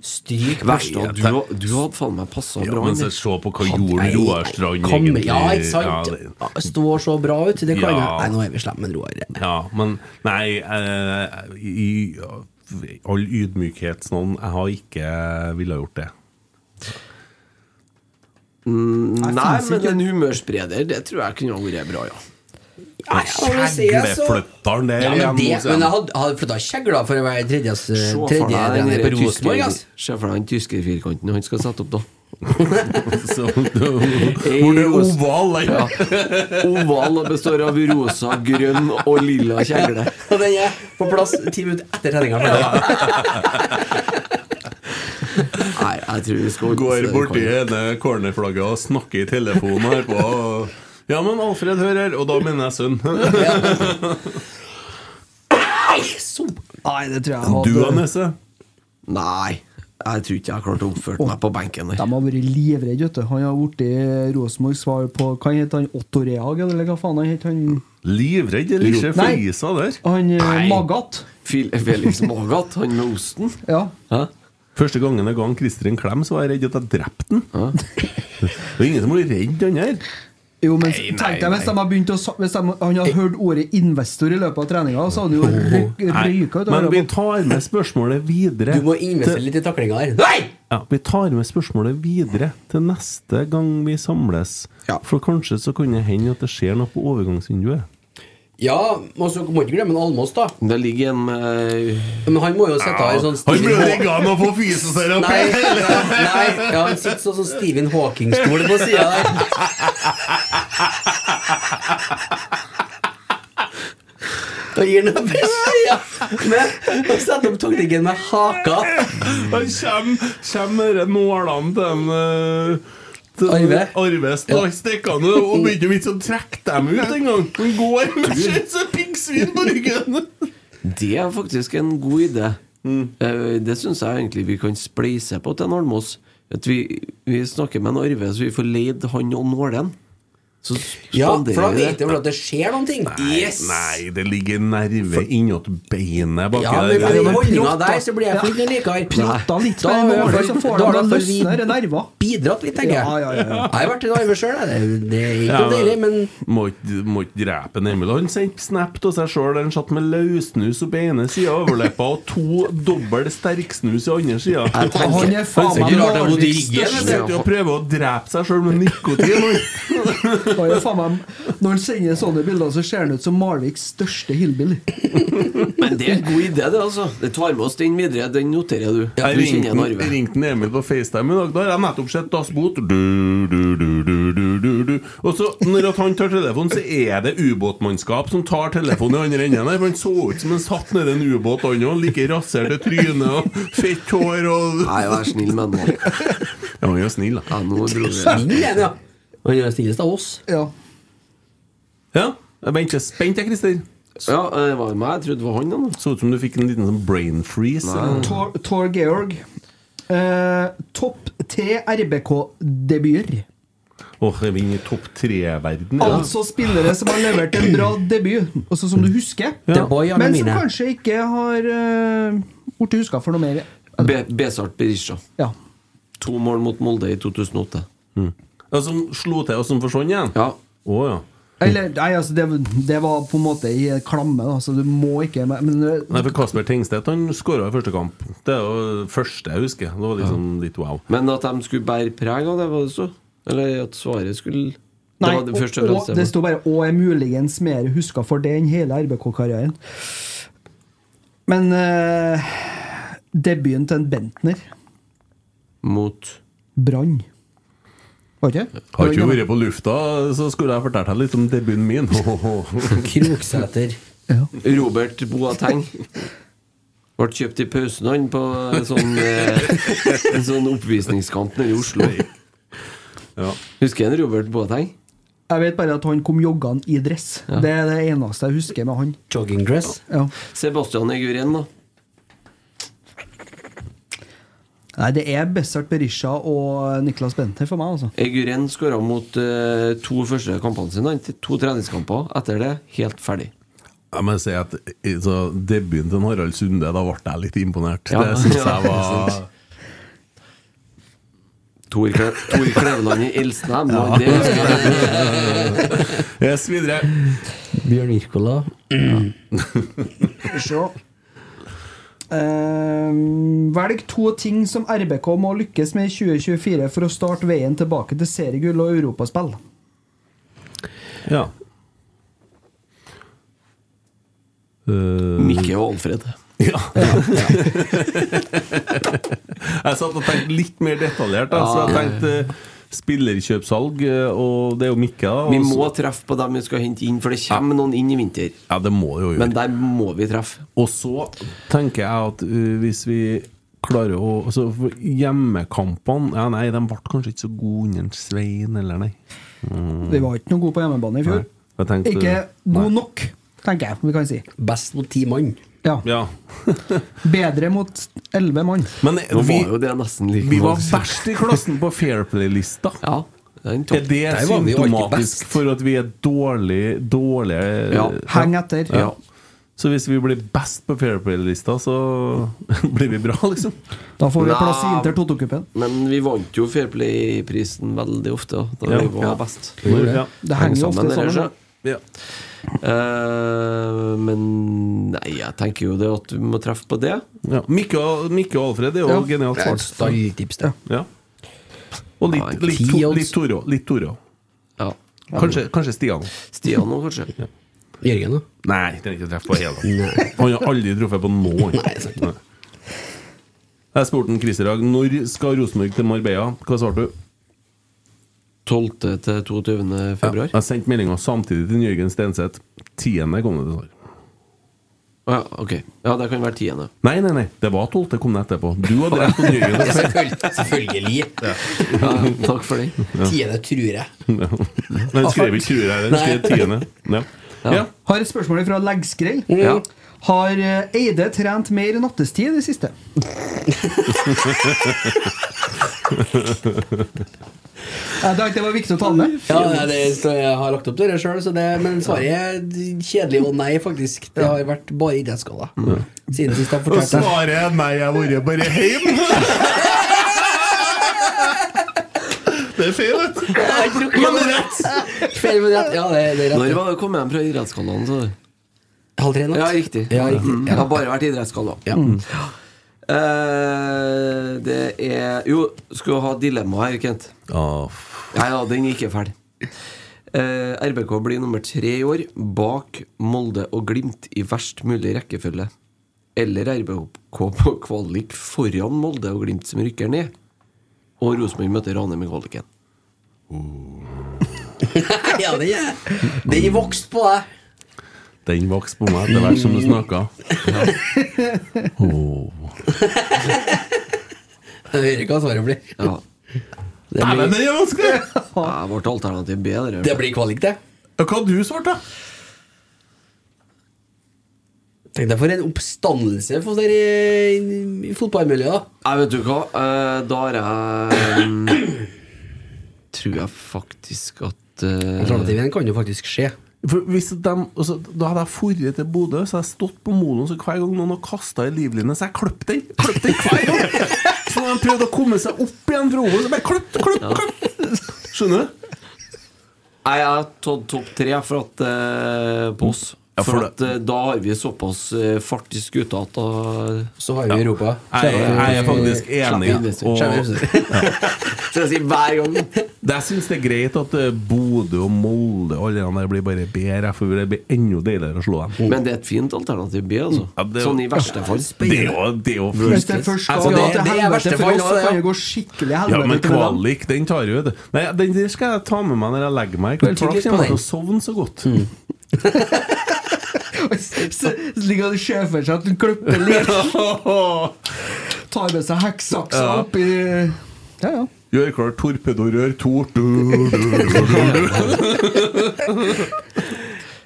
Stryk Verst meg. av du, ha- du hadde faen meg Altså, passa Ja, bra. men inn i. så se på hva Nei, gjorde nei, Roar Strand kom- egentlig. Ja, ikke Ja, det- sant? Ja, Står så bra ut. Det kan Ja. jeg. Nei, nå er vi slemme med Roar. Ja, men nei eh, I i all ydmykhet sånn, jeg har ikke ville gjort det. Mm, Nei, men en humørspreder, det tror jeg kunne ha vært bra, ja. Ja, ja, når du sier altså- så- Gleflytteren der Ja, igjen, men, det, må jeg si. men jeg hadde, hadde flytta kjegler for å være tredje Se for deg tredje den trener der på Rosenborg. tyske- ass. Se for deg den tyske firkanten han skal sette opp, da. Så, hvor det er oval, den. Ja. Oval og består av rosa, grønn og lilla kjegle. Og den er på plass ti minutter etter treninga. Ja. Nei, jeg tror vi skal Går så det borti kan- ene cornerflagget og snakker i telefonen her på Ja, men Alfred, hør her. Og da mener jeg sønn. Nei, det tror jeg Du, hadde Anesse. Nei, jeg tror ikke jeg har klart å oppføre meg på benken De der. har vært livredde, vet du. Han har blitt Rosenborgs svar på Hva heter han? Otto Rehag, eller hva faen han het? Han, Livredd eller ikke? Nei. Flisa der. han eh, Nei. Magat. Fil- Felix Magath, han med osten. Ja. Hæ? Første gangen jeg ga han Christer en klem, så var jeg redd at jeg drepte han. Det er ingen som blir redd han her. Jo, men tenk deg hvis de har begynt å sa- Hvis de, han har hørt ordet investor i løpet av treninga, så hadde han jo ryk- Nei, røyka ut. av men vi øret. tar med spørsmålet videre. Du må investere litt i taklinga her. Nei! Ja, Vi tar med spørsmålet videre til neste gang vi samles. Ja. For kanskje så kan det hende at det skjer noe på overgangsvinduet. Ja, og så må du ikke glemme en Almås, da. Det ligger en eh, med Men han må jo sitte her sånn an å få Nei, fysioterapi! nei ja, han sitter sånn som Stephen Hawking-stol på sida der. Og gir noe beskjed ja. med å sette opp taktikken med haka. Da kommer, kommer dere nålene til en eh, til Arve? Arve stakk- stikkende, og begynte jo ikke å trekke dem ut engang. Han går med et sånt piggsvin på ryggen. Det er faktisk en god idé. Mm. Eh, Det syns jeg egentlig vi kan spleise på til en Almås. At vi, vi snakker med en Arve, så vi får leid han og nålen. Så Ja, spanderer for da vi det. vet du at det skjer noen ting. Yes! Nei, det ligger nerve innåt beinet baki Ja, men med der. den holdninga Protta. der så blir jeg ikke noe Plotta likere. litt Da med har jeg nåla, i hvert så fall- får da de har jeg da i hvert fall løsne disse nerver. Bidratt litt, tenker jeg. Ja, ja, ja, ja. Jeg har vært en arve sjøl, jeg. Det- Det er ikke Ja, noe deilig, men Må ikke må ikke drepe en Emil. Han sendte snap til seg sjøl der han satt med løssnus på ene sida av overleppa og to dobbel sterksnus i andre sida. Han Og Han er Han faen sitter meg ikke rart det er vondt i Norges ryggen, største- sitter jo og prøver å drepe seg sjøl med nikotin. han. Han er faen meg- Når han sender sånne bilder, så ser han ut som Malviks største hillbilly. Men det er en god idé, det, altså. Det tar med oss den videre. Den noterer du. Jeg du kjenner en ringte Arve. ringte en Emil på FaceTime i dag. Da har jeg nettopp sett Das Boot. Du, du, du, du, du, du, du. Og så, når at han tar telefonen, så er det ubåtmannskap som tar telefonen i andre enden. her, For han så ut som han satt nedi en ubåt, han òg. Like rasert i trynet og fett hår og Nei, vær snill med en mann. Ja, han er jo snill, da. Ja, nå dro vi. snill er han, ja. Han er den snilleste av oss. Ja. Ja, jeg venter spent, jeg, Christer. Ja, det var meg. Jeg trodde det var han. da. Så ut som du fikk en liten sånn brain freeze. eller noe. Tor, Tor Georg. Eh, topp tre RBK-debuter. Åh, jeg vinner i topp tre-verden. Ja. Altså spillere som har levert en bra debut, altså som du husker, The boy on men the som mine. kanskje ikke har eh, blitt huska for noe mer. Be- Besart Berisha. Ja. To mål mot Molde i 2008. Mm. Ja, som slo til, og som forsvant igjen? Ja. Å ja. Eller, nei, altså, det, det var på en måte i klamme, da, så du må ikke Men eh, Nei, for Kasper Tengstedt han skåra i første kamp. Det er jo det første jeg husker. Det var liksom litt wow. Men at de skulle bære preg av det, var det så? Eller at svaret skulle nei, Det var det og, første og, det rådet. sto bare 'og er muligens mer huska for det enn hele RBK-karrieren'. Men eh, debuten til en Bentner Mot Brann. Var det ikke? Har ikke Brann, vært på lufta, så skulle jeg fortalt deg litt om debuten min. Kroksæter. Robert Boateng. Ble kjøpt i pausen han på en sånn, eh, en sånn oppvisningskamp nede i Oslo. Ja. Husker jeg en Robert Boateng? Jeg vet bare at han kom joggende i dress. Det er det eneste jeg husker med han. Jogging dress. Ja. Sebastian Eguren, da. Nei, det er Bessart Berisha og Niklas Bentner for meg, altså. Eguren skåra mot eh, to første kampene sine. han. To treningskamper. Etter det, helt ferdig. Jeg må si at eh, så Debuten til Harald Sunde, da ble jeg litt imponert. Ja. Det syns jeg var Tor Kle- Tor Kleveland i Elsenheim. og Det Yes, videre. Bjørn Wirkola. Mm. Skal vi se. Ehm, velg to ting som RBK må lykkes med i 2024 for å starte veien tilbake til seriegull og europaspill. Ja. Eh, Mikke og Alfred. ja. jeg satt og tenkte litt mer detaljert. Da, så jeg tenkte eh, spillerkjøpsalg, eh, og det er jo Mikke. da, og Vi så- må treffe på dem vi skal hente inn, for det kommer noen inn i vinter. Ja, det må det jo gjøre. Men der må vi treffe. Og så tenker jeg at uh, hvis vi klarer å altså, for Hjemmekampene ja, Nei, de ble kanskje ikke så gode under en Svein, eller nei. Mm. Vi var ikke noe gode på hjemmebane i fjor. Jeg tenkte, Ikke god nok, tenker jeg vi kan si. Best mot ti mann. Ja. Ja. Bedre mot elleve mann. Men Nå vi, var jo det nesten like vi var mange som- verst i klassen på Fair Play-lista. Ja, den Er tok det Der var vi jo alltid symptomatisk best. for at vi er dårlig dårlige eh, Ja. Heng etter. Ja. Så hvis vi blir best på Fair Play-lista, så blir vi bra, liksom. Da får vi Nei. plass i Inter Toto-cupen. Men vi vant jo Fairplay-prisen veldig ofte, da Ja. vi var Ja. best. Ja. Det henger jo ofte sammen, sammen. det ja. der, så. Eh, men nei, jeg tenker jo det at vi må treffe på det. Ja. Mikke, og, Mikke og Alfred er jo Ja. genialt Det er et svart. stalltips, det. Ja. Og Ja, litt, litt, ti to- odds. litt Toro. Litt toro. Ja. Kanskje, kanskje Stian. Stian nå, kanskje. Jørgen, da? Nei, trenger ikke treffe på hele. Han har aldri truffet på noen. Nei. Jeg spurte en Christer i dag når skal Rosenborg til Marbella. Hva svarte du? 12. til 22. februar. Jeg sendte meldinga samtidig til Jørgen Stenseth. Tiende kom det til svar. Å ja, ok. Ja, det kan være tiende. Nei, nei, nei. Det var tolvte, kom det etterpå. Du hadde rett om Jørgen. Selvfølgelig. Ja, takk for den. Tiende tror jeg. Nei, han skrev ikke 20 her, han skrev tiende. Ja. Ja. Har et spørsmål fra Leggskrell. Ja. Har eh, Eide trent mer nattestid i det siste? Jeg tenkte det var viktig å ta med. Ja, nei, det, så jeg har lagt opp det sjøl, men svaret er kjedelig og nei, faktisk. Det har vært bare idrettsskader. Siden sist jeg fortalte deg. Svaret er nei, jeg har vært bare hjemme. Det er feil, vet du. Men det er rett! Feil, men rett. Ja, det, det er Når rett. var det du kom hjem fra idrettsgallaen? sa du? Halv tre i natt. Ja, riktig. Ja, riktig. Mm, Jeg har bare vært idrettsgalla. Mm. Ja. Eh, det er Jo, skal du ha dilemma her, Kent? Nei da, den er ikke ferdig. Eh, RBK blir nummer tre i år, bak Molde og Glimt i verst mulig rekkefølge. Eller RBK på kvalik foran Molde og Glimt, som rykker ned. Og Rosenborg møter Ranheim i kvaliken. Ja, det er Den er vokst på deg. Den vokste på meg etter hvert som du snakka. Jeg hører ikke hva svaret blir. Ja. Det blir, det er vanskelig! Ja, Vårt alternativ B, det det der. blir kvalik, det. Hva har du svart, da? Tenk deg for en oppstandelse for dere i, i fotballmiljøet, da. Nei, vet du hva, eh, da har jeg mm, Tror jeg faktisk at eh, Alternativet kan jo faktisk skje. For hvis de, altså, da hadde jeg forret til Bodø, så hadde jeg stått på moloen så hver gang noen har kasta i livlinja, så jeg kløp den. Kløp den hver gang. Så når de prøvde å komme seg opp igjen fra Ovo, så bare kløp, kløp, kløp. Skjønner du? Nei, jeg har tatt topp tre for at eh, på oss. Ja, for for at eh, da har vi såpass eh, fart i skuta at da Så har vi Europa. Jeg, jeg er faktisk enig. Slapp inn, Og Skal jeg si hver gang? jeg syns det er greit at eh, Bodø og Molde og alle de der blir bare bedre, for det blir enda deiligere å slå dem. Men det er et fint alternativ B, altså. Ja, det- Sånn i verste fall. Det er jo, det er jo Hvis det først skal Altså, gå det- til det er verste helvete for fall, oss, så ja, ja. kan det gå skikkelig Ja, men helvete til dem. kvalik, den tar jo det. Nei, Den der skal jeg ta med meg når jeg legger meg i kveld, for da Tygg litt på kommer jeg til den. å sovne så godt. Mm. Så så ligger han og ser for seg at han klipper litt, tar med seg hekksaksa Ja. opp i Ja, ja. Gjør klar torpedorør tor du, du, du.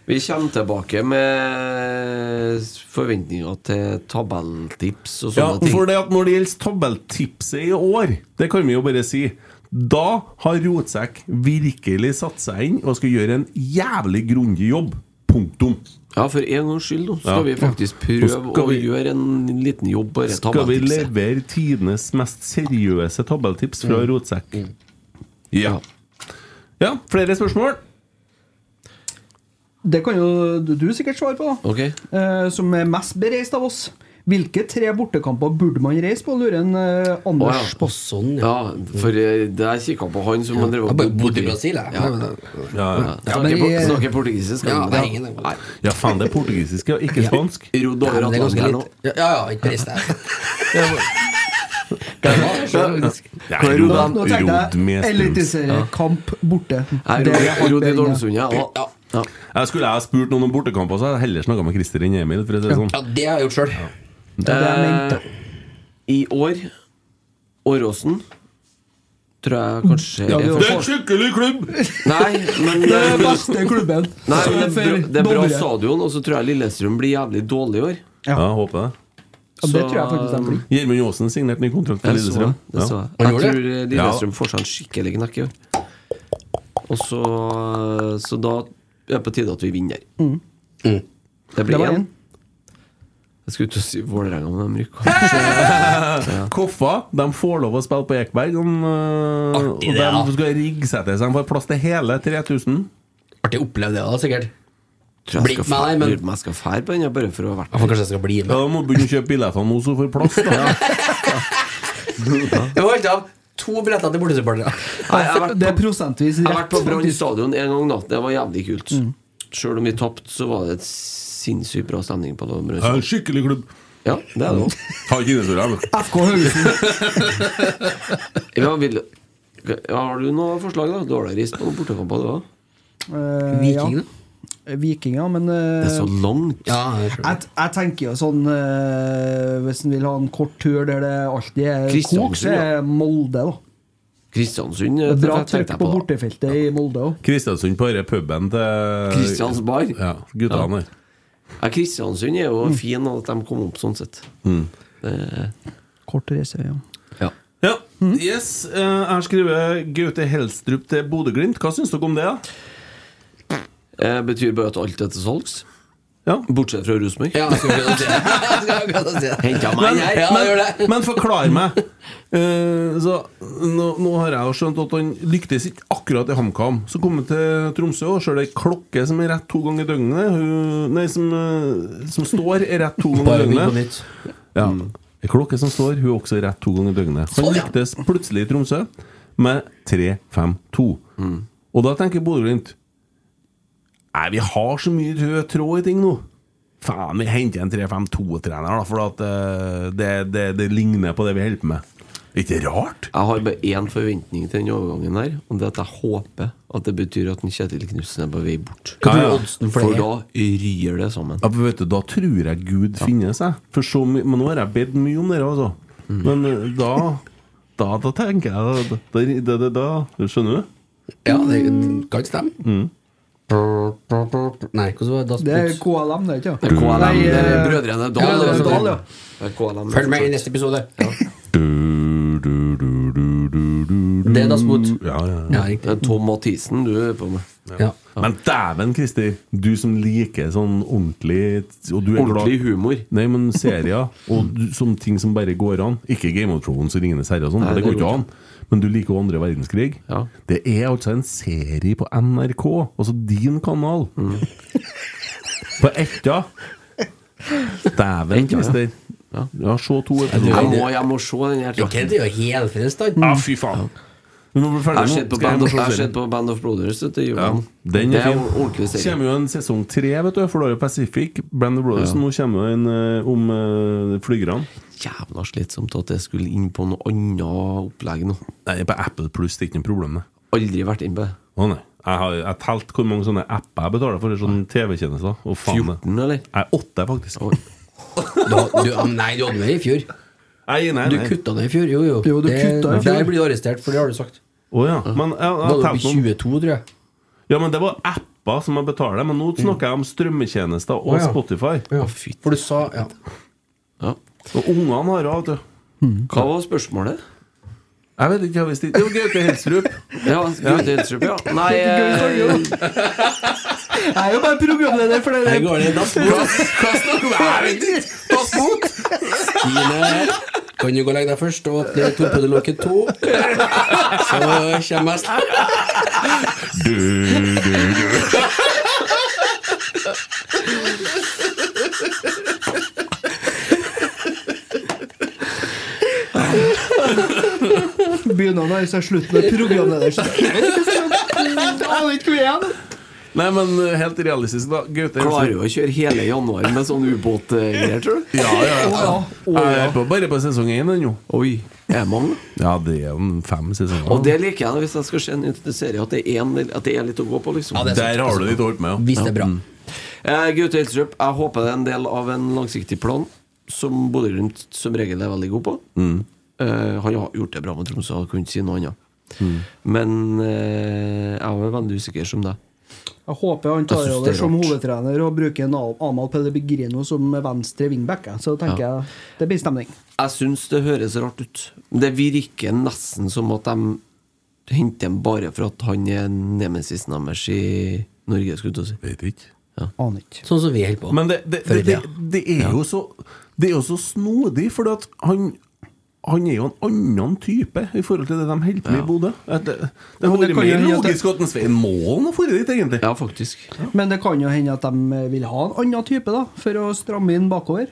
Vi kommer tilbake med forventninger til tabelltips og Ja, sånne ting. for det at når det gjelder tabelltipset i år, det kan vi jo bare si Da har Rotsekk virkelig satt seg inn og skal gjøre en jævlig grundig jobb. Punktum. Ja, for en gangs skyld, nå skal Ja. vi faktisk prøve Nå skal å vi- gjøre en liten jobb. Bare ta Skal vi med tipset. levere tidenes mest seriøse tabelltips Mm. fra Rotsekk? Ja. Ja, flere spørsmål? Det kan jo du sikkert svare på, da. Ok. Eh, som er mest bereist av oss. Hvilke tre bortekamper burde man reise på, lurer en eh, Anders Å, ja. på. Sånn, ja. Ja, for eh, der kikka på han som drev Jeg og bare bodde bodde i i- Brasil, jeg. Ja. Ja, Ja, Snakker men por- jeg- Snakker portugisisk? Ja, han. det er ingen- Nei. ja faen, det er portugisisk, ja. Ikke spansk. Rodd Nei, over men det er ganske Atlanteren nå. litt Ja, ja, ja, ikke reis deg. Det var- Ja, Hva er rod- Rodan? Nå tenkte rod med jeg strøms. eliteseriekamp borte. Jeg Det er rodde- rodde i bedre. Dolmsund, ja. Og- Ja. ja. Jeg skulle jeg ha spurt noen om bortekamper, så hadde jeg heller snakka med Christer enn Emil. For å si det sånn. Ja, det har jeg gjort sjøl. Det er det jeg mente. Eh, I år Åråsen tror jeg kanskje Ja, er det for- var- en skikkelig klubb! Nei, men Det er beste klubben. Nei, men det, er For bra- det er bra Dovre. stadion, og så tror jeg Lillestrøm blir jævlig dårlig i år. Ja, jeg håper det. Ja, det tror jeg faktisk de blir. Gjermund Aasen signerte ny kontrakt for Jeg så det. Lillestrøm. det så Ja. jeg. jeg gjorde tror det? eh, Lillestrøm får seg en skikkelig knekk i år. Og så, så da er det på tide at vi vinner. Mm. Det Mm. Det blir var én. en. Jeg skulle ut og si Vålerenga, men de rykker. Koffa de får lov å spille på Ekeberg, om, øh, og Artig de det, ja. skal rigge seg til så de får plass til hele 3000. Artig å oppleve det, da, sikkert. Tror jeg Blir skal fære- med deg, men- lurer på om jeg skal fære på den, bare for å ha vært Ja, for kanskje jeg skal bli Ja, med. De må begynne å kjøpe billetter nå, så får plass. Da. Jeg må holde av to billetter til bortesupportere. Nei, jeg har vært Det er på- prosentvis Jeg har vært rett. på Brann faktisk. stadion en gang, da. Det var jævlig kult. Mm. Sjøl om vi tapte, så var det et sinnssykt bra stemning på Brann Det er stadion. en skikkelig klubb. Ja, det er det også. Har ikke innesordet, men FK Haugesund. Ja, vil... ja, har du noe forslag, da? Du har da reist på noen bortekamper, du òg? Eh, Viking, da? Ja. Vikinger, men eh, Det er så langt. Ja, jeg tror det. jeg, jeg tenker jo sånn eh, Hvis en vil ha en kort tur der det alltid er kok, Kristiansund, så er Molde, da. Kristiansund Det eh, er bra tenkte jeg trykk på da. bortefeltet i Molde òg. Kristiansund på denne puben til Kristians bar. Ja. Eh, Ja, Mm. guttene der. Kristiansund er jo fin at de kom opp sånn sett. Eh. Kort reise, ja. Ja, yes. eh, Jeg har skrevet Gaute Helstrup til Bodø-Glimt. Hva syns dere om det? da? Eh, betyr bare at alt er til salgs. Ja. Bortsett fra Rosenborg. Ja, jeg skal akkurat si det. Jeg skal akkurat si det. Henta meg Men, her! Ja, gjør men, det. men forklar meg. Eh, så, nå, nå har jeg jo skjønt at han lyktes ikke akkurat i HamKam. Så kom han til Tromsø og ser ei klokke som er rett to ganger i døgnet. Hun- Nei, som, eh, som står er rett to ganger Bare i begynn på døgnet. nytt. Ja. Mm. Ei klokke som står, hun er også rett to ganger i døgnet. Han Sånn, ja. lyktes plutselig i Tromsø med 3-5-2. Og da tenker Bodø-Glimt Nei, vi har så mye rød tråd i ting nå. Faen, vi henter en 3-5-2-trener, da, for at eh, det, det, det ligner på det vi holder på med. Ikke rart? Jeg har bare én forventning til den overgangen her, og det er at jeg håper at det betyr at den Kjetil Knutsen er på vei bort. Hva er oddsen for For det? da ryr det sammen. Ja, men vet du, da tror jeg Gud finnes, jeg. For så mye Men nå har jeg bedt mye om dere, altså. Men eh, da Da, da tenker jeg Da, da, da, da, da Skjønner du? Ja, det kan stemme. Brr, brr, brr. Nei, hvordan var det? Das Det er Boot? KLM, det, ikke sant? KLM, Nei, det er eh, Brødrene Dal. det er Brødrene Dal, sånn. ja. Det er KLM, Følg med i fortsatt. neste episode. Du, du, du, du, du, du, du. Det er Das Boot. Mm, Ja, ja, ja. Ja, Det riktig. er Tom Mathisen du er på med. Ja. Men dæven, Christer. Du som liker sånn ordentlig og du er Ordentlig glad. humor. Nei, men serier og du, som ting som bare går an. Ikke Game of Thrones og Ringenes herre og sånn, Nei, for det det går ikke går an. Men du liker jo andre verdenskrig. Ja. Det er altså en serie på NRK, altså din kanal. Mm. på Etta. Dæven, Etta, ja. Christer. Ja. Ja, se to Jeg episoder. må, jeg må se den her. tror Ok, jeg. det er jo helfrelst, da. Ja, fy faen. Vi må bli Jeg har ferdig sett på Skal jeg Band of, se jeg har serien? sett på Band of Brothers. vet du, i Ja, julen. den det er er fin. en ordentlig Det kommer serie. jo en sesong tre, vet du, for da er det Pacific, Brand of Brothers. Nå kommer jo en eh, om uh, flygerne. Jævla slitsomt at jeg skulle inn på noe annet opplegg nå. Nei, på Apple Pluss, det er ikke noe problem, det. Aldri vært inn på det. Å nei. Jeg har jeg telt hvor mange sånne apper jeg betaler for, sånne TV-tjenester. Å, faen. det. 14, eller? Nei, åtte, faktisk. Oi. Du, du, ja, men nei, du hadde med det i fjor. Nei, nei, Du nei. kutta det i fjor. Jo, jo. Jo, du det, kutta i fjor. Der blir du arrestert, for det har du sagt. Å ja. Men jeg, Da jeg, var har du telt oppe i noen 22, tror jeg. Ja, men det var apper som jeg betaler, men nå snakker jeg om strømmetjenester og Å, ja. Spotify. Ja, for du sa ja. Ja. Og ungene har jo, vet du. Hva var spørsmålet? Jeg vet ikke hva vi stilte Jo, Gaute Helstrup. Ja, Gud, Helstrup, ja. Nei eh, Jeg er jo bare programleder for det Her der. går det dassmot. Hva snakker du om? Jeg vet ikke! Pass mot! Stine, kan du gå og legge deg først og åpne torpedolokket to? Så kommer jeg snart. Begynner å nærme seg slutten av programleder. så jeg vet ikke så- jeg Aner ikke hvor jeg er. nå. Nei, men eh, helt realistisk, da. Gaute Helsen- Klarer jo å kjøre hele januar med sånn ubåtgreier, tror du? Ja, ja, Å ja. ja. Å Jeg ja. er på, bare på sesong én ennå. Oi, er det mange? Ja, det er jo fem sesonger. Og det liker jeg hvis jeg skal se en serie, at det er, en, at det er litt å gå på, liksom. Ja, det er sant. Der har du ditt ord med, Mm. Hvis det er bra. Eh, Gaute Helstrup, jeg håper det er en del av en langsiktig plan som Bodø-Glimt som regel er veldig god på. Mm. Eh, han har gjort det bra med Tromsø, han kunne ikke si noe annet. Mm. Men eh, jeg var veldig usikker som deg. Jeg håper han tar Jeg synes det over er som rart. hovedtrener og bruker Nal- Amal Pellegrino som venstre wingback. jeg. Så tenker jeg det blir stemning. Jeg syns det høres rart ut. Det virker nesten som at de henter ham bare for at han er nemesisen deres i Norge, skulle jeg til å si. Vet ikke. Aner ikke. Sånn som vi holder på. Men det, det, Før i det, det, tida. det er jo så Det er jo så snodig, for at han han er jo en annen type i forhold til det de holder på med i Bodø. At Det, det hadde det vært kan jo mer hende at det- logisk at en Svein Målen har vært dit, egentlig. Ja, faktisk. Men det kan jo hende at de eh, vil ha en annen type, da, for å stramme inn bakover.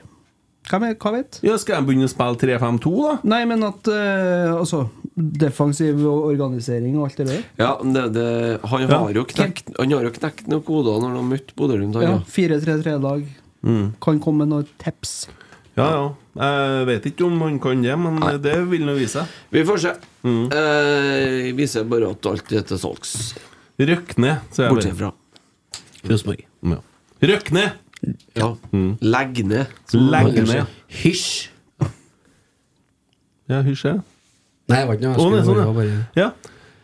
Hvem vet- Hva vet? Ja, skal jeg begynne å spille 3-5-2, da? Nei, men at eh, Altså, defensiv og organisering og alt det der. Ja, men det, det, han, Ja. har jo knekt, han har jo knekt noen koder når han har møtt Bodø-Glimt. han, Ja, Sånn, ja. 4-3-3-lag. Mm. Kan komme med noen tips. Ja, ja. Jeg vet ikke om han kan det, men det vil nå vise seg. Mm. Vi får se. Eh, vi ser bare at alt er til salgs. Røkne, sier jeg Bortsett bare. fra. Rosenborg. Ja. Mm. Røkne! Ja. Legg ned. som Legg man ned. sier. Hysj! Ja, hysj, ja. Nei, det var ikke Å, noe. Jeg det er skulle sånn, bare- ja. bare ja.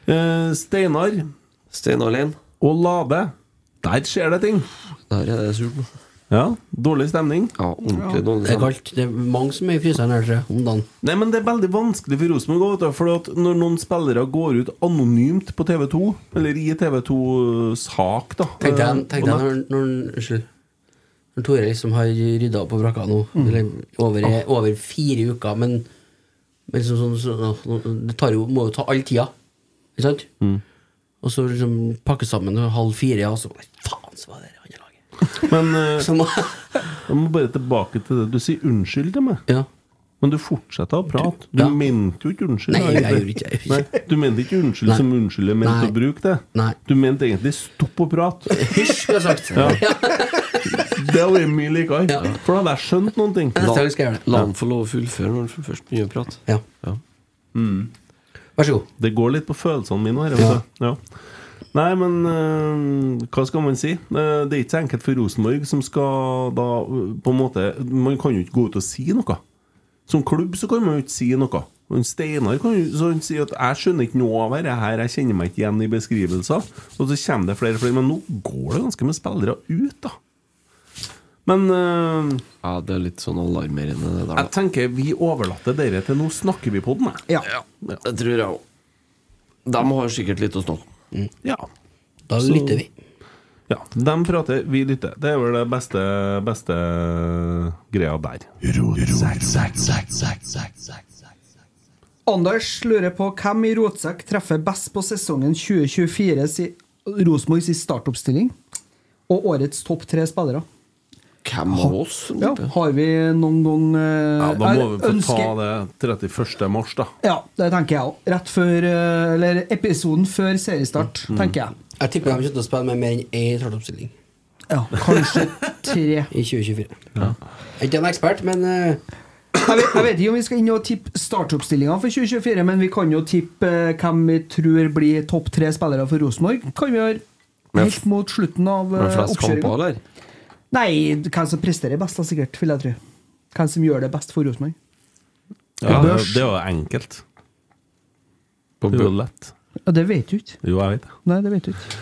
Eh, Steinar Stein Alén. og Lade. Der skjer det ting. Der er det surt nå. Ja, Dårlig stemning. Ja, ordentlig Det er dårlig. kaldt. Det er mange som er i fryseren her, tror jeg, om dagen. Nei, men Det er veldig vanskelig for Rosenborg. også, vet du, Fordi at når noen spillere går ut anonymt på TV 2, eller i TV 2-sak da Tenkte jeg, eh, tenkte jeg og når, når, Unnskyld. Når Tore liksom har rydda opp på brakka nå, Mm. eller over, Ah. over fire uker, men, men liksom sånn, så- nå- det tar jo, må jo ta all tida, ikke sant? Mm. Og så liksom pakke sammen og halv fire, og så Faen, så var det det andre laget. nett- Men eh, Så må, jeg må bare tilbake til det. Du sier unnskyld til meg, ja. men du fortsetter å prate. Du Ja. mente jo ikke unnskyld. Nei, da, jeg egentlig. gjorde ikke- jeg gjorde ikke. Nei, Du mente ikke unnskyld Nei. som unnskyld er ment Nei. å bruke det. Nei. Du mente egentlig stopp å prate. Hysj, skulle jeg sagt. Ja. Det hadde vært mye likere. Ja. For da hadde jeg skjønt noen ting. Neste gang skal jeg gjøre det. La han få lov å fullføre når han først begynner å prate. Ja. Ja. Mm. Vær så god. Det går litt på følelsene mine her. vet du. Ja. Nei, men eh, hva skal man si? Eh, det er ikke så enkelt for Rosenborg, som skal da eh, på en måte Man kan jo ikke gå ut og si noe. Som klubb så kan man jo ikke si noe. Og en Steinar kan jo sånn si at 'jeg skjønner ikke noe av dette her, jeg kjenner meg ikke igjen i beskrivelser'. Og så kommer det flere og flere. Men nå går det ganske med spillere ut, da. Men eh, ja, det er litt sånn alarmerende, det der. jeg tenker vi overlater dere til 'nå snakker vi på den', jeg. Ja. da. Det tror jeg òg. De har sikkert litt å snakke om. Ja. Da lytter vi. Ja, de prater, vi lytter. Det er vel det beste, beste greia der. Anders lurer på hvem i Rotsekk treffer best på sesongen 2024 si Rosenborg sin startoppstilling og årets topp tre spillere. Hvem av oss? Ja, har vi noen gang eh, Ja, Da må vi få ønsker- ta det 31. mars, da. Ja, det tenker jeg òg. Rett før eh, Eller episoden før seriestart, tenker jeg. Mm. Jeg tipper de kommer til å spille med mer enn én startoppstilling Ja, Kanskje tre. i 2024. Jeg er ikke en ekspert, men eh, Jeg vet, jeg vet ikke om vi skal inn og tippe startoppstillinga for 2024, men vi kan jo tippe eh, hvem vi tror blir topp tre spillere for Rosenborg. Kan vi gjøre helt mot slutten av Med eh, flest kamper, oppkjøringa? eller? Nei, hvem som presterer best, da, sikkert, vil jeg tro. Hvem som gjør det best for Rosenborg. Ja, det, børs. det er jo enkelt. På Det er jo Bø- lett. Ja, det vet du ikke. Jo, jeg vet det. Nei, det vet du ikke.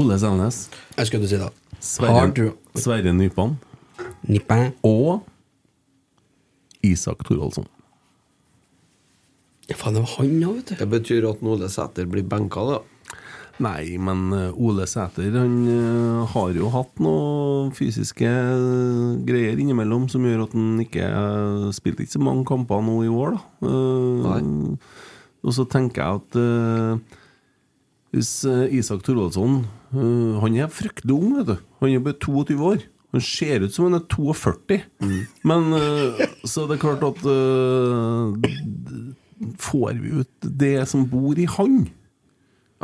Ole Selnes, jeg skulle til å si det. Har Sverre, du- Sverre Nypan Nippe. og Isak Thorvaldsson. Ja, faen, det var han òg, vet du. Det betyr at Ole Sæter blir benka, da. Nei, men eh, Ole Sæter han eh, har jo hatt noen fysiske eh, greier innimellom som gjør at han ikke eh, spilte ikke så mange kamper nå i år, da. Eh, Og så tenker jeg at eh, hvis eh, Isak Thorvaldsson eh, Han er fryktelig ung, vet du. Han er bare 22 år. Han ser ut som han er 42. Men eh, så det er klart at eh, d- Får vi ut det som bor i han?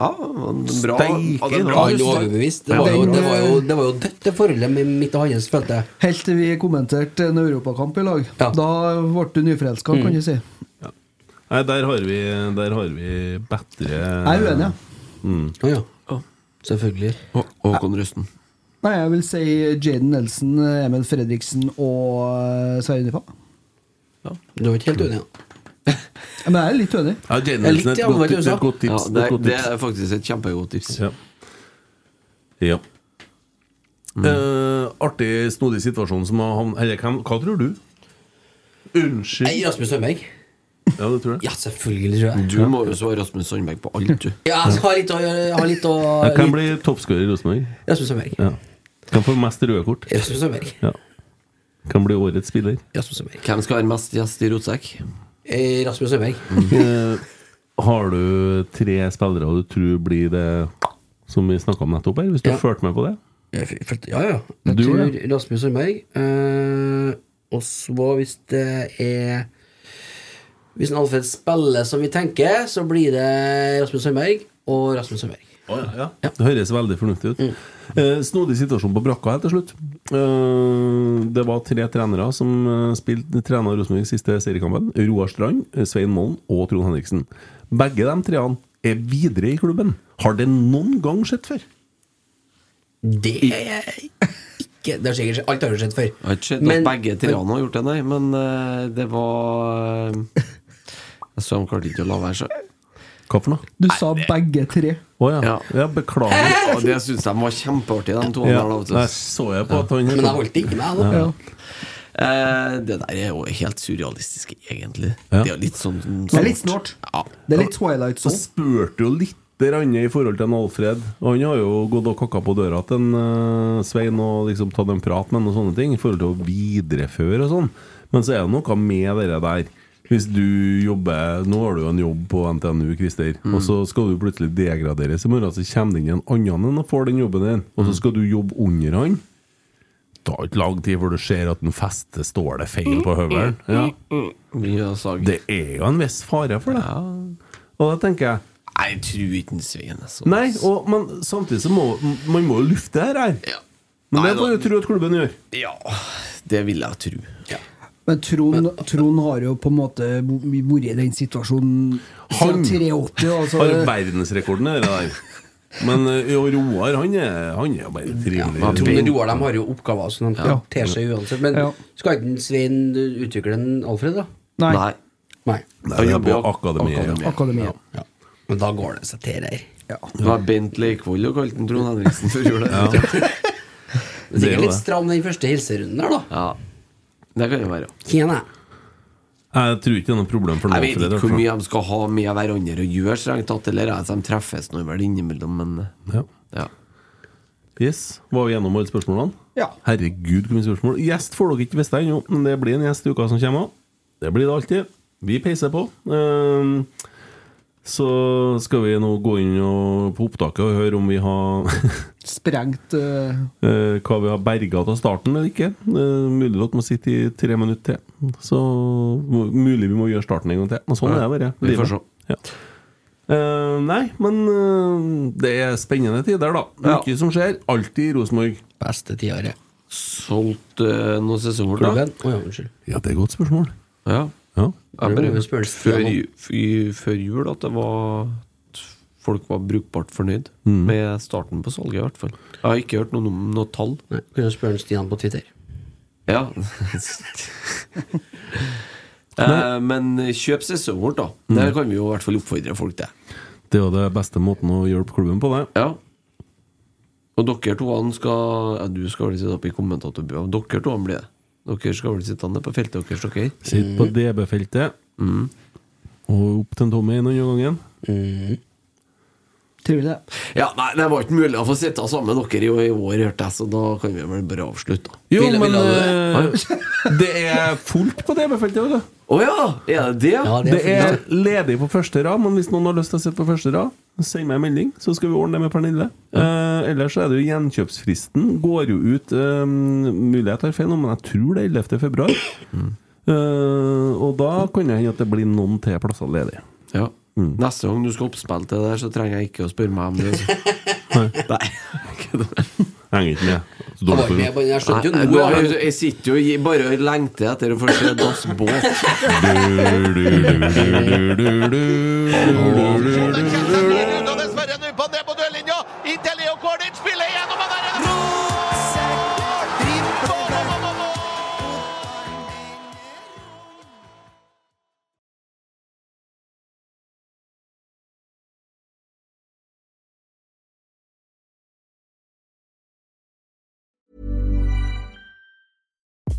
Ja, men bra. Steike, ja, det er da. bra. Ja, han var overbevist. Det var, jo, det, var jo, det var jo dødt, det forholdet med mitt og hans, følte jeg. eh, Helt til vi kommenterte en europakamp i lag. Ja. Mm. Da ble du nyforelska, kan du si. Nei, der har vi, der har vi bedre Mm. Jeg er uenig. ja. Å ja. Selvfølgelig. Hå- Håkon Rusten. Nei, jeg vil si Jaden Nelson, Emil Fredriksen og eh, Sverre Nypa. Du var ikke helt uenig? ja. Men jeg er litt uenig. Ja, Jane Jeg Nelson er et likte det, godt tips. Et godt det var Ja, tips. det, et godt det tips. er faktisk et kjempegodt tips. Ja. ja. Mm. Eh, artig, snodig situasjon som har havnet Eller hvem, hva tror du? Unnskyld. Nei, Rasmus Sandberg. Ja, det tror jeg. Ja, selvfølgelig, tror jeg. Du må jo svare Rasmus Sandberg på alt, du. Ja, altså, jeg skal ha litt å gjøre. Ha litt å Jeg kan litt- bli toppskårer i Rosenborg. Rasmus Sandberg. Ja. Kan få mest røde kort. Rasmus Sandberg. Ja. Kan bli årets spiller. Rasmus Sandberg. Hvem skal være mest gjest i Rotsekk? Eh, Rasmus Sandberg. Eh, har du tre spillere du tror blir det som vi snakka om nettopp her? Hvis du Ja. har fulgt med på det? Jeg f- følte- Ja, ja. Jeg Du, tror ja. Rasmus Sandberg. Eh, og så, hvis det er Hvis en Alfred spiller som vi tenker, så blir det Rasmus Sandberg og Rasmus Sandberg. Det høres veldig fornuftig ut. Eh, snodig situasjon på brakka helt til slutt. Eh, det var tre trenere som eh, spilte trener Rosenborg i siste seriekampen. Roar Strand, eh, Svein Mollen og Trond Henriksen. Begge de treene er videre i klubben. Har det noen gang skjedd før? Det er ikke Det har sikkert skjedd. Alt har jo skjedd før. Det har ikke skjedd at begge triene har gjort det, nei, men eh, det var eh, Jeg så de klarte ikke å la være, så Hva for noe? Du sa begge tre. Å ja. ja. Ja. beklager. Og det syns jeg var kjempeartig, de to. Ja, der, da, vet du. jeg så jeg på at Men jeg han holdt det ikke med, da. Eh, det der er jo helt surrealistisk, egentlig. Ja. Det er jo litt sånn Det er litt snålt. Ja. Det er litt Twilight Så Zone. spurte jo litt grann i forhold til en Alfred. Og han har jo gått og kakka på døra til en eh, Svein og liksom tatt en prat med han og sånne ting. I forhold til å videreføre og sånn. Men så er det noe med det der. Hvis du jobber Nå har du jo en jobb på NTNU, Christer. Mm. Og så skal du plutselig degraderes i morgen. Så kommer det inn en annen enn og får den jobben din. Mm. Og så skal du jobbe under han. Det tar ikke lang tid før du ser at den feste står det Mm. feil på høvelen. Ja. Mye sag. Det er jo en viss fare for det. Og da tenker jeg Nei, jeg tror ikke den svingen er sånn. Nei, og, men samtidig så må man må jo lufte her. her. ja. Men Nei, det får da- jeg tro at klubben gjør. ja, det vil jeg tro. Men Trond, Trond har jo på en måte bo- vært i den situasjonen Han- siden 83. Altså, Har verdensrekorden i det der. Men eh, jo, Roar han er, han er jo bare Jeg tror trivelig. Roar dem har jo oppgaver altså. som de Ja. ter seg uansett. Men Ja. skal ikke en Svein utvikle en Alfred, da? nei, Nei. Nei. Nei, det er på jobber jo- akademiet. ja. akademiet. Men da går det seg til der. Det var Bent Leikvoll og kalte den Trond Henriksen før jul. Ja. Det Det er er jo det. litt stram den første hilserunden her, da. ja. Det kan jo være. Tjene. Jeg tror ikke det er noe problem for noen. Jeg vet ikke hvor mye de skal ha med hverandre å gjøre, strengt tatt, eller at de treffes nå vel innimellom, men eh, Ja. ja. Yes, Var vi gjennom alle spørsmålene? Ja. Herregud, hvor mye spørsmål. Gjest får dere ikke visst ennå, men det blir en gjest i uka som kommer. Det blir det alltid. Vi peiser på. Ehm, Så skal vi nå gå inn og, på opptaket og høre om vi har Sprengt eh, Eh, hva vi har berga av starten eller ikke. Eh, mulig at man sitter i tre minutter til. Så må, mulig vi må gjøre starten en gang til. Men sånn Ja, er det bare. vi får livet. se. Ja. Eh, nei, men eh, det er spennende tider, da. Mye som skjer. Alltid i Rosenborg. Beste tiåret. Solgt eh, noen sesonger, da? Klubben. Å ja, unnskyld. Ja, det er et godt spørsmål. Ja. Ja. Jeg Det må bare vi spørre før, Stian om. ju- f- i- før jul at det var at folk var brukbart fornøyd Mm. med starten på salget, i hvert fall. Jeg har ikke hørt noe om noe tall. Nei, Kunne spørre Stian på Twitter. Ja. Eh, men kjøp sesongen vårt, da. Mm. Det kan vi jo i hvert fall oppfordre folk til. Det er jo det beste måten å hjelpe klubben på, det. Ja. Og dere to han skal ja, Du skal vel sitte oppe i kommentatorbua. Dere to han blir det. Dere skal vel sitte nede på feltet deres, dere. Sitter Mm. på Mm. Mm. DB-feltet. Og opp til en Tommy en og annen gangen. Tror det. Ja, nei, Det var ikke mulig å få sitte sammen med dere i, i år, hørte jeg, så da kan vi vel bare avslutte. da. Jo, Ville- men ville eh, det er fullt på DB-feltet òg, da. Å ja! Er det det? Ja, Det det er ledig på første rad, men hvis noen har lyst til å sitte på første rad, send meg en melding, så skal vi ordne det med Pernille. Eh, ellers så er det jo gjenkjøpsfristen. Går jo ut eh, Mulig jeg tar feil nå, men jeg tror det er 11. februar. Mm. Eh, og da kan det hende at det blir noen til plasser ledig. Mm. Ja. Neste gang du skal oppspille til det der, så trenger jeg ikke å spørre meg om det. Så. Nei. Jeg Henger ikke med. Så Han dårlig var ikke med på på den, jeg skjønte jo Nei, nå. jeg, men- jeg sitter jo i- bare og lengter etter å få se dass båt. det. Og dessverre nå på ned på dørlinja. Inntil Leo Cordic spiller igjennom, og der er det mål! Mål, mål, mål, mål!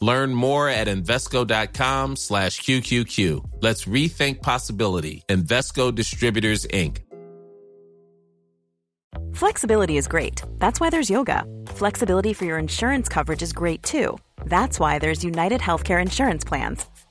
Learn more at Invesco.com slash QQQ. Let's rethink possibility. Invesco Distributors, Inc. Flexibility is great. That's why there's yoga. Flexibility for your insurance coverage is great too. That's why there's United Healthcare Insurance Plans.